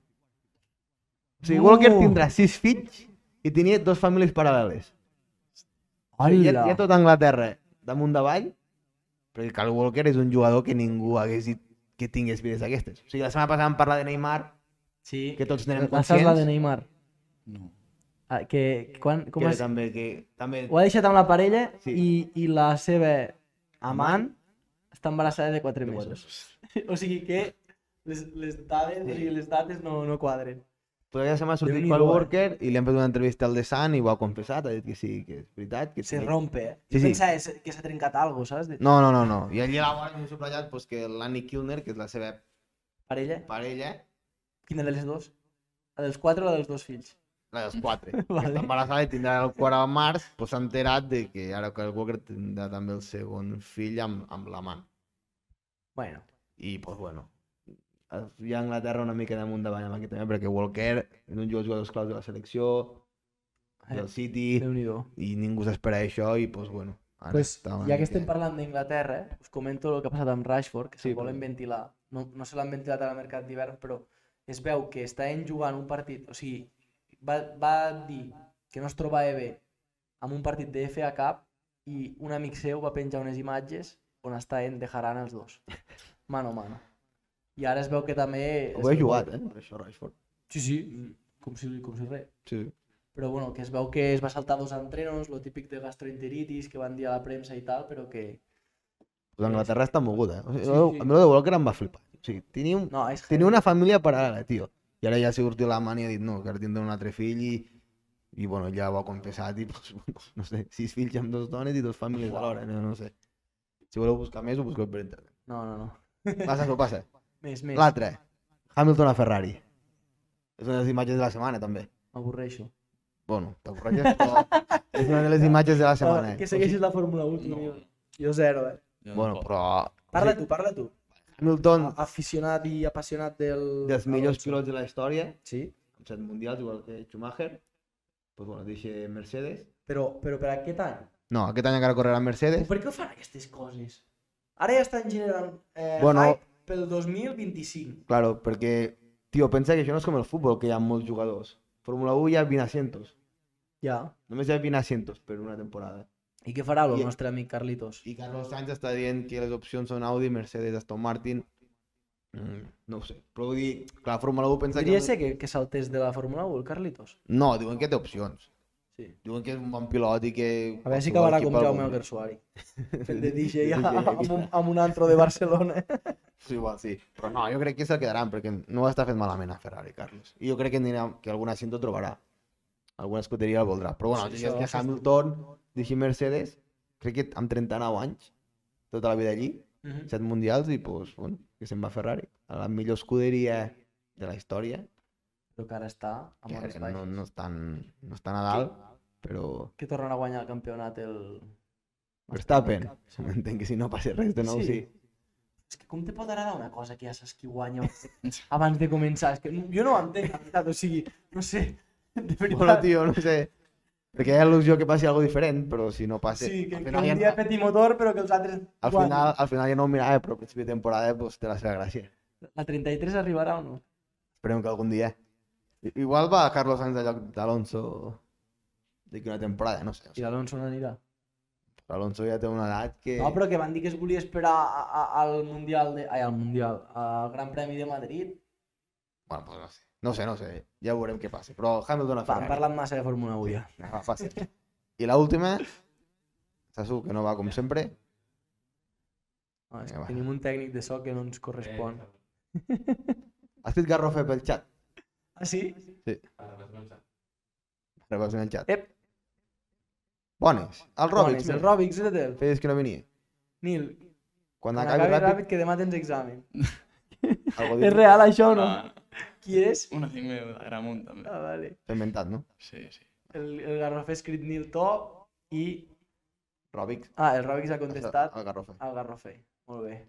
Speaker 2: sigui,
Speaker 1: No.
Speaker 2: Walker tindrà sis fills i tenia dos famílies paral·leles. O sigui, Hi ha, hi ha tota Anglaterra damunt davall, però el Kyle Walker és un jugador que ningú hagués dit que tingués vides aquestes. O sigui, la setmana passada vam parlar de Neymar,
Speaker 1: Sí.
Speaker 2: que tots n'érem
Speaker 1: La saps la de
Speaker 2: conscients,
Speaker 1: Neymar?
Speaker 3: No.
Speaker 1: Ah, que, quan, com
Speaker 2: que
Speaker 1: es...
Speaker 2: també, que també
Speaker 1: Ho ha deixat amb la parella
Speaker 2: Sí.
Speaker 1: i, i la seva amant està embarassada de 4
Speaker 2: De quatre
Speaker 1: mesos. O sigui que les, les dades, o sigui, les dates no, no quadren.
Speaker 2: Però ja se m'ha sortit
Speaker 1: Déu-n'hi-do,
Speaker 2: Paul
Speaker 1: eh?
Speaker 2: Walker i li han fet una entrevista al The Sun i ho ha confessat, ha dit que sí, que és veritat. Que
Speaker 1: Se
Speaker 2: tenia-
Speaker 1: rompe, eh?
Speaker 2: Sí,
Speaker 1: Sí,
Speaker 2: sí.
Speaker 1: sí. Pensa que s'ha trencat alguna cosa, saps? De...
Speaker 2: No, no, no, no. I allí a la vora hem subratllat pues, que l'Annie Kilner, que és la seva
Speaker 1: Parella?
Speaker 2: parella,
Speaker 1: Quina de les dues? La dels quatre o la dels dos fills?
Speaker 2: la dels quatre, que
Speaker 1: Vale.
Speaker 2: està embarassada i tindrà el quart al març, pues, s'ha enterat de que ara Kyle Walker tindrà també el segon fill amb, amb l'amant.
Speaker 1: Bueno,
Speaker 2: I, pues, bueno, hi ha Anglaterra una mica damunt davant amb aquest tema, perquè Walker és un dels jugadors claus de la selecció, del City,
Speaker 1: eh, Déu-n'hi-do.
Speaker 2: i ningú s'espera això, i, pues, bueno, ara
Speaker 1: Pues,
Speaker 2: està una
Speaker 1: ja que estem
Speaker 2: mica-
Speaker 1: parlant d'Anglaterra, eh, us comento el que ha passat amb Rashford, que
Speaker 2: Sí,
Speaker 1: sí, volen
Speaker 2: però-
Speaker 1: ventilar. No, no se l'han ventilat al mercat d'hivern, però es veu que estaven jugant un partit, o sigui, va, va dir que no es trobava bé amb un partit de FA Cup i un amic seu va penjar unes imatges on estaven dejaran els dos, mano a mano. I ara es veu que també...
Speaker 2: Ho he jugat, eh? Per això, Rashford.
Speaker 1: Sí, sí, mm, com si, com si res.
Speaker 2: Sí.
Speaker 1: Però bueno, que es veu que es va saltar dos entrenos, lo típic de gastroenteritis que van dir a la premsa i tal, però que...
Speaker 2: Pues Anglaterra està moguda, eh? O sigui,
Speaker 1: Sí,
Speaker 2: jo-
Speaker 1: sí.
Speaker 2: A mi lo de Walker em va flipar. O sigui, tenia, un,
Speaker 1: No, és
Speaker 2: tenia una família paral·lela, tio. I ara ja s'ha sortit la mani i ha dit, no, que ara tindrà un altre fill i... I bueno, ja ho ha confessat i, pues, bueno, no sé, sis fills amb dos dones i dos famílies alhora, no, no sé. Si voleu buscar més, ho busqueu per internet.
Speaker 1: No, no, no.
Speaker 2: pues Passa, això passa.
Speaker 1: Més, més.
Speaker 2: L'altre, Hamilton a Ferrari. És una de les imatges de la setmana, també.
Speaker 1: M'avorreixo.
Speaker 2: Bueno, t'avorreixes, però és una de les imatges de la setmana.
Speaker 1: Ah,
Speaker 2: eh.
Speaker 1: que segueixis la Fórmula 1, tu,
Speaker 3: No,
Speaker 1: no. Jo zero, eh?
Speaker 3: jo
Speaker 2: Bueno,
Speaker 3: tampoc.
Speaker 2: però...
Speaker 1: Parla tu, parla tu.
Speaker 2: Hamilton,
Speaker 1: A- Aficionat i apassionat del...
Speaker 2: dels millors
Speaker 1: Alonso.
Speaker 2: pilots de la història,
Speaker 1: Sí,
Speaker 2: amb set mundials, igual que Schumacher. Pues bueno, deixa Mercedes.
Speaker 1: però, però per aquest any?
Speaker 2: No, aquest any encara correrà Mercedes.
Speaker 1: Per què ho fan aquestes coses? Ara ja estan generant eh,
Speaker 2: Bueno.
Speaker 1: hype pel 2025.
Speaker 2: Claro, porque, tío, pensa que això no és com el futbol, que hi ha molts jugadors. Fórmula 1 hi ha 20 asientos.
Speaker 1: Ja.
Speaker 2: Només hi ha 20 asientos per una temporada.
Speaker 1: I què farà el
Speaker 2: I-
Speaker 1: nostre amic Carlitos?
Speaker 2: I Carlos Sainz està dient que les opcions són Audi, Mercedes, Aston Martin... Mm, no ho sé, però vull dir, clar, Fórmula 1 pensa
Speaker 1: Podria
Speaker 2: que...
Speaker 1: ser que, que saltés de la Fórmula 1, el Carlitos?
Speaker 2: No, diuen que té opcions.
Speaker 1: Sí.
Speaker 2: Diuen que és un bon pilot i que...
Speaker 1: A veure si
Speaker 2: qualsevol
Speaker 1: acabarà
Speaker 2: equip
Speaker 1: com
Speaker 2: el
Speaker 1: Jaume
Speaker 2: voldria.
Speaker 1: Alguersuari. Fent de DJ
Speaker 2: Sí,
Speaker 1: a,
Speaker 2: sí,
Speaker 1: a,
Speaker 2: sí.
Speaker 1: un, amb un antro de Barcelona.
Speaker 2: Sí, igual, sí. Però no, jo crec que se'l quedaran, perquè no ho està fent malament a Ferrari, Carlos. I jo crec que, anirà, que algun asiento trobarà. Alguna escuderia el voldrà. Però bueno,
Speaker 1: Sí,
Speaker 2: sí, és
Speaker 1: això-
Speaker 2: que
Speaker 1: això és
Speaker 2: Hamilton, deixi Mercedes, crec que amb 39 anys, tota la vida allí,
Speaker 1: Mhm.
Speaker 2: 7 mundials, i pues, bueno, que se'n va a Ferrari, a la millor escuderia de la història,
Speaker 1: Però que ara està amb
Speaker 2: que
Speaker 1: hores
Speaker 2: no,
Speaker 1: baixes.
Speaker 2: no, estan, no estan a dalt, però
Speaker 1: Que tornarà a guanyar el campionat el...
Speaker 2: Verstappen,
Speaker 1: Sí.
Speaker 2: entenc que si no passa res de nou,
Speaker 1: Sí.
Speaker 2: sí.
Speaker 1: És que com te pot agradar una cosa que ja saps qui guanya abans de començar? És que no- jo no ho entenc, la veritat, o sigui, no sé, de veritat.
Speaker 2: Bueno, tio, no sé, perquè hi ha il·lusió que passi alguna diferent, però si no passa...
Speaker 1: sí, que,
Speaker 2: al
Speaker 1: que
Speaker 2: final
Speaker 1: un
Speaker 2: ja no-
Speaker 1: dia petit motor, però que els altres
Speaker 2: Al
Speaker 1: guanyen.
Speaker 2: final, al final ja no ho mirava, però al principi de temporada pues, té la seva gràcia.
Speaker 1: La 33 arribarà o no?
Speaker 2: Esperem que algun dia... I- Igual va Carlos Sainz al lloc d'Alonso d'aquí una temporada, no sé. O
Speaker 1: I
Speaker 2: sigui,
Speaker 1: l'Alonso no anirà.
Speaker 2: Alonso ja té una edat que...
Speaker 1: No, però que van dir que es volia esperar a, a, al Mundial de... Ai, al Mundial, al Gran Premi de Madrid.
Speaker 2: Bueno, pues no sé. No sé, no sé. Ja veurem què passa. Però
Speaker 1: Va,
Speaker 2: Hamilton a
Speaker 1: hem
Speaker 2: Ferrari.
Speaker 1: parlat massa de Fórmula 1 ja.
Speaker 2: Va, fàcil. I l'última, Sasu, que no va com sempre.
Speaker 1: No, és
Speaker 2: Vinga,
Speaker 1: que
Speaker 2: va.
Speaker 1: tenim un tècnic de so que no ens correspon.
Speaker 2: Has fet Garrofe pel xat.
Speaker 1: Ah, sí?
Speaker 2: Ara vas en el xat.
Speaker 1: Ep,
Speaker 2: Bones. El Robic.
Speaker 1: Robics, el Robics, era teu.
Speaker 2: Feies que no venia.
Speaker 1: Nil,
Speaker 2: Quan
Speaker 1: quan
Speaker 2: acabi,
Speaker 1: acabi ràpid,
Speaker 2: ràpid,
Speaker 1: que demà tens examen.
Speaker 2: algo
Speaker 1: És
Speaker 2: dic.
Speaker 1: real això o no?
Speaker 3: Ah,
Speaker 1: Qui és?
Speaker 3: un amic meu d'Agramunt, també.
Speaker 1: Ah, vale.
Speaker 2: T'he inventat, no?
Speaker 3: Sí, sí.
Speaker 1: El, el Garrofer ha escrit Nil Top i...
Speaker 2: Robic.
Speaker 1: Ah, el Robics ha contestat
Speaker 2: El Garrofe.
Speaker 1: al Garrofer. Molt bé.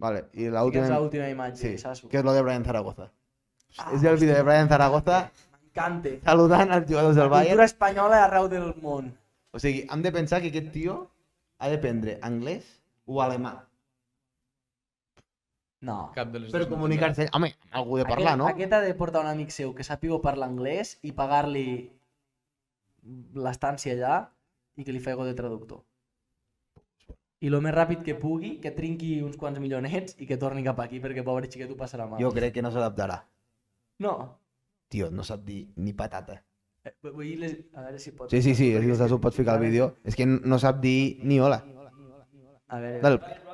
Speaker 2: Vale,
Speaker 1: Que
Speaker 2: i
Speaker 1: és
Speaker 2: l'última...
Speaker 1: l'última imatge,
Speaker 2: Sí,
Speaker 1: Sasu.
Speaker 2: que és lo de Brian Zaragoza.
Speaker 1: Ah,
Speaker 2: és el vídeo de Brian Zaragoza
Speaker 1: Cante.
Speaker 2: saludant als jugadors del
Speaker 1: Cultura
Speaker 2: Bayern.
Speaker 1: espanyola arreu del món.
Speaker 2: O sigui, hem de pensar que aquest tio ha d'aprendre anglès o alemà
Speaker 1: No.
Speaker 3: Cap de les
Speaker 2: per
Speaker 3: dues no
Speaker 2: comunicar-se. Home, algú de
Speaker 1: aquest,
Speaker 2: parlar, no?
Speaker 1: Aquest ha de portar un amic seu que sàpiga parlar anglès i pagar-li l'estància allà i que li fego de traductor. I lo més ràpid que pugui, que trinqui uns quants milionets i que torni cap aquí perquè pobre xiquet ho passarà mal.
Speaker 2: Jo crec que no s'adaptarà.
Speaker 1: No.
Speaker 2: Tio, no sap dir ni patata.
Speaker 1: Eh, vu- Vull les... A veure si pot...
Speaker 2: Sí, sí, sí, és que s'ho pot ficar al vídeo. És que no sap dir ni hola.
Speaker 1: A veure...
Speaker 2: Dale. pues.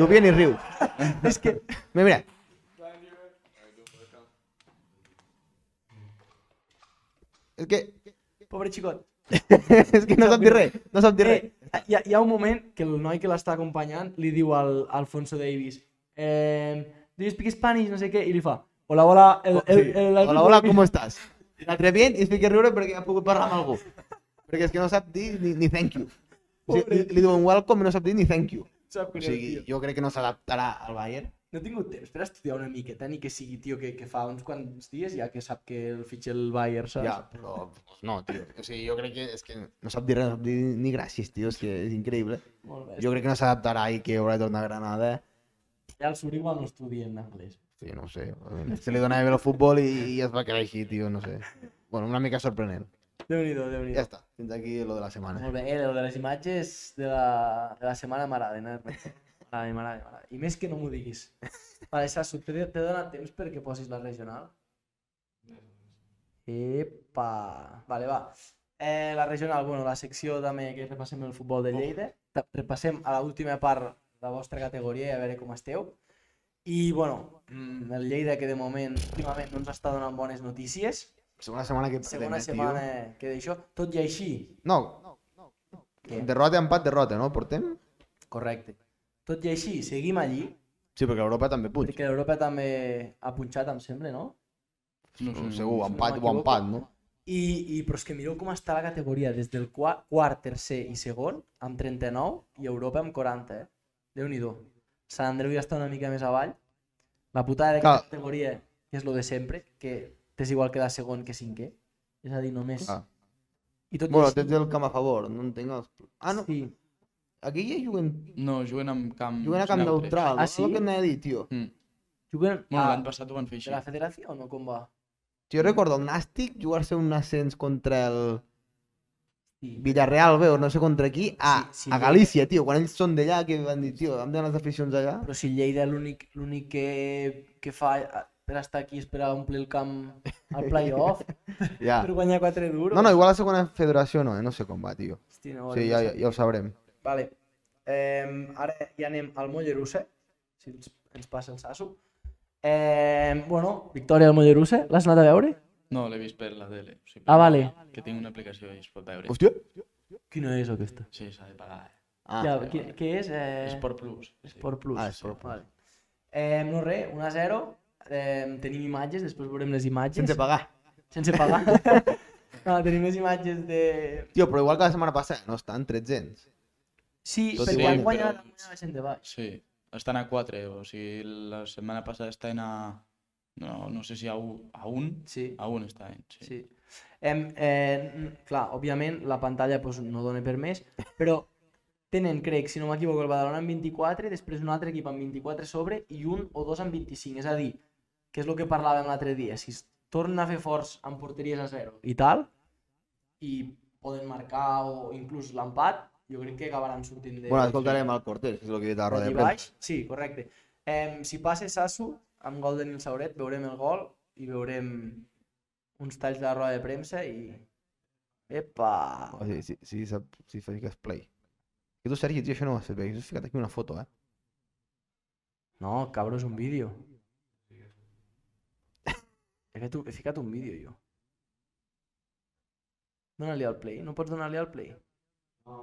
Speaker 2: Diu bien i riu.
Speaker 1: És que...
Speaker 2: Mira, mira. És que,
Speaker 1: Pobre xicot.
Speaker 2: és que no sap dir res, no sap dir res.
Speaker 1: Eh, hi, ha, hi ha un moment que el noi que l'està acompanyant li diu al al Alfonso Davis eh, Do you speak Spanish? No sé què. I li fa Hola, hola, el, el,
Speaker 2: Oh, Sí.
Speaker 1: el, el,
Speaker 2: Hola, hola, com estàs? L'altre bien i es fica a riure perquè ha pogut parlar amb algú. Perquè és que no sap dir ni, ni thank you. O sigui, li, li diuen welcome i no sap dir ni thank you.
Speaker 1: Sap
Speaker 2: O
Speaker 1: greu,
Speaker 2: sigui,
Speaker 1: tio.
Speaker 2: jo crec que no s'adaptarà al Bayern.
Speaker 1: No he tingut temps per estudiar una miqueta, ni que sigui, tio, que, que fa uns quants dies ja que sap que el fitxa el Bayern, saps?
Speaker 2: Ja, però pues, no, tio. O sigui, jo crec que és que no sap dir res, no sap dir ni gràcies, tio. És que és increïble.
Speaker 1: Molt bé.
Speaker 2: Jo crec que no s'adaptarà i que haurà de tornar a Granada.
Speaker 1: Ja el Suri igual no estudia en anglès.
Speaker 2: Sí, no ho sé. Se li donava bé el futbol i, i es va quedar així, tio, no sé. Bueno, una mica sorprenent.
Speaker 1: Déu-n'hi-do, déu nhi
Speaker 2: Ja està, fins aquí lo de la setmana.
Speaker 1: Molt bé, eh, lo de les imatges de la, de la setmana m'agrada, no? M'agrada, m'agrada, m'agrada. I més que no m'ho diguis. Vale, Sasu, t'he t'he donat temps perquè posis la regional? Epa! Vale, va. Eh, la regional, bueno, la secció també que repassem el futbol de Lleida. Ta- Repassem a l'última part la vostra categoria i a veure com esteu. I, bueno, mm, el Lleida que de moment, últimament, no ens està donant bones notícies.
Speaker 2: Segona setmana que perdem,
Speaker 1: Segona
Speaker 2: eh, tio.
Speaker 1: setmana que d'això, tot i així,
Speaker 2: No.
Speaker 1: Què?
Speaker 2: Derrota, empat, derrota, no? Portem?
Speaker 1: correcte, tot i així seguim allí,
Speaker 2: Sí, perquè l'Europa també puig.
Speaker 1: perquè l'Europa també ha punxat, em sembla, no?
Speaker 3: No ho sé, no ho
Speaker 2: Segur,
Speaker 3: sé.
Speaker 2: empat o
Speaker 1: m'equivoco.
Speaker 2: empat, no?
Speaker 1: I, i però és que mireu com està la categoria, des del qua- quart, tercer i segon, amb 39 i Europa amb 40, eh? Déu-n'hi-do. Sant Andreu ja està una mica més avall. La putada d'aquesta
Speaker 2: Clar.
Speaker 1: categoria és lo de sempre, que t'és igual quedar segon que cinquè. És a dir, només...
Speaker 2: Clar.
Speaker 1: I tot
Speaker 2: Ah. Bueno,
Speaker 1: i així,
Speaker 2: tens el camp a favor, no entenc els... Ah, no,
Speaker 1: sí.
Speaker 2: aquí ja juguen,
Speaker 3: No, juguen amb camp...
Speaker 2: juguen a camp neutral.
Speaker 1: Ah,
Speaker 2: és el
Speaker 1: sí?
Speaker 2: que anava a dir, tio.
Speaker 3: Mm.
Speaker 1: Juguen
Speaker 3: Bueno,
Speaker 1: a,
Speaker 3: l'any passat ho van fer
Speaker 1: de
Speaker 3: així.
Speaker 1: la federació o no? Com va?
Speaker 2: Jo recordo el Nàstic jugar-se un ascens contra el
Speaker 1: Sí.
Speaker 2: Villarreal, bé, o no sé contra qui, a,
Speaker 1: Sí, sí,
Speaker 2: a Galícia, tio. Quan ells són d'allà, que van dir, tio, hem d'anar les aficions allà.
Speaker 1: Però si Lleida l'únic l'únic que, que fa eh, per estar aquí és per a omplir el camp al playoff,
Speaker 2: Ja.
Speaker 1: per guanyar 4 duros.
Speaker 2: Ah. No, no, igual la segona federació no, eh? No sé com va, tio.
Speaker 1: Hosti, no,
Speaker 2: Sí, ja, ja, ja ho sabrem.
Speaker 1: Vale. Eh, ara ja anem al Mollerussa, si ens, ens passa el Sasso. Eh, bueno, victòria al Mollerussa, l'has anat a veure?
Speaker 3: No, l'he vist per la tele. O sigui,
Speaker 1: Ah, vale. Pues
Speaker 3: Que tinc una aplicació i es pot veure.
Speaker 2: Hòstia.
Speaker 1: Quina és aquesta?
Speaker 3: Sí, s'ha de pagar. Eh?
Speaker 2: Ah,
Speaker 1: ja,
Speaker 3: vale,
Speaker 1: què,
Speaker 3: vale.
Speaker 1: què és? Eh...
Speaker 3: Esport Plus. Sí.
Speaker 1: Sport Plus.
Speaker 2: Ah, Sport Plus.
Speaker 1: Vale. Eh, no res, 1 a 0. Eh, tenim imatges, després veurem les imatges.
Speaker 2: sense pagar.
Speaker 1: Sense pagar. no, tenim les imatges de...
Speaker 2: Tio, però igual que la setmana passada, no estan 300.
Speaker 1: Sí,
Speaker 2: Tot
Speaker 1: perquè
Speaker 2: igual,
Speaker 1: han guanyat
Speaker 3: però-
Speaker 1: han guanyat la gent de baix.
Speaker 3: Sí, estan a 4. O sigui, la setmana passada estan a... No, no sé si a un, a un,
Speaker 1: Sí.
Speaker 2: Ah,
Speaker 3: a un estan, sí.
Speaker 1: Sí. Em, eh, n- clar, òbviament la pantalla pues, no dona per més, però tenen, crec, si no m'equivoco, el Badalona amb 24, després un altre equip amb 24 a sobre i un o dos amb 25. És a dir, que és el que parlàvem l'altre dia, si es torna a fer forts amb porteries a zero i tal, i poden marcar o inclús l'empat, jo crec que acabaran sortint de...
Speaker 2: Bueno, escoltarem el Cortés, que és el que he dit a la roda
Speaker 1: d'aquí
Speaker 2: de
Speaker 1: baix.
Speaker 2: premsa.
Speaker 1: Sí, correcte. Em, si passa Sasso, amb gol de Nil Sauret, veurem el gol i veurem uns talls de la roda de premsa i... Epa!
Speaker 2: Oh, sí, sí, sí, sap, sí, fa que es play. Que tu, Sergi, tio, això no ho has fet bé. Has ficat aquí una foto, eh?
Speaker 1: No, cabró, és un vídeo. He, fet un, he ficat un vídeo, jo. Dóna-li al play. No pots donar-li al play? No.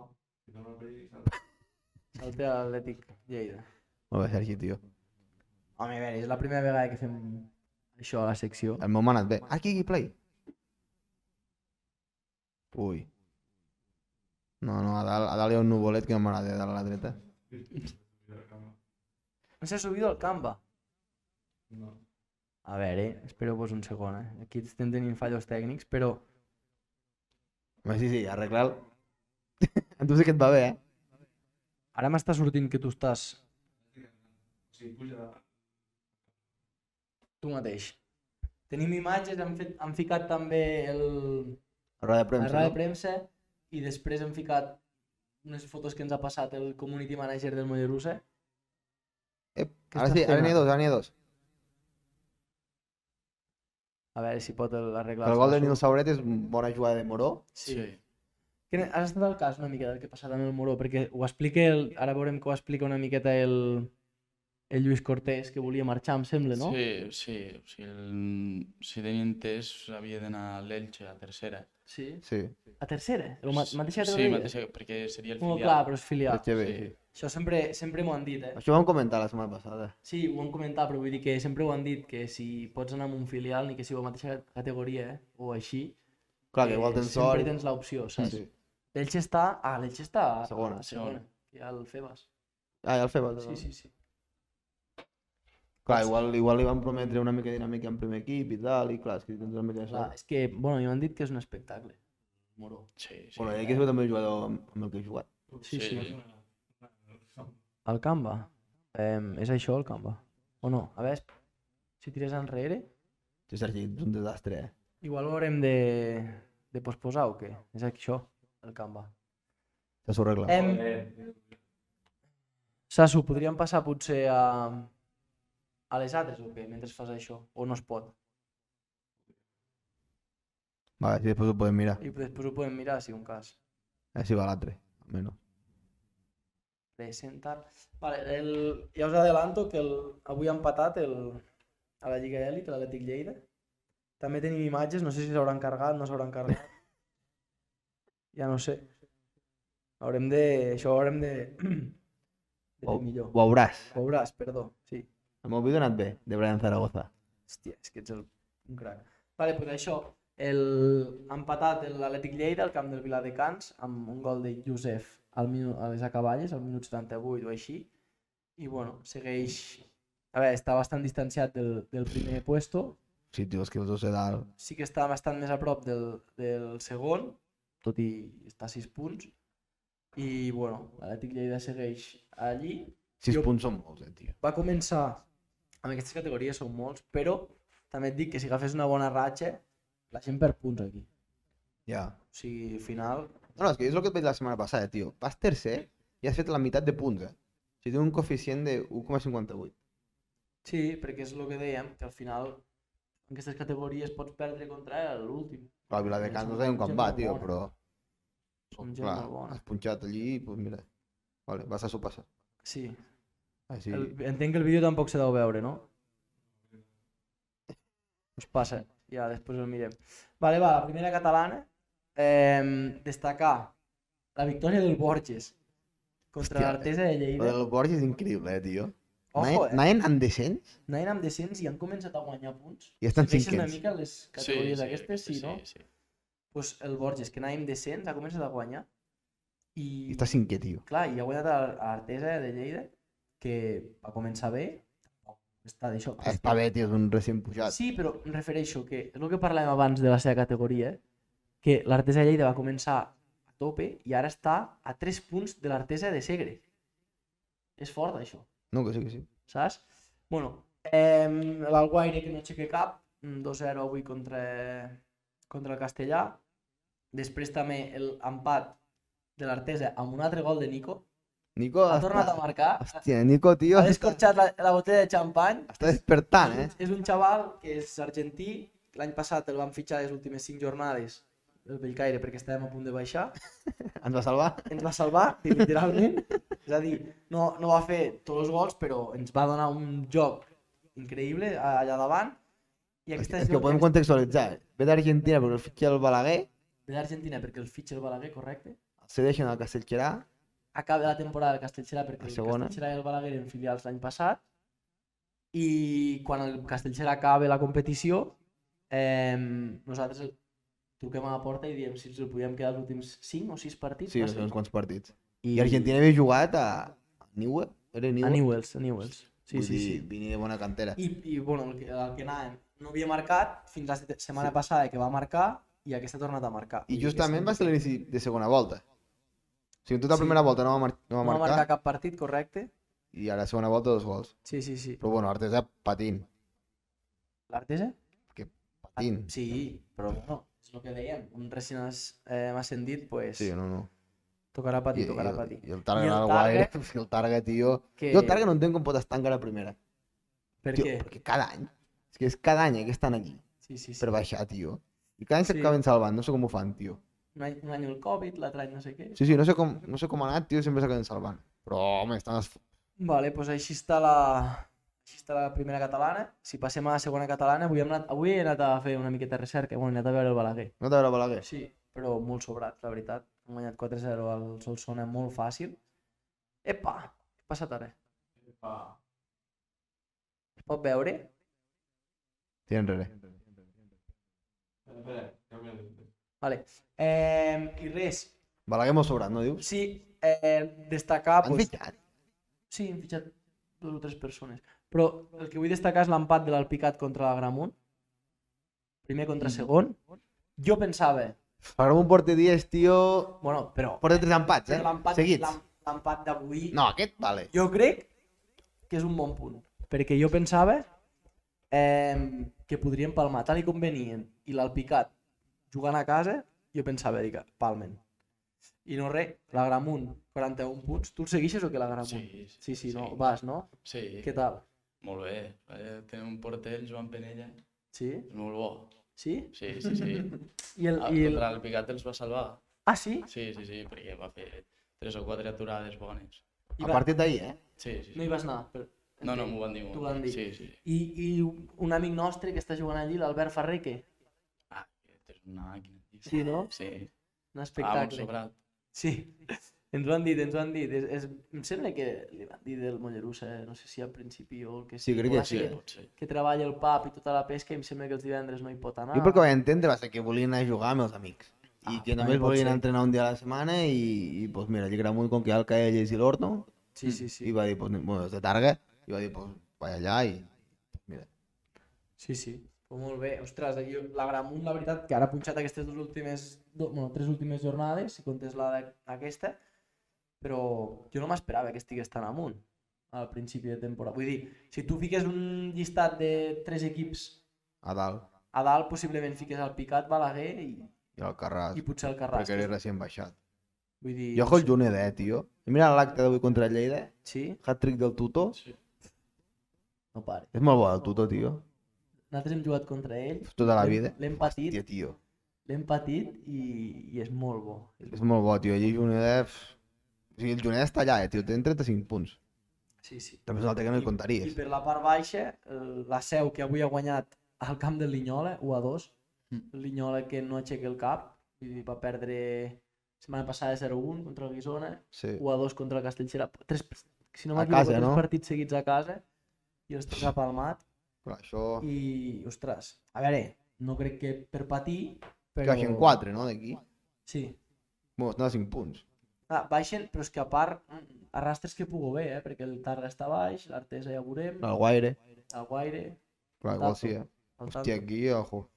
Speaker 1: Salta a l'Atlètic Lleida.
Speaker 2: Molt bé, Sergi, tio.
Speaker 1: Home, a veure, és la primera vegada que fem això a la secció.
Speaker 2: El meu m'ha anat bé. Aquí, aquí, play. Ui. No, no, a dalt, a dalt hi ha un nuvolet que no m'agrada de dalt a la dreta.
Speaker 1: No s'ha subit al Canva? A veure, espereu-vos un segon, eh? Aquí estem tenint fallos tècnics, però...
Speaker 2: Home, sí, sí, arreglar-lo. a tu sí que et va bé, eh?
Speaker 1: Ara m'està sortint que tu estàs... Tu mateix. Tenim imatges, hem, fet, hem ficat també el...
Speaker 2: A roda de
Speaker 1: la
Speaker 2: premsa,
Speaker 1: roda de
Speaker 2: no?
Speaker 1: premsa i després hem ficat unes fotos que ens ha passat el community manager del Mollerussa.
Speaker 2: Ep,
Speaker 1: Què
Speaker 2: ara
Speaker 1: estàs
Speaker 2: sí, ara
Speaker 1: fent,
Speaker 2: n'hi ha
Speaker 1: ara?
Speaker 2: dos, ara n'hi ha dos.
Speaker 1: A veure si pot el- arreglar...
Speaker 2: El gol de
Speaker 1: Sasso.
Speaker 2: Nil Sauret és bona jugada de Moró.
Speaker 1: Sí. Que ne- Has estat al cas una mica del que ha passat amb el Moró, perquè ho explica el... ara veurem que ho explica una miqueta el, el Lluís Cortés, que volia marxar, em sembla, no?
Speaker 3: Sí, sí. O sigui, el... si tenia entès, havia d'anar a l'Elche, a tercera.
Speaker 1: sí.
Speaker 2: Sí,
Speaker 1: A tercera? O ma mateixa
Speaker 3: Sí,
Speaker 1: categoria?
Speaker 3: mateixa, perquè seria el
Speaker 1: Bueno,
Speaker 3: filial.
Speaker 1: clar, però és filial.
Speaker 2: Elche B,
Speaker 3: sí.
Speaker 2: sí.
Speaker 1: Això sempre, sempre m'ho han dit, eh?
Speaker 2: Això ho vam comentar la setmana passada.
Speaker 1: Sí, ho vam comentar, però vull dir que sempre ho han dit, que si pots anar amb un filial, ni que sigui la mateixa categoria, eh? o així, eh,
Speaker 2: Clar, que igual tens
Speaker 1: sempre
Speaker 2: sort.
Speaker 1: tens l'opció, saps?
Speaker 2: Sí.
Speaker 1: L'Elche està... Ah, l'Elche està... a-
Speaker 2: Segona.
Speaker 1: A segona. Hi ha el Febas.
Speaker 2: Ah, ja el fem.
Speaker 1: Sí, sí, sí.
Speaker 2: Clar, igual, igual li van prometre una mica de dinàmica en primer equip i tal, i clar, és que tens una mica de
Speaker 1: Clar,
Speaker 2: sort.
Speaker 1: és que, bueno, m'han dit que és un espectacle. Moró.
Speaker 3: Sí, sí.
Speaker 2: Bueno, ja que és també el jugador amb amb el que he jugat.
Speaker 1: Sí, sí. El Canva? Em, és això, el Canva? O no? A veure, es- si tires enrere,
Speaker 2: Sí, Sergi, ets un desastre, eh?
Speaker 1: igual ho haurem de, de posposar o què? És això, el Canva.
Speaker 2: Ja s'ho arregla.
Speaker 1: Em... Sasu, podríem passar potser a... a les altres o què, mentre fas això? O no es pot?
Speaker 2: Vale, sí, després ho podem mirar.
Speaker 1: I després ho podem mirar, si un cas.
Speaker 2: Així va l'altre, almenys.
Speaker 1: de Centar. Vale, el, ja us adelanto que el, avui ha empatat el, a la Lliga Elit, l'Atlètic Lleida. També tenim imatges, no sé si s'hauran carregat, no s'hauran carregat. Ja no sé. Haurem de... Això ho haurem de... de fer
Speaker 2: Ho,
Speaker 1: millor.
Speaker 2: ho veuràs.
Speaker 1: Ho veuràs, perdó, sí.
Speaker 2: El meu vídeo ha anat Em bé, de Brian Zaragoza.
Speaker 1: Hòstia, és que ets el... un crac. Vale, pues això, el... ha empatat el- l'Atlètic Lleida al camp del Viladecans amb un gol de Josef al minu... a les acaballes, al minut 78 o així. I bueno, segueix... A veure, està bastant distanciat del, del primer puesto.
Speaker 2: Si dius que els dos he dalt,
Speaker 1: Sí que està bastant més a prop del, del segon, tot i estar a 6 punts. I bueno, l'Atlètic Lleida segueix allí.
Speaker 2: 6
Speaker 1: Jo-
Speaker 2: punts són molts, eh, tio.
Speaker 1: va començar amb aquestes categories són molts, però també et dic que si agafes una bona ratxa, la gent perd punts aquí.
Speaker 2: Ja.
Speaker 1: O sigui, al final,
Speaker 2: No, no, és que és el que et vaig dir la setmana passada, tio. Vas tercer i has fet la meitat de punts, eh? O sigui, té un coeficient de 1,58.
Speaker 1: sí, perquè és el que dèiem, que al final en aquestes categories pots perdre contra l'últim.
Speaker 2: Clar, Viladecans no sabem quan
Speaker 1: Gent
Speaker 2: va,
Speaker 1: molt
Speaker 2: tio,
Speaker 1: bona.
Speaker 2: però...
Speaker 1: Són gent
Speaker 2: Clar,
Speaker 1: molt bona.
Speaker 2: has punxat allí i, pues, mira... Vale, vas a sopar-se.
Speaker 1: Sí.
Speaker 2: Així...
Speaker 1: El, entenc que el vídeo tampoc se deu veure, no? Us passa, ja després el mirem. Vale, va, la primera catalana. Eh, destacar la victòria del Borges contra
Speaker 2: Hòstia,
Speaker 1: l'Artesa de
Speaker 2: Lo
Speaker 1: Lleida.
Speaker 2: del Borges és increïble, eh, tio.
Speaker 1: Ojo,
Speaker 2: Ojo,
Speaker 1: eh?
Speaker 2: Anaven amb descens
Speaker 1: anaven amb descens i han començat a guanyar punts.
Speaker 2: i estan
Speaker 1: Segueixes una
Speaker 2: cinquens.
Speaker 1: mica les categories sí, aquestes, sí,
Speaker 3: sí,
Speaker 1: no?
Speaker 3: Sí, sí.
Speaker 1: Pues el Borges, que anàvem descens, ha començat a guanyar. I,
Speaker 2: I està cinquè, tio.
Speaker 1: clar, i ha guanyat a a l'Artesa de Lleida, que va començar bé, tampoc està d'això.
Speaker 2: Està bé, tio, és un recent pujat.
Speaker 1: Sí, però em refereixo que és el que parlàvem abans de la seva categoria, que l'Artesa de Lleida va començar a tope i ara està a 3 punts de l'Artesa de Segre. És fort, això.
Speaker 2: No, que sí, que sí.
Speaker 1: saps? Bueno, ehm, l'Alguaire que no aixeca cap, mm, 2-0 avui contra, contra el Castellà. Després també l'empat de l'Artesa amb un altre gol de Nico.
Speaker 2: Nico,
Speaker 1: Ha tornat a
Speaker 2: està...
Speaker 1: marcar, ha-
Speaker 2: Hòstia, Nico, tio,
Speaker 1: ha
Speaker 2: està,
Speaker 1: descorxat la, la botella de xampany.
Speaker 2: està despertant, eh?
Speaker 1: És un xaval que és argentí, l'any passat el van fitxar les últimes 5 jornades el Bellcaire perquè estàvem a punt de baixar,
Speaker 2: Ens va salvar.
Speaker 1: ens va salvar, literalment. És a dir, no, no va fer tots els gols, però ens va donar un joc increïble a- allà davant. I
Speaker 2: És
Speaker 1: aquesta
Speaker 2: que ho podem
Speaker 1: aquesta-
Speaker 2: contextualitzar. eh? Ve d'Argentina perquè el fitxa el Balaguer,
Speaker 1: ve d'Argentina perquè el fitxa el Balaguer, correcte.
Speaker 2: se deixen al Castellquerà,
Speaker 1: Acaba la temporada del Castellxerà perquè
Speaker 2: La
Speaker 1: el
Speaker 2: segona.
Speaker 1: Castellxerà i el Balaguer eren filials l'any passat. I quan el Castellxerà acaba la competició, eh, nosaltres el truquem a la porta i diem si ens el podíem quedar els últims 5 o 6 partits.
Speaker 2: sí,
Speaker 1: va
Speaker 2: doncs, no
Speaker 1: ser.
Speaker 2: sé uns quants partits.
Speaker 1: I,
Speaker 2: I Argentina havia jugat a Newell, era
Speaker 1: A
Speaker 2: Newell?
Speaker 1: Newells, a Newells. Sí,
Speaker 2: Vull
Speaker 1: sí,
Speaker 2: dir,
Speaker 1: sí.
Speaker 2: Vini Pues de bona cantera.
Speaker 1: I, i bueno, el que, el que anàvem no havia marcat fins la set- setmana sí. passada que va marcar i aquesta ha tornat a marcar.
Speaker 2: I justament va ser l'inici de segona volta. O sigui, en tota la
Speaker 1: Sí.
Speaker 2: primera volta no va, mar no
Speaker 1: no
Speaker 2: va
Speaker 1: va
Speaker 2: marcar,
Speaker 1: marcar cap partit, correcte?
Speaker 2: i a la segona volta dos gols.
Speaker 1: Sí, sí, sí.
Speaker 2: Però bueno, Artesa patint,
Speaker 1: L'Artesa?
Speaker 2: patint.
Speaker 1: Ah, Sí, però bueno, és el que dèiem. Un recent as, eh, ascendit, pues,
Speaker 2: Sí, no, no.
Speaker 1: tocarà patir,
Speaker 2: I, i,
Speaker 1: tocarà
Speaker 2: el-
Speaker 1: patir.
Speaker 2: I el
Speaker 1: I el
Speaker 2: Targa, el
Speaker 1: Targa- Eh,
Speaker 2: Guaire, és que el Targa, tio...
Speaker 1: Que...
Speaker 2: Jo el Targa no entenc com pot estar encara a primera.
Speaker 1: Per
Speaker 2: tio,
Speaker 1: què?
Speaker 2: perquè cada any, és que és cada any eh, que estan aquí,
Speaker 1: Sí, sí, sí.
Speaker 2: per baixar, tio. I cada any
Speaker 1: Sí.
Speaker 2: s'acaben salvant, no sé com ho fan, tio.
Speaker 1: Un, any, un any el Covid, l'altre any no sé què.
Speaker 2: Sí, sí, no sé com, no sé com ha anat, tio, sempre s'acaben salvant. Però, home, estan... Es...
Speaker 1: Vale, doncs així està la... Així està la primera catalana. Si passem a la segona catalana, avui, hem anat, avui he anat a fer una miqueta de recerca. Bueno, he anat a veure el Balaguer.
Speaker 2: No t'agrada Balaguer?
Speaker 1: Sí, però molt sobrat, la veritat. Hem guanyat 4-0 al Solsona molt fàcil. Epa! Què ha passat ara?
Speaker 3: Ah.
Speaker 1: Es pot veure?
Speaker 2: Tira enrere.
Speaker 1: Vale. Eh, I res.
Speaker 2: Balaguer molt sobrat, no dius?
Speaker 1: Sí, eh, destacar...
Speaker 2: Han
Speaker 1: Ah, Pues,
Speaker 2: fitxat?
Speaker 1: sí, hem fitxat dues o tres persones. Però el que vull destacar és l'empat de l'Alpicat contra l'Agramunt. Primer
Speaker 2: Mm.
Speaker 1: contra segon. Jo pensava...
Speaker 2: Ara un porta 10, tio...
Speaker 1: Bueno, però...
Speaker 2: Porta 3 empats, eh?
Speaker 1: però l'empat-
Speaker 2: Seguits.
Speaker 1: l'em- L'empat d'avui...
Speaker 2: No, aquest, vale.
Speaker 1: Jo crec que és un bon punt, perquè jo pensava eh, que podrien palmar tal i com venien, i l'Alpicat jugant a casa, jo pensava, dic, palmen. I no res, l'Agramunt, 41 punts. Tu el segueixes o que l'Agramunt?
Speaker 3: Sí, sí,
Speaker 1: Ah, sí, sí, no,
Speaker 3: sí.
Speaker 1: vas, no?
Speaker 3: Sí,
Speaker 1: Què tal?
Speaker 3: molt bé. Eh, Tenim un porter, Joan Penella,
Speaker 1: Sí?
Speaker 3: és molt bo.
Speaker 1: Sí?
Speaker 3: Sí, sí, sí.
Speaker 1: I el...
Speaker 3: Ah,
Speaker 1: I el...
Speaker 3: Contra el Picat els va salvar.
Speaker 1: Ah, sí?
Speaker 3: Sí, sí, sí, perquè va fer tres o quatre aturades bones.
Speaker 1: I
Speaker 2: A
Speaker 1: va-
Speaker 2: partir d'ahir, eh?
Speaker 3: Sí, sí.
Speaker 1: No hi
Speaker 3: sí.
Speaker 1: vas anar. Però...
Speaker 3: No, no, m'ho van dir. m'ho
Speaker 1: T'ho van dir.
Speaker 3: Sí, sí. sí.
Speaker 1: I, I un amic nostre que està jugant allí, l'Albert Ferrer, què?
Speaker 3: Ah, aquest és una màquina. tio.
Speaker 1: Sí, no?
Speaker 3: Sí.
Speaker 1: Un
Speaker 3: Estava molt
Speaker 1: espectacle.
Speaker 3: sobrat.
Speaker 1: Sí. Ens ho han dit, ens ho han dit. És, és... Em sembla que li van dir del Mollerussa, eh? no sé si al principi o el que
Speaker 2: Sí, crec
Speaker 1: però
Speaker 2: que
Speaker 1: va ser
Speaker 2: sí,
Speaker 1: Que,
Speaker 2: eh?
Speaker 3: Potser.
Speaker 1: que treballa el pap i tota la pesca i em sembla que els divendres no hi pot anar.
Speaker 2: Jo pel que vaig entendre va ser que volien anar a jugar amb els amics. I
Speaker 1: Ah,
Speaker 2: que
Speaker 1: també
Speaker 2: només
Speaker 1: pot
Speaker 2: volien
Speaker 1: ser.
Speaker 2: entrenar un dia a la setmana i, i pues mira, Lligramunt, com que hi ha el Caelles i l'Horto,
Speaker 1: Sí, sí, sí.
Speaker 2: i va dir, pues, anem- bueno, és de Targa, i va dir, pues, vaig allà i... Mira.
Speaker 1: Sí, sí. Però molt bé. Ostres, aquí la Gramunt, la veritat, que ara ha punxat aquestes dues últimes, do, bueno, tres últimes jornades, si comptes la d'aquesta, però jo no m'esperava que estigués tan amunt al principi de temporada. Vull dir, si tu fiques un llistat de tres equips
Speaker 2: A dalt.
Speaker 1: a dalt, possiblement fiques el Picat, Balaguer i,
Speaker 2: I al Carràs.
Speaker 1: i potser el Carràs.
Speaker 2: Perquè era recient baixat.
Speaker 1: Vull dir...
Speaker 2: Jo
Speaker 1: no
Speaker 2: ojo el
Speaker 1: sé.
Speaker 2: Junet, eh, tio. I mira l'acte d'avui contra el Lleida,
Speaker 1: Sí?
Speaker 2: hat-trick del Tuto.
Speaker 3: Sí.
Speaker 1: No pare.
Speaker 2: És molt bo el Tuto, tio.
Speaker 1: Nosaltres hem jugat contra ell,
Speaker 2: Tota la
Speaker 1: l'hem-
Speaker 2: vida.
Speaker 1: l'hem patit,
Speaker 2: Hòstia, tio.
Speaker 1: l'hem patit i, i és molt bo. És
Speaker 2: És molt bo, tio. Allí Junet, eh... pf. O sigui, el Junet està allà, eh, tio. Tenen 35 punts.
Speaker 1: Sí, sí.
Speaker 2: També és un altre que no hi
Speaker 1: I- I
Speaker 2: contaries.
Speaker 1: per la part baixa, eh, la seu que avui ha guanyat al camp del Linyola, 1 a 2.
Speaker 3: Mm.
Speaker 1: El Linyola que no aixeca el cap, vull dir, va perdre setmana passada 0-1 contra el Guissona,
Speaker 2: Sí.
Speaker 1: 1 a 2 contra el Castellxera. Tres, si no
Speaker 2: A
Speaker 1: m'equivoco,
Speaker 2: casa,
Speaker 1: tres
Speaker 2: no?
Speaker 1: partits seguits a casa i els tres ha palmat.
Speaker 2: Clar, això...
Speaker 1: I, ostres, a veure, no crec que per patir,
Speaker 2: Però...
Speaker 1: però...
Speaker 2: Baixen 4, no, d'aquí?
Speaker 1: Sí.
Speaker 2: Bueno, estan a 5 punts.
Speaker 1: Ah, baixen, però és que a part, mm, arrastres que pugo bé, eh? perquè el Targa està baix, l'Artesa ja ho veurem,
Speaker 2: El Guaire,
Speaker 1: el Guaire,
Speaker 2: clar, igual sí, eh?
Speaker 1: el
Speaker 2: Hòstia, aquí, ojo.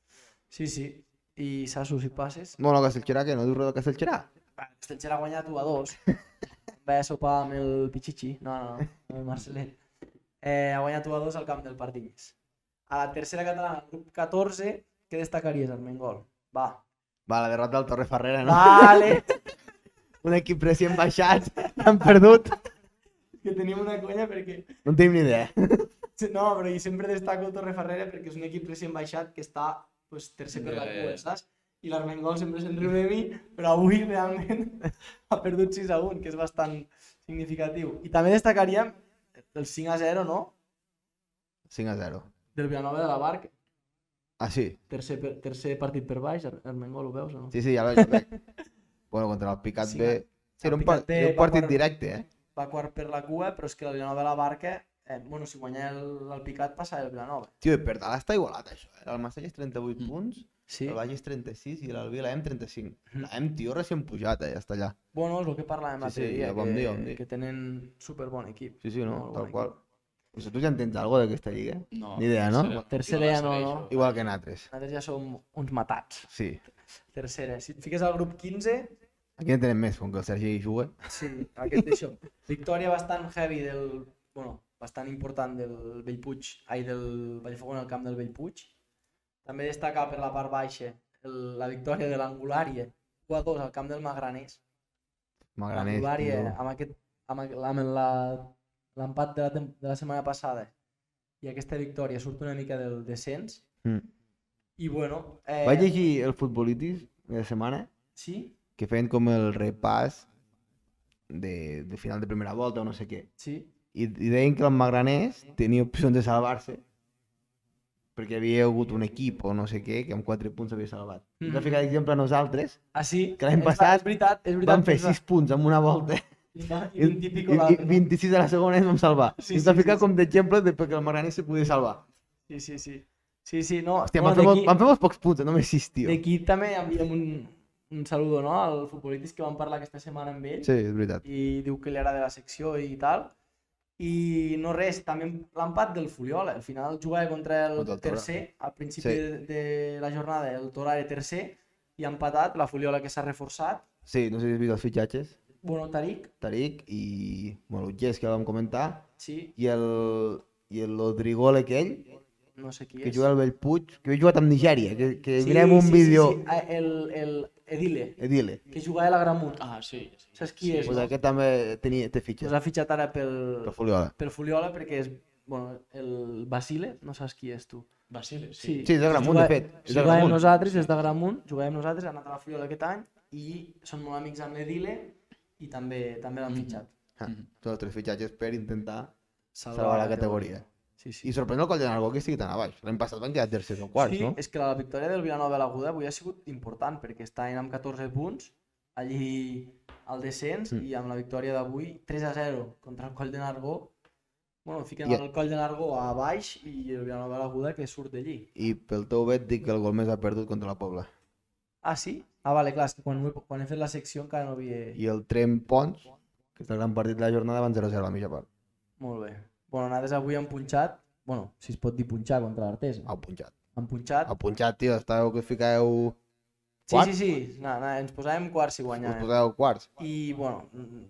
Speaker 1: Sí, sí. I Sassu, si passes...
Speaker 2: No, no, Castellxerà, que no diu res del Castellxerà?
Speaker 1: Estelxer ha guanyat 1 a 2. Va a sopar amb el Pichichi. No, no, no. Amb el Marcelet. Eh, ha guanyat 1 a 2 al camp del Pardinyes. A la tercera catalana, grup 14, què destacaries, Armengol? Va.
Speaker 2: Va, la derrota del Torre Ferrera, no?
Speaker 1: Vale!
Speaker 2: Un equip recient baixat, han perdut.
Speaker 1: que tenim una conya perquè...
Speaker 2: No en tenim ni idea.
Speaker 1: No, però i sempre destaco el Torre Ferrera perquè és un equip recient baixat que està pues, tercer per la
Speaker 3: Ja, ja,
Speaker 1: cua,
Speaker 3: ja.
Speaker 1: saps? I l'Armengol sempre se'n riu de mi, però avui realment ha perdut 6 a 1, que és bastant significatiu. I també destacaríem el 5 a 0, no?
Speaker 2: 5 a 0.
Speaker 1: Del Vilanova de la Barca.
Speaker 2: Ah, sí?
Speaker 1: Tercer, per, tercer partit per baix, Ar- Armengol, ho veus o no?
Speaker 2: Sí, sí, ja veig, ja veig. bueno, contra el Picat
Speaker 1: Sí,
Speaker 2: B... Sí, era un,
Speaker 1: Picat
Speaker 2: par
Speaker 1: B
Speaker 2: era un
Speaker 1: va
Speaker 2: partit
Speaker 1: guardar-
Speaker 2: directe, eh?
Speaker 1: Va quart per la cua, però és que el Vilanova de la Barca, eh, bueno, si guanya el, el Picat passa el Vilanova.
Speaker 2: Tio, i per dalt està igualat, això. Eh? El Massatge és 38
Speaker 3: Mm.
Speaker 2: punts,
Speaker 1: Sí.
Speaker 2: el Baix és 36 i l'Albi la M 35.
Speaker 1: Mhm.
Speaker 2: La M, tio, recient pujat, eh? Ja està allà.
Speaker 1: Bueno, és el que parlàvem
Speaker 2: Sí,
Speaker 1: l'altre
Speaker 2: sí,
Speaker 1: dia,
Speaker 2: ja vam
Speaker 1: que,
Speaker 2: dir, ja vam dir.
Speaker 1: que tenen superbon equip.
Speaker 2: Sí, sí, no?
Speaker 1: Molt
Speaker 2: Tal
Speaker 1: guai.
Speaker 2: qual. O sigui, tu ja entens alguna cosa d'aquesta lliga?
Speaker 3: No.
Speaker 2: Ni idea, no?
Speaker 1: Tercera ja no, no.
Speaker 2: Igual que nosaltres.
Speaker 1: Nosaltres ja som uns matats.
Speaker 2: Sí.
Speaker 1: Tercera, si et fiques al grup 15,
Speaker 2: Aquí en tenen més, com que el Sergi hi juga.
Speaker 1: sí, aquest això. Victòria bastant heavy del... Bueno, bastant important del Bellpuig, ai, del Vallfogona al camp del Bellpuig. També destacar per la part baixa el, la victòria de l'Angulària, 1 a 2 al camp del Magranés.
Speaker 2: M'agrada
Speaker 1: L'Angulària,
Speaker 2: més.
Speaker 1: amb aquest amb, aqu- amb la- l'empat de, la, tem- de la setmana passada i aquesta victòria surt una mica del descens.
Speaker 2: Mm.
Speaker 1: I bueno... Eh,
Speaker 2: Vaig llegir el futbolitis de setmana,
Speaker 1: Sí?
Speaker 2: que feien com el repàs de, de final de primera volta o no sé què.
Speaker 1: Sí?
Speaker 2: I, i deien que el Magranés tenia opcions de salvar-se perquè hi havia hagut un equip o no sé què que amb 4 punts s'havia salvat. Mm.
Speaker 1: Mhm.
Speaker 2: De ficar exemple a nosaltres,
Speaker 1: Ah, sí?
Speaker 2: Que l'any
Speaker 1: És ver-
Speaker 2: passat
Speaker 1: és veritat, és veritat.
Speaker 2: vam fer
Speaker 1: que ens va-
Speaker 2: 6 punts en una volta
Speaker 1: ens va-
Speaker 2: i,
Speaker 1: un típic
Speaker 2: i,
Speaker 1: la...
Speaker 2: i 26 a la segona ens vam salvar.
Speaker 1: Sí,
Speaker 2: Sí, Ens va
Speaker 1: sí,
Speaker 2: ficar
Speaker 1: sí,
Speaker 2: com d'exemple de perquè el Magranés se podia salvar.
Speaker 1: Sí, sí, sí. Sí, sí, no.
Speaker 2: Hòstia,
Speaker 1: bueno,
Speaker 2: bueno, vam, fer,
Speaker 1: d'aquí-
Speaker 2: molt- vam fer molts pocs punts, eh? només 6, tio.
Speaker 1: D'aquí també enviem un, un saludo, no?, al futbolitis que vam parlar aquesta setmana amb ell.
Speaker 2: Sí, és veritat.
Speaker 1: I diu que li agrada la secció i tal. I no res, també l'empat del Fuliola. Al final jugava contra el
Speaker 2: Contra el Torà.
Speaker 1: tercer, al principi
Speaker 2: Sí.
Speaker 1: de, de la jornada el Torà era tercer i ha empatat la Fuliola que s'ha reforçat.
Speaker 2: Sí, no sé si has vist els fitxatges.
Speaker 1: Bueno, Taric,
Speaker 2: Tarik i bueno, Jess, que vam comentar,
Speaker 1: sí,
Speaker 2: i el, i el Odrigol aquell,
Speaker 1: no sé qui
Speaker 2: que
Speaker 1: és.
Speaker 2: juga al Bellpuig, que havia jugat amb Nigèria, que, que
Speaker 1: Sí,
Speaker 2: mirem un
Speaker 1: sí, sí,
Speaker 2: vídeo,
Speaker 1: Sí, Ah, El, el Edile,
Speaker 2: eh, dile,
Speaker 1: que jugava a la Gramut.
Speaker 3: Ah, sí. sí.
Speaker 1: Saps qui és?
Speaker 2: pues aquest també tenia, té
Speaker 1: Que
Speaker 2: fitxes.
Speaker 1: l'ha fitxat ara pel,
Speaker 2: Però Fuliola.
Speaker 1: pel Fuliola perquè és bueno, el Basile, no saps qui és tu.
Speaker 3: Basile, sí.
Speaker 2: Sí, és de Gramunt, de fet. És de
Speaker 1: jugàvem
Speaker 2: Gramunt.
Speaker 1: nosaltres, és de Gramunt, jugàvem nosaltres, ha anat a la Fuliola aquest any i som molt amics amb l'Edile i també també l'han
Speaker 3: Mhm.
Speaker 1: fitxat.
Speaker 2: Ah,
Speaker 3: Mhm.
Speaker 2: Tots els tres fitxatges per intentar
Speaker 1: Mm-hmm. Salvar,
Speaker 2: salvar la categoria.
Speaker 1: Sí, sí.
Speaker 2: I sorprèn el Coll de Nargó que estigui tan a baix. L'any passat van quedar tercers o quarts,
Speaker 1: sí,
Speaker 2: no?
Speaker 1: és que la victòria del Vilanova a l'Aguda avui ha sigut important perquè està en amb 14 punts allí al descens
Speaker 2: Mm.
Speaker 1: i amb la victòria d'avui 3 a 0 contra el Coll de Nargó bueno, fiquen
Speaker 2: I-
Speaker 1: el Coll de Nargó a baix i el Vilanova a l'Aguda que surt d'allí
Speaker 2: I pel teu bet dic que el gol més ha perdut contra la Pobla.
Speaker 1: ah sí? ah vale, clar, és que quan, ho he- quan he fet la secció encara no havia...
Speaker 2: I el Trem Pons, que és el gran partit de la jornada, van 0-0 a la mitja part.
Speaker 1: molt bé bueno, nosaltres avui han punxat bueno, si es pot dir punxar contra l'Artesa
Speaker 2: Au punxat.
Speaker 1: han punxat
Speaker 2: Au punxat, tio. Estàveu que ficàveu...
Speaker 1: sí,
Speaker 2: quart?
Speaker 1: sí, sí, na, na, ens posàvem quarts si
Speaker 2: Us
Speaker 1: guanyàvem
Speaker 2: posàveu quarts.
Speaker 1: I, bueno, mm,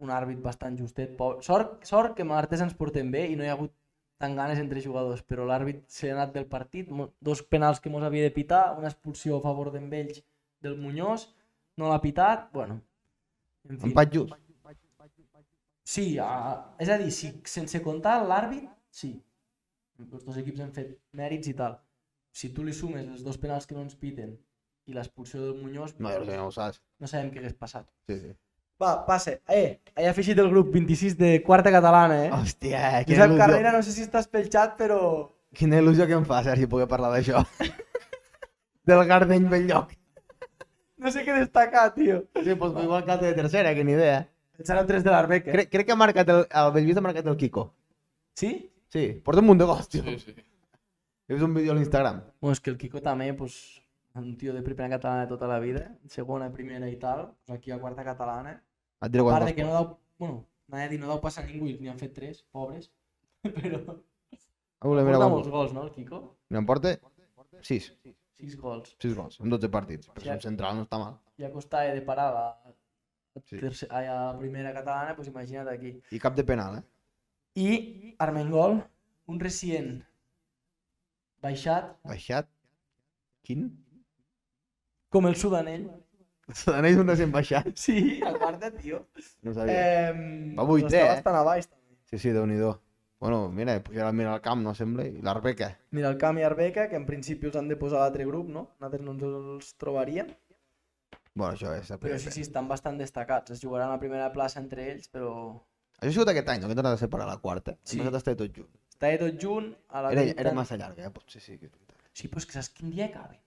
Speaker 1: un àrbit bastant justet. Pobre. Sort, sort que amb l'Artes ens portem bé i no hi ha hagut tant ganes entre jugadors, però l'àrbit s'ha anat del partit, mo- dos penals que mos havia de pitar, una expulsió a favor d'en Vells del Muñoz, no l'ha pitat, bueno... En fi,
Speaker 2: Empat just.
Speaker 1: sí, a, és a dir, si, sense comptar l'àrbit, sí. Els dos equips han fet mèrits i tal. Si tu li sumes els dos penals que no ens piten i l'expulsió del Muñoz,
Speaker 2: No, ja ho sé, ja ho saps.
Speaker 1: no sabem què hagués passat.
Speaker 2: Sí, sí.
Speaker 1: Va, passa. Eh, hi ha afegit el grup 26 de quarta catalana, eh?
Speaker 2: Hòstia, quina
Speaker 1: Josep
Speaker 2: il·lusió.
Speaker 1: Carrera, no sé si estàs pel xat, però...
Speaker 2: Quina il·lusió que em fa, Sergi, poder parlar d'això. Del Gardeny Belllloc.
Speaker 1: No sé què destacar, tio.
Speaker 2: Sí, doncs m'ho igual que de tercera, que ni idea.
Speaker 1: El 03 de l'Arbec, eh?
Speaker 2: Crec, crec que ha marcat el, el Bellvís ha marcat el Kiko.
Speaker 1: Sí?
Speaker 2: Sí, porta un munt de gols, tio.
Speaker 3: Sí, sí.
Speaker 2: He vist un vídeo a l'Instagram.
Speaker 1: Bueno, és que el Kiko també, pues, un tio de primera catalana de tota la vida, segona, primera i tal, pues aquí a quarta catalana.
Speaker 2: Et diré
Speaker 1: A
Speaker 2: quan
Speaker 1: part de que no deu... Bueno, anava a dir, no deu passar a ningú i n'hi han fet tres, pobres. però
Speaker 2: Voler,
Speaker 1: porta
Speaker 2: mira, quan...
Speaker 1: molts gols, no, el Kiko?
Speaker 2: Mira, em porta 6.
Speaker 1: Sis gols.
Speaker 2: 6 gols, en 12 partits. Per
Speaker 1: Ja.
Speaker 2: ser un central no està mal.
Speaker 1: Ja costava de parar a la,
Speaker 2: Sí.
Speaker 1: terce- ai, a la primera catalana, pues imagina't aquí.
Speaker 2: I cap de penal, eh?
Speaker 1: I Armengol, un recient baixat,
Speaker 2: Baixat. Quin?
Speaker 1: com el sudanell.
Speaker 2: Sodanell un recent baixat.
Speaker 1: Sí, aparta, tio.
Speaker 2: No sabia.
Speaker 1: Eh,
Speaker 2: Va vuitè, eh?
Speaker 1: Bastant a baix, també.
Speaker 2: Sí, sí, déu-n'hi-do. Bueno, mira, pujarà al al camp, no sembla, i l'Arbeca.
Speaker 1: Mira, el Camp i Arbeca, que en principi us han de posar a l'altre grup, no? Nosaltres no ens els trobaríem.
Speaker 2: Bueno, això és la
Speaker 1: Però
Speaker 2: primera.
Speaker 1: sí, sí, estan bastant destacats. Es jugaran a la primera plaça entre ells, però...
Speaker 2: Això ha sigut aquest any, no? Que hem tornat a separar la quarta.
Speaker 1: Sí.
Speaker 2: Sí. Hem passat a estar tot junt.
Speaker 1: Està de tot junt, a la
Speaker 2: Era,
Speaker 1: grup
Speaker 2: era
Speaker 1: tan-
Speaker 2: massa llarga, eh? Potser sí que és veritat.
Speaker 1: Sí, però és que saps quin dia acaben?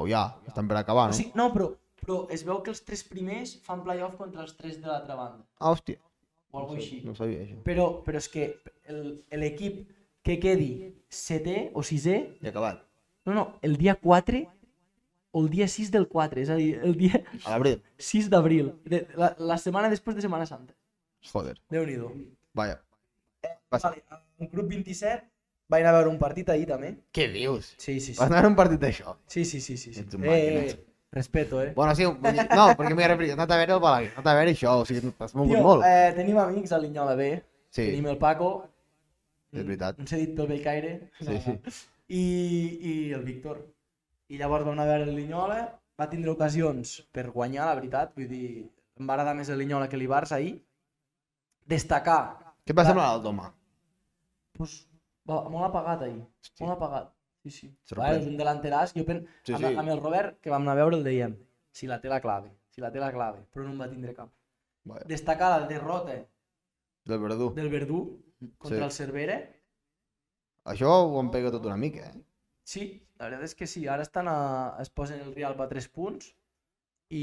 Speaker 2: O ja, estan per acabar,
Speaker 1: No? O
Speaker 2: Ah, no?
Speaker 1: sigui, no, però, però es veu que els tres primers fan playoff contra els tres de l'altra banda.
Speaker 2: Ah, hòstia.
Speaker 1: O alguna
Speaker 2: no,
Speaker 1: cosa així.
Speaker 2: sabia, no sabia això.
Speaker 1: Però, però és que el- l'equip que quedi setè o sisè,
Speaker 2: I acabat.
Speaker 1: no, no, el dia 4 o el dia 6 del 4, és a dir, el dia
Speaker 2: A l'abril.
Speaker 1: 6 d'abril, de- la, la setmana després de Setmana Santa.
Speaker 2: Joder.
Speaker 1: Déu-n'hi-do.
Speaker 2: Vaja. Passa.
Speaker 1: Vale, el grup 27 vaig anar a veure un partit ahir també.
Speaker 2: Què dius?
Speaker 1: Sí, sí, sí.
Speaker 2: Vas anar a un partit d'això.
Speaker 1: Sí, sí, sí, sí. sí.
Speaker 2: Ets un
Speaker 1: Eh,
Speaker 2: màquina.
Speaker 1: eh, eh, respeto, eh.
Speaker 2: Bueno, sí, vull dir- no, perquè m'he referit, he anat a veure el Balaguer, he anat a veure això, o sigui, t'has mogut molt.
Speaker 1: eh, tenim amics a Linyola B,
Speaker 2: Sí,
Speaker 1: tenim el Paco,
Speaker 2: és veritat.
Speaker 1: ens he dit pel Belcaire,
Speaker 2: Sí, sí.
Speaker 1: i, i el Víctor. I llavors vam anar a veure el Linyola, va tindre ocasions per guanyar, la veritat, vull dir, em va agradar més el Linyola que l'Ibarça ahir. Destacar,
Speaker 2: Què et va semblar el Doma?
Speaker 1: doncs, va, molt apagat ahir,
Speaker 2: Hòstia.
Speaker 1: molt apagat. Sí, sí.
Speaker 2: Sorprèn.
Speaker 1: Vale, és un delanteràs, jo pen...
Speaker 2: Sí,
Speaker 1: amb,
Speaker 2: sí.
Speaker 1: amb el Robert, que vam anar a veure, el dèiem, si la té la clave, si la té la clave, però no en va tindre cap.
Speaker 2: Vaja.
Speaker 1: Destacar la derrota
Speaker 2: Del Verdú.
Speaker 1: del Verdú contra
Speaker 2: Sí. Ah,
Speaker 1: el Cervera,
Speaker 2: Això ho em pega tot una mica, eh?
Speaker 1: Sí, la veritat és que sí. Ara estan a... es posen el Rialp a 3 punts i,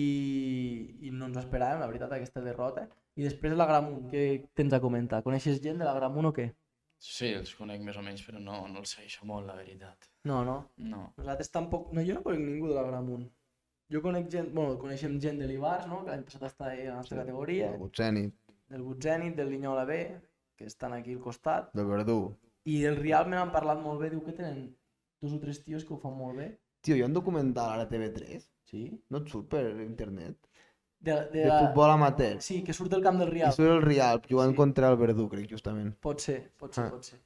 Speaker 1: i no ens ho esperàvem, la veritat, aquesta derrota. I després la Gramunt, què tens a comentar? Coneixes gent de la Gramunt o què?
Speaker 3: sí, els conec més o menys, però no, no els segueixo molt, la veritat.
Speaker 1: No, no.
Speaker 3: No.
Speaker 1: Nosaltres tampoc... No, jo no conec ningú de la Gramunt. Jo conec gent... Bueno, coneixem gent de l'Ibars, no? Que l'any passat està a la nostra
Speaker 2: Sí.
Speaker 1: categoria.
Speaker 2: El Butzeni,
Speaker 1: Del Butzènit, del Linyola B, que estan aquí al costat.
Speaker 2: del Verdú.
Speaker 1: I del Rialp me n'han parlat molt bé. Diu que tenen dos o tres tios que ho fan molt bé.
Speaker 2: Tio, hi ha un documental ara a TV3?
Speaker 1: Sí.
Speaker 2: No et surt per internet?
Speaker 1: De, de,
Speaker 2: De
Speaker 1: la...
Speaker 2: futbol amateur.
Speaker 1: Sí, que surt del camp del
Speaker 2: I
Speaker 1: Rialp.
Speaker 2: surt el Rialp jugant
Speaker 1: Sí.
Speaker 2: contra el Verdú, crec, justament.
Speaker 1: Pot ser, pot ser,
Speaker 2: Ah.
Speaker 1: pot ser.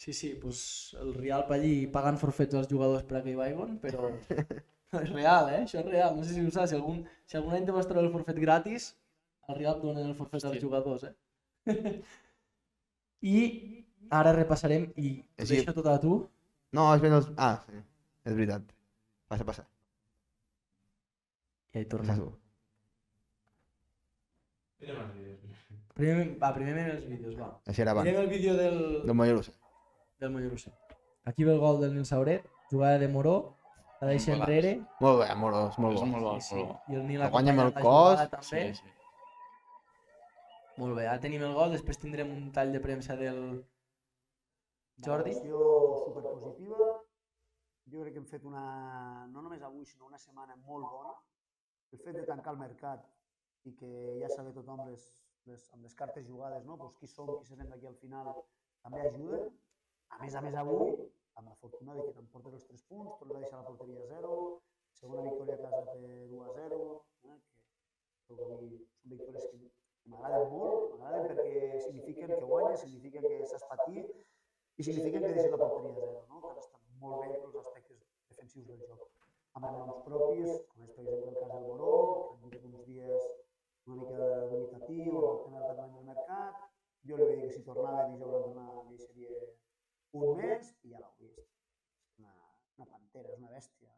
Speaker 1: Sí, sí, doncs el Rialp allí pagant forfets als jugadors per a que hi vagin, però és real, eh? Això és real. No sé si ho saps, si algun, si algun any te vas treure el forfet gratis, al Rialp donen el forfet als
Speaker 3: Hòstia.
Speaker 1: jugadors, eh? I ara repassarem i
Speaker 2: Eh,
Speaker 1: et
Speaker 2: sí.
Speaker 1: deixo tot a tu.
Speaker 2: No, és ben els... Ah, sí. És veritat. Passa, passa.
Speaker 1: I ahí
Speaker 2: Passa
Speaker 1: tornem.
Speaker 2: tu.
Speaker 4: Mirem els vídeos.
Speaker 1: Primer, va, primer mirem els vídeos, va.
Speaker 2: Així era abans.
Speaker 1: Mirem el vídeo del,
Speaker 2: Del Mollerussa.
Speaker 1: del Mollerussa. Aquí ve el gol del Nil Sauret, jugada de Moró, la deixa
Speaker 3: Golaç.
Speaker 1: enrere.
Speaker 2: Molt bé, molt bo, és molt
Speaker 3: És
Speaker 2: bo.
Speaker 3: molt bo,
Speaker 1: Sí,
Speaker 3: molt bo.
Speaker 1: I el Nil
Speaker 2: Guanya
Speaker 1: acompanya
Speaker 2: amb el
Speaker 1: la jugada
Speaker 2: cos.
Speaker 1: També.
Speaker 3: Sí, sí.
Speaker 1: Molt bé, ara tenim el gol, després tindrem un tall de premsa del Jordi.
Speaker 5: superpositiva. Jo crec que hem fet una, no només avui, sinó una setmana molt bona. El fet de tancar el mercat i que ja sabe tothom les, les, amb les cartes jugades, no? Pues qui som, qui serem d'aquí al final, també ajuda. A més a més avui, amb la fortuna de que t'emportes els 3 punts, tornes a deixar la porteria a 0, segona victòria a casa per 1 a 0, eh? que crec que avui són victòries que m'agraden molt, m'agraden perquè signifiquen que guanyes, signifiquen que s'has patit, i significa que deixes la porteria a zero, no? que han estat molt bé els aspectes defensius del joc. Amb noms propis, com és per exemple el cas del Moró, que han tingut uns dies una mica dubitatiu, amb el tema del terreny del mercat, jo li vaig dir que si tornava dijous a donar deixaria un mes i ja l'heu vist. Una, una pantera, és una bèstia.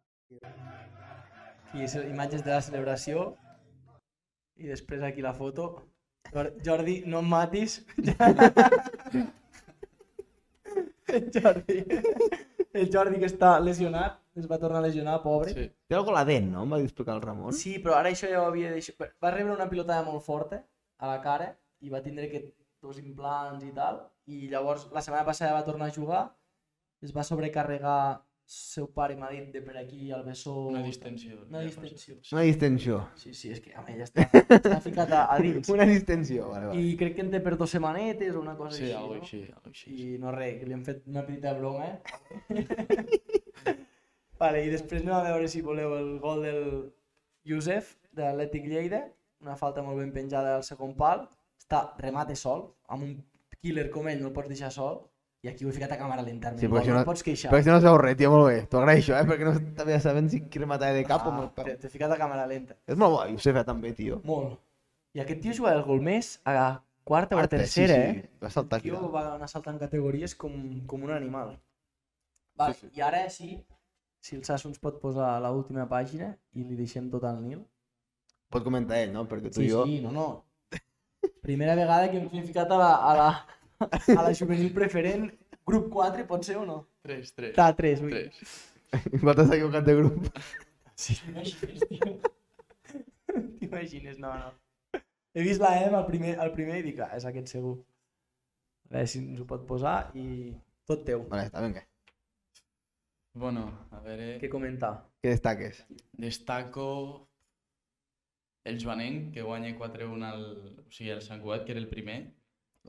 Speaker 1: I és, imatges de la celebració. I després aquí la foto. Jor- Jordi, no em matis. Jordi. El Jordi que està lesionat, es va tornar a lesionar, pobre.
Speaker 3: Sí.
Speaker 2: Té algo la dent, no? Em va dir explicar el Ramon.
Speaker 1: Sí, però ara això ja ho havia deixat. Va rebre una pilotada molt forta a la cara i va tindre que dos implants i tal. I llavors la setmana passada va tornar a jugar, es va sobrecarregar seu pare m'ha dit de per aquí al bessó
Speaker 3: Una distensió.
Speaker 1: Una
Speaker 3: ja
Speaker 1: distensió.
Speaker 3: passa.
Speaker 2: Una distensió.
Speaker 1: Sí, sí, és que a mi ja està, està ficat a, a dins.
Speaker 2: Una distensió, vale, vale.
Speaker 1: I crec que en té per dues setmanetes o una cosa
Speaker 3: Sí,
Speaker 1: així,
Speaker 3: algo
Speaker 1: no?
Speaker 3: així, algo així.
Speaker 1: I no res, que li hem fet una petita broma, eh? vale, i després anem a veure si voleu el gol del Josef, de l'Atlètic Lleida. Una falta molt ben penjada al segon pal. Està remate sol, amb un killer com ell no el pots deixar sol. I aquí ho he ficat a càmera lenta,
Speaker 2: Sí,
Speaker 1: sí,
Speaker 2: però això
Speaker 1: no,
Speaker 2: no-
Speaker 1: et pots queixar.
Speaker 2: Però això no s'ha res, tio, molt bé. T'ho agraeixo, eh? Perquè no sabia sabent si qui rematava de cap o amb
Speaker 1: Ah,
Speaker 2: el peu.
Speaker 1: t'he- T'he ficat a càmera lenta.
Speaker 2: És molt bo, Josef, eh, també, tio.
Speaker 1: Molt. I aquest tio juga el gol més a la quarta o a la
Speaker 2: Quarta, sí,
Speaker 1: tercera,
Speaker 2: sí,
Speaker 1: eh?
Speaker 2: Va saltar aquí.
Speaker 1: tio
Speaker 2: dalt.
Speaker 1: va anar saltant categories com, com un animal. Vale,
Speaker 3: sí.
Speaker 1: I ara sí, si el Sasso ens pot posar a l'última pàgina i li deixem tot al Nil.
Speaker 2: Pot comentar ell, no? Perquè tu i jo...
Speaker 1: sí, no, no. Primera vegada que ens hem ficat a la, a la, a la juvenil preferent, grup 4, pot ser o no?
Speaker 3: Tres, tres,
Speaker 1: Ta 3, vull dir.
Speaker 3: tres.
Speaker 2: Nosaltres s'ha equivocat de grup.
Speaker 1: Sí, t'imagines, tio. T'imagines, no, no. He vist la EM al primer, al primer i dic, ah, és aquest segur. A veure si ens ho pot posar i tot teu.
Speaker 2: Vale, està, vinga.
Speaker 3: Bueno, a veure...
Speaker 1: Què comentar?
Speaker 2: Què destaques?
Speaker 3: Destaco el Joanenc, que guanya 4-1 al... O sigui, al Sant Cugat, que era el primer.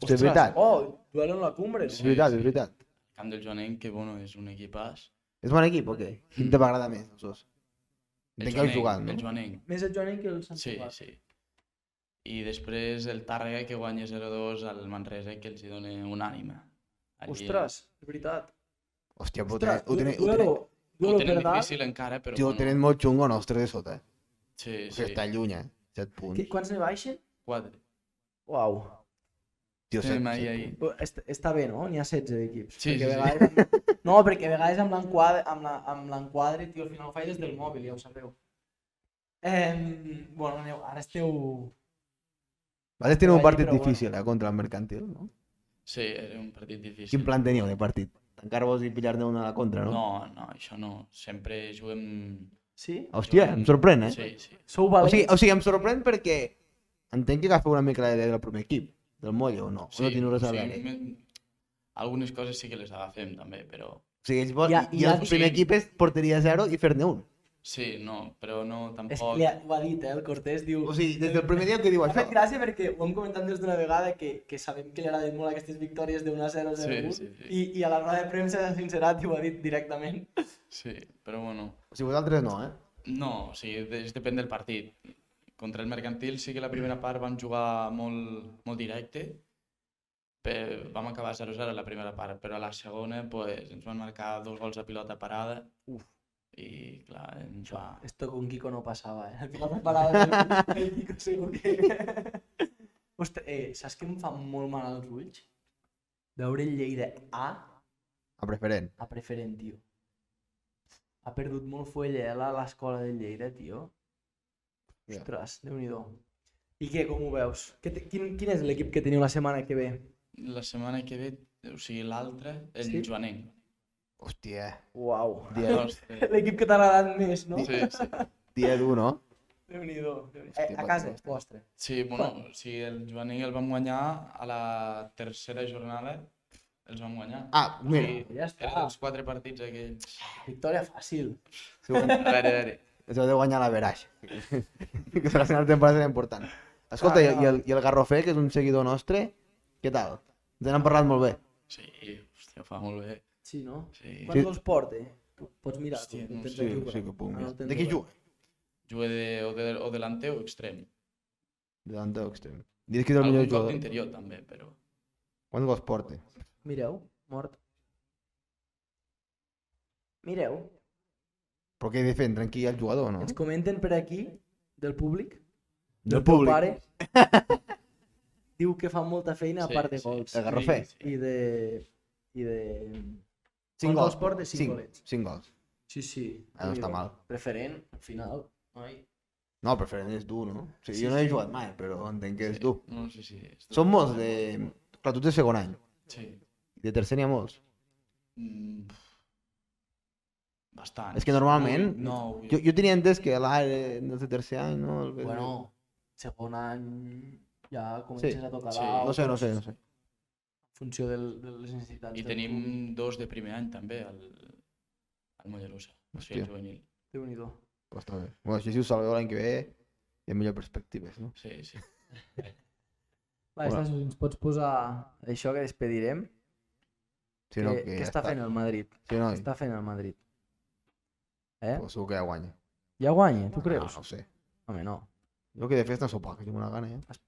Speaker 2: Ostres, és veritat.
Speaker 1: Oh, duelo en la cumbre.
Speaker 2: És
Speaker 3: sí,
Speaker 2: veritat,
Speaker 3: sí.
Speaker 2: és veritat.
Speaker 3: El camp del Joanenc, que bueno, és un equipàs.
Speaker 2: És bon equip, o què? Quin te m'agrada més, els dos?
Speaker 3: El
Speaker 2: De què heu
Speaker 3: Joanenc,
Speaker 2: jugat,
Speaker 3: El
Speaker 2: no?
Speaker 3: Joanenc,
Speaker 1: Més Mm. el Joanin que el Sant
Speaker 3: sí,
Speaker 1: Cugat.
Speaker 3: sí. I després el Tàrrega, que guanya 0-2 al Manresa, que els hi dona unànima. Allí
Speaker 1: Ostres, és veritat.
Speaker 2: Hòstia, però ho
Speaker 1: Ostres,
Speaker 2: tenen- ho tenen... ho
Speaker 1: duelo,
Speaker 2: tenen-
Speaker 3: Ho
Speaker 1: duelo
Speaker 3: tenen
Speaker 1: per dalt.
Speaker 3: difícil encara, però
Speaker 2: Tio, ho
Speaker 3: bueno.
Speaker 2: tenen molt xungo, no? Els tres de sota, eh?
Speaker 3: Sí,
Speaker 2: O
Speaker 3: sí.
Speaker 2: sigui, està lluny, eh? Set punts.
Speaker 1: Qui- Quants ne baixen?
Speaker 3: Quatre.
Speaker 1: Uau.
Speaker 2: Tio, set,
Speaker 3: Estem ahí,
Speaker 2: set
Speaker 3: ahí.
Speaker 2: punts.
Speaker 1: Està, està bé, no? N'hi ha 16 d'equips.
Speaker 3: Sí,
Speaker 1: perquè
Speaker 3: sí, sí.
Speaker 1: a vegades... sí. No, perquè a vegades amb l'enquadre, amb la- amb l'enquadre, tio, al final ho faig des del mòbil, ja ho sabeu. Eh, bueno, aneu, ara esteu...
Speaker 2: Vosaltres teniu este un
Speaker 1: Ahí,
Speaker 2: partit
Speaker 1: però bueno.
Speaker 2: difícil, eh? Contra el Mercantil, no?
Speaker 3: Sí, era un partit difícil.
Speaker 2: Quin plan teníeu de partit? Tancar-vos i pillar-ne una a la contra, no?
Speaker 3: No, no, això no. Sempre juguem...
Speaker 1: Sí?
Speaker 2: Hòstia,
Speaker 3: juguem-
Speaker 2: em sorprèn, eh?
Speaker 3: Sí, sí.
Speaker 1: Sou
Speaker 2: O
Speaker 1: valents.
Speaker 2: sigui, o sigui, em sorprèn perquè entenc que agafeu una mica la idea del primer equip, del Molle, o no? o no teniu res a
Speaker 3: o sigui,
Speaker 2: veure.
Speaker 3: men- algunes coses sí que les agafem també, però
Speaker 2: O sigui, ells volen...
Speaker 1: Ja-
Speaker 2: I, i,
Speaker 1: ja
Speaker 2: el
Speaker 1: dic-
Speaker 2: primer equip és porteria zero i fer-ne un.
Speaker 3: sí, no, però no
Speaker 1: És
Speaker 3: tampoc...
Speaker 1: que li ha, ho ha dit, eh, el Cortés, diu...
Speaker 2: O sigui, des del primer dia que diu
Speaker 1: M'ha
Speaker 2: això.
Speaker 1: fet gràcia perquè ho hem comentat més d'una vegada que, que sabem que li agraden molt aquestes victòries d'un a 0 a 0
Speaker 3: Sí, sí, sí.
Speaker 1: I, i a la roda de premsa s'ha sincerat i ho ha dit directament.
Speaker 3: Sí, però bueno,
Speaker 2: O sigui, vosaltres no, eh?
Speaker 3: no, o sigui, de- és, depèn del partit. Contra el Mercantil sí que la primera part vam jugar molt, molt directe, però vam acabar 0-0 a la primera part, però a la segona pues, ens van marcar dos gols a pilota parada
Speaker 1: Uf.
Speaker 3: i clar, ens va...
Speaker 1: Esto con Kiko no passava, eh? La preparada del el Kiko segur que... Ostres, eh, saps que em fa molt mal als ulls? Veure el Lleida A
Speaker 2: A preferent.
Speaker 1: a preferent, tio. Ha perdut molt fuelle eh, la- l'escola del Lleida, tio.
Speaker 2: Ja.
Speaker 1: Ostres, déu nhi I què, com ho veus? Què te- quin, quin és l'equip que teniu la setmana que ve?
Speaker 3: La setmana que ve, o sigui, l'altra, el
Speaker 1: Sí?
Speaker 3: Joanet.
Speaker 2: Hòstia,
Speaker 1: Uau.
Speaker 2: dia,
Speaker 1: L'equip que t'ha agradat més, no?
Speaker 3: Sí, sí.
Speaker 2: dia dur, no?
Speaker 1: Déu-n'hi-do.
Speaker 2: Hòstia,
Speaker 1: Eh, a casa, vostre.
Speaker 3: Sí, bueno, sí, el Joanet el vam guanyar a la tercera jornada, els vam guanyar.
Speaker 2: Ah, mira,
Speaker 3: Sí,
Speaker 1: Ja està. doncs,
Speaker 3: eren els quatre partits aquells.
Speaker 1: Victòria fàcil.
Speaker 2: segurament
Speaker 3: A veure, a veure.
Speaker 2: ens heu de guanyar la veraix. que serà la segona temporada serà important. Escolta, i, i, el, i el Garrofer, que és un seguidor nostre, què tal? Ens n'han parlat molt bé.
Speaker 3: Sí, hòstia, fa molt bé.
Speaker 1: Sí, no?
Speaker 3: Sí.
Speaker 1: Quants gols porta? Pots mirar.
Speaker 3: Hòstia, no
Speaker 1: tens
Speaker 3: sé,
Speaker 1: aquí, però.
Speaker 2: puc.
Speaker 1: Ah, no el tens
Speaker 2: De qui
Speaker 1: obert.
Speaker 2: juga?
Speaker 3: Jugué de, o, de, o delante o extrem.
Speaker 2: Davant de l'extrem. Dius que és el
Speaker 3: Algun
Speaker 2: millor
Speaker 3: cop
Speaker 2: jugador.
Speaker 3: d'interior també, però...
Speaker 2: Quants gols porta?
Speaker 1: Mireu, mort. Mireu,
Speaker 2: Però què he de fer? Tranquil el jugador, no?
Speaker 1: ens comenten per aquí, del públic,
Speaker 2: Del
Speaker 1: teu
Speaker 2: públic.
Speaker 1: pare, diu que fa molta feina a
Speaker 3: Sí,
Speaker 1: part de
Speaker 3: sí.
Speaker 1: gols.
Speaker 2: El Garrofer.
Speaker 3: Sí, sí.
Speaker 1: I de... I de...
Speaker 2: Cinc
Speaker 1: Quants
Speaker 2: gols.
Speaker 1: gols porta? Cinc golets.
Speaker 2: Cinc gols.
Speaker 1: Sí, sí.
Speaker 2: Ah, no està
Speaker 1: Déu-n'hi-do.
Speaker 2: mal.
Speaker 1: Preferent, al final, noi.
Speaker 2: No, preferent és dur, no? O sigui,
Speaker 1: Sí,
Speaker 2: jo no he
Speaker 1: sí.
Speaker 2: jugat mai, però entenc que és dur.
Speaker 3: No, sí, sí. és dur.
Speaker 2: Són molts de... Clar, tu ets de segon any.
Speaker 3: Sí.
Speaker 2: De tercer n'hi ha molts.
Speaker 3: Mm, pf. Bastant.
Speaker 2: És que normalment-
Speaker 3: No,
Speaker 2: Jo, jo tenia entès que l'Aire no és de tercer any, no? El...
Speaker 1: Bueno, segon any ja comences a tocar
Speaker 3: sí.
Speaker 1: dalt,
Speaker 2: No sé, no sé, no sé.
Speaker 1: en funció del, de les necessitats.
Speaker 3: I
Speaker 1: del
Speaker 3: tenim
Speaker 1: club.
Speaker 3: dos de primer any també, al, al Mollerussa. O sigui,
Speaker 2: Hòstia.
Speaker 3: el juvenil.
Speaker 1: Déu-n'hi-do.
Speaker 2: Però està bé. Bueno, així si ho salveu l'any que ve, hi ha millor perspectives, no?
Speaker 3: Sí, sí.
Speaker 1: Va,
Speaker 2: Hola.
Speaker 1: Estasis, ens pots posar això que despedirem?
Speaker 2: Si no,
Speaker 1: que,
Speaker 2: que,
Speaker 1: què
Speaker 2: ja
Speaker 1: està fent el Madrid?
Speaker 2: Si no,
Speaker 1: Està fent el Madrid. Eh?
Speaker 2: pues, segur que ja guanya.
Speaker 1: Ja guanya, tu creus?
Speaker 2: No, no ho sé.
Speaker 1: Home, no.
Speaker 2: Jo que de festa sopar, que tinc una gana, ja.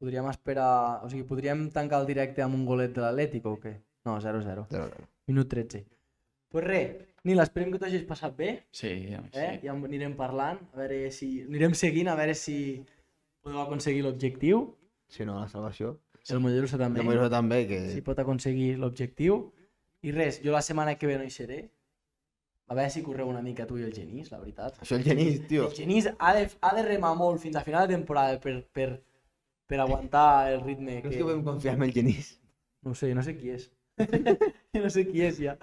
Speaker 1: Podríem esperar... O sigui, podríem tancar el directe amb un golet de l'Atlético o què? No, 0-0.
Speaker 2: Zero, zero.
Speaker 1: Minut 13. Pues res, Nil, esperem que t'ho hagis passat bé.
Speaker 3: Sí, a mi
Speaker 1: eh?
Speaker 3: sí.
Speaker 1: ja en anirem parlant, a veure si... Anirem seguint, a veure si podeu aconseguir l'objectiu.
Speaker 2: Si no, la salvació.
Speaker 1: El Mollerussa també,
Speaker 2: Jo m'ho també, que...
Speaker 1: si pot aconseguir l'objectiu. I res, jo la setmana que ve no hi seré. A veure si correu una mica tu i el Genís, la veritat.
Speaker 2: Això el genís, tio.
Speaker 1: El Genís ha de, ha de remar molt fins a final de temporada per, per, per aguantar el ritme
Speaker 2: Creus
Speaker 1: que...
Speaker 2: que podem confiar en el genís?
Speaker 1: No ho sé, no sé qui és. Jo no sé qui és ja.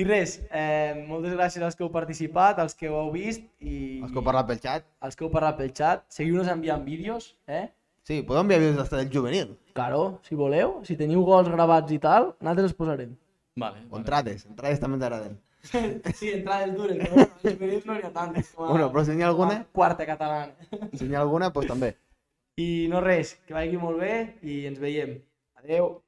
Speaker 1: I res, eh, moltes gràcies als que heu participat, als que ho heu vist i
Speaker 2: Els que heu parlat pel xat?
Speaker 1: als que heu parlat pel xat. Seguiu-nos enviant vídeos, eh?
Speaker 2: Sí, pues podeu enviar vídeos d'estat del juvenil.
Speaker 1: Claro, si voleu, si teniu gols gravats i tal, nosaltres els posarem.
Speaker 3: Vale,
Speaker 2: O
Speaker 3: vale.
Speaker 2: entrades, entrades també ens agraden.
Speaker 1: Sí, entrades dures, però bueno, els juvenils no n'hi ha tantes com a,
Speaker 2: Bueno, però si n'hi ha
Speaker 1: com a
Speaker 2: alguna,
Speaker 1: quarta catalana.
Speaker 2: pues si n'hi ha alguna, doncs també.
Speaker 1: I no res, que vagi molt bé i ens veiem. Adeu.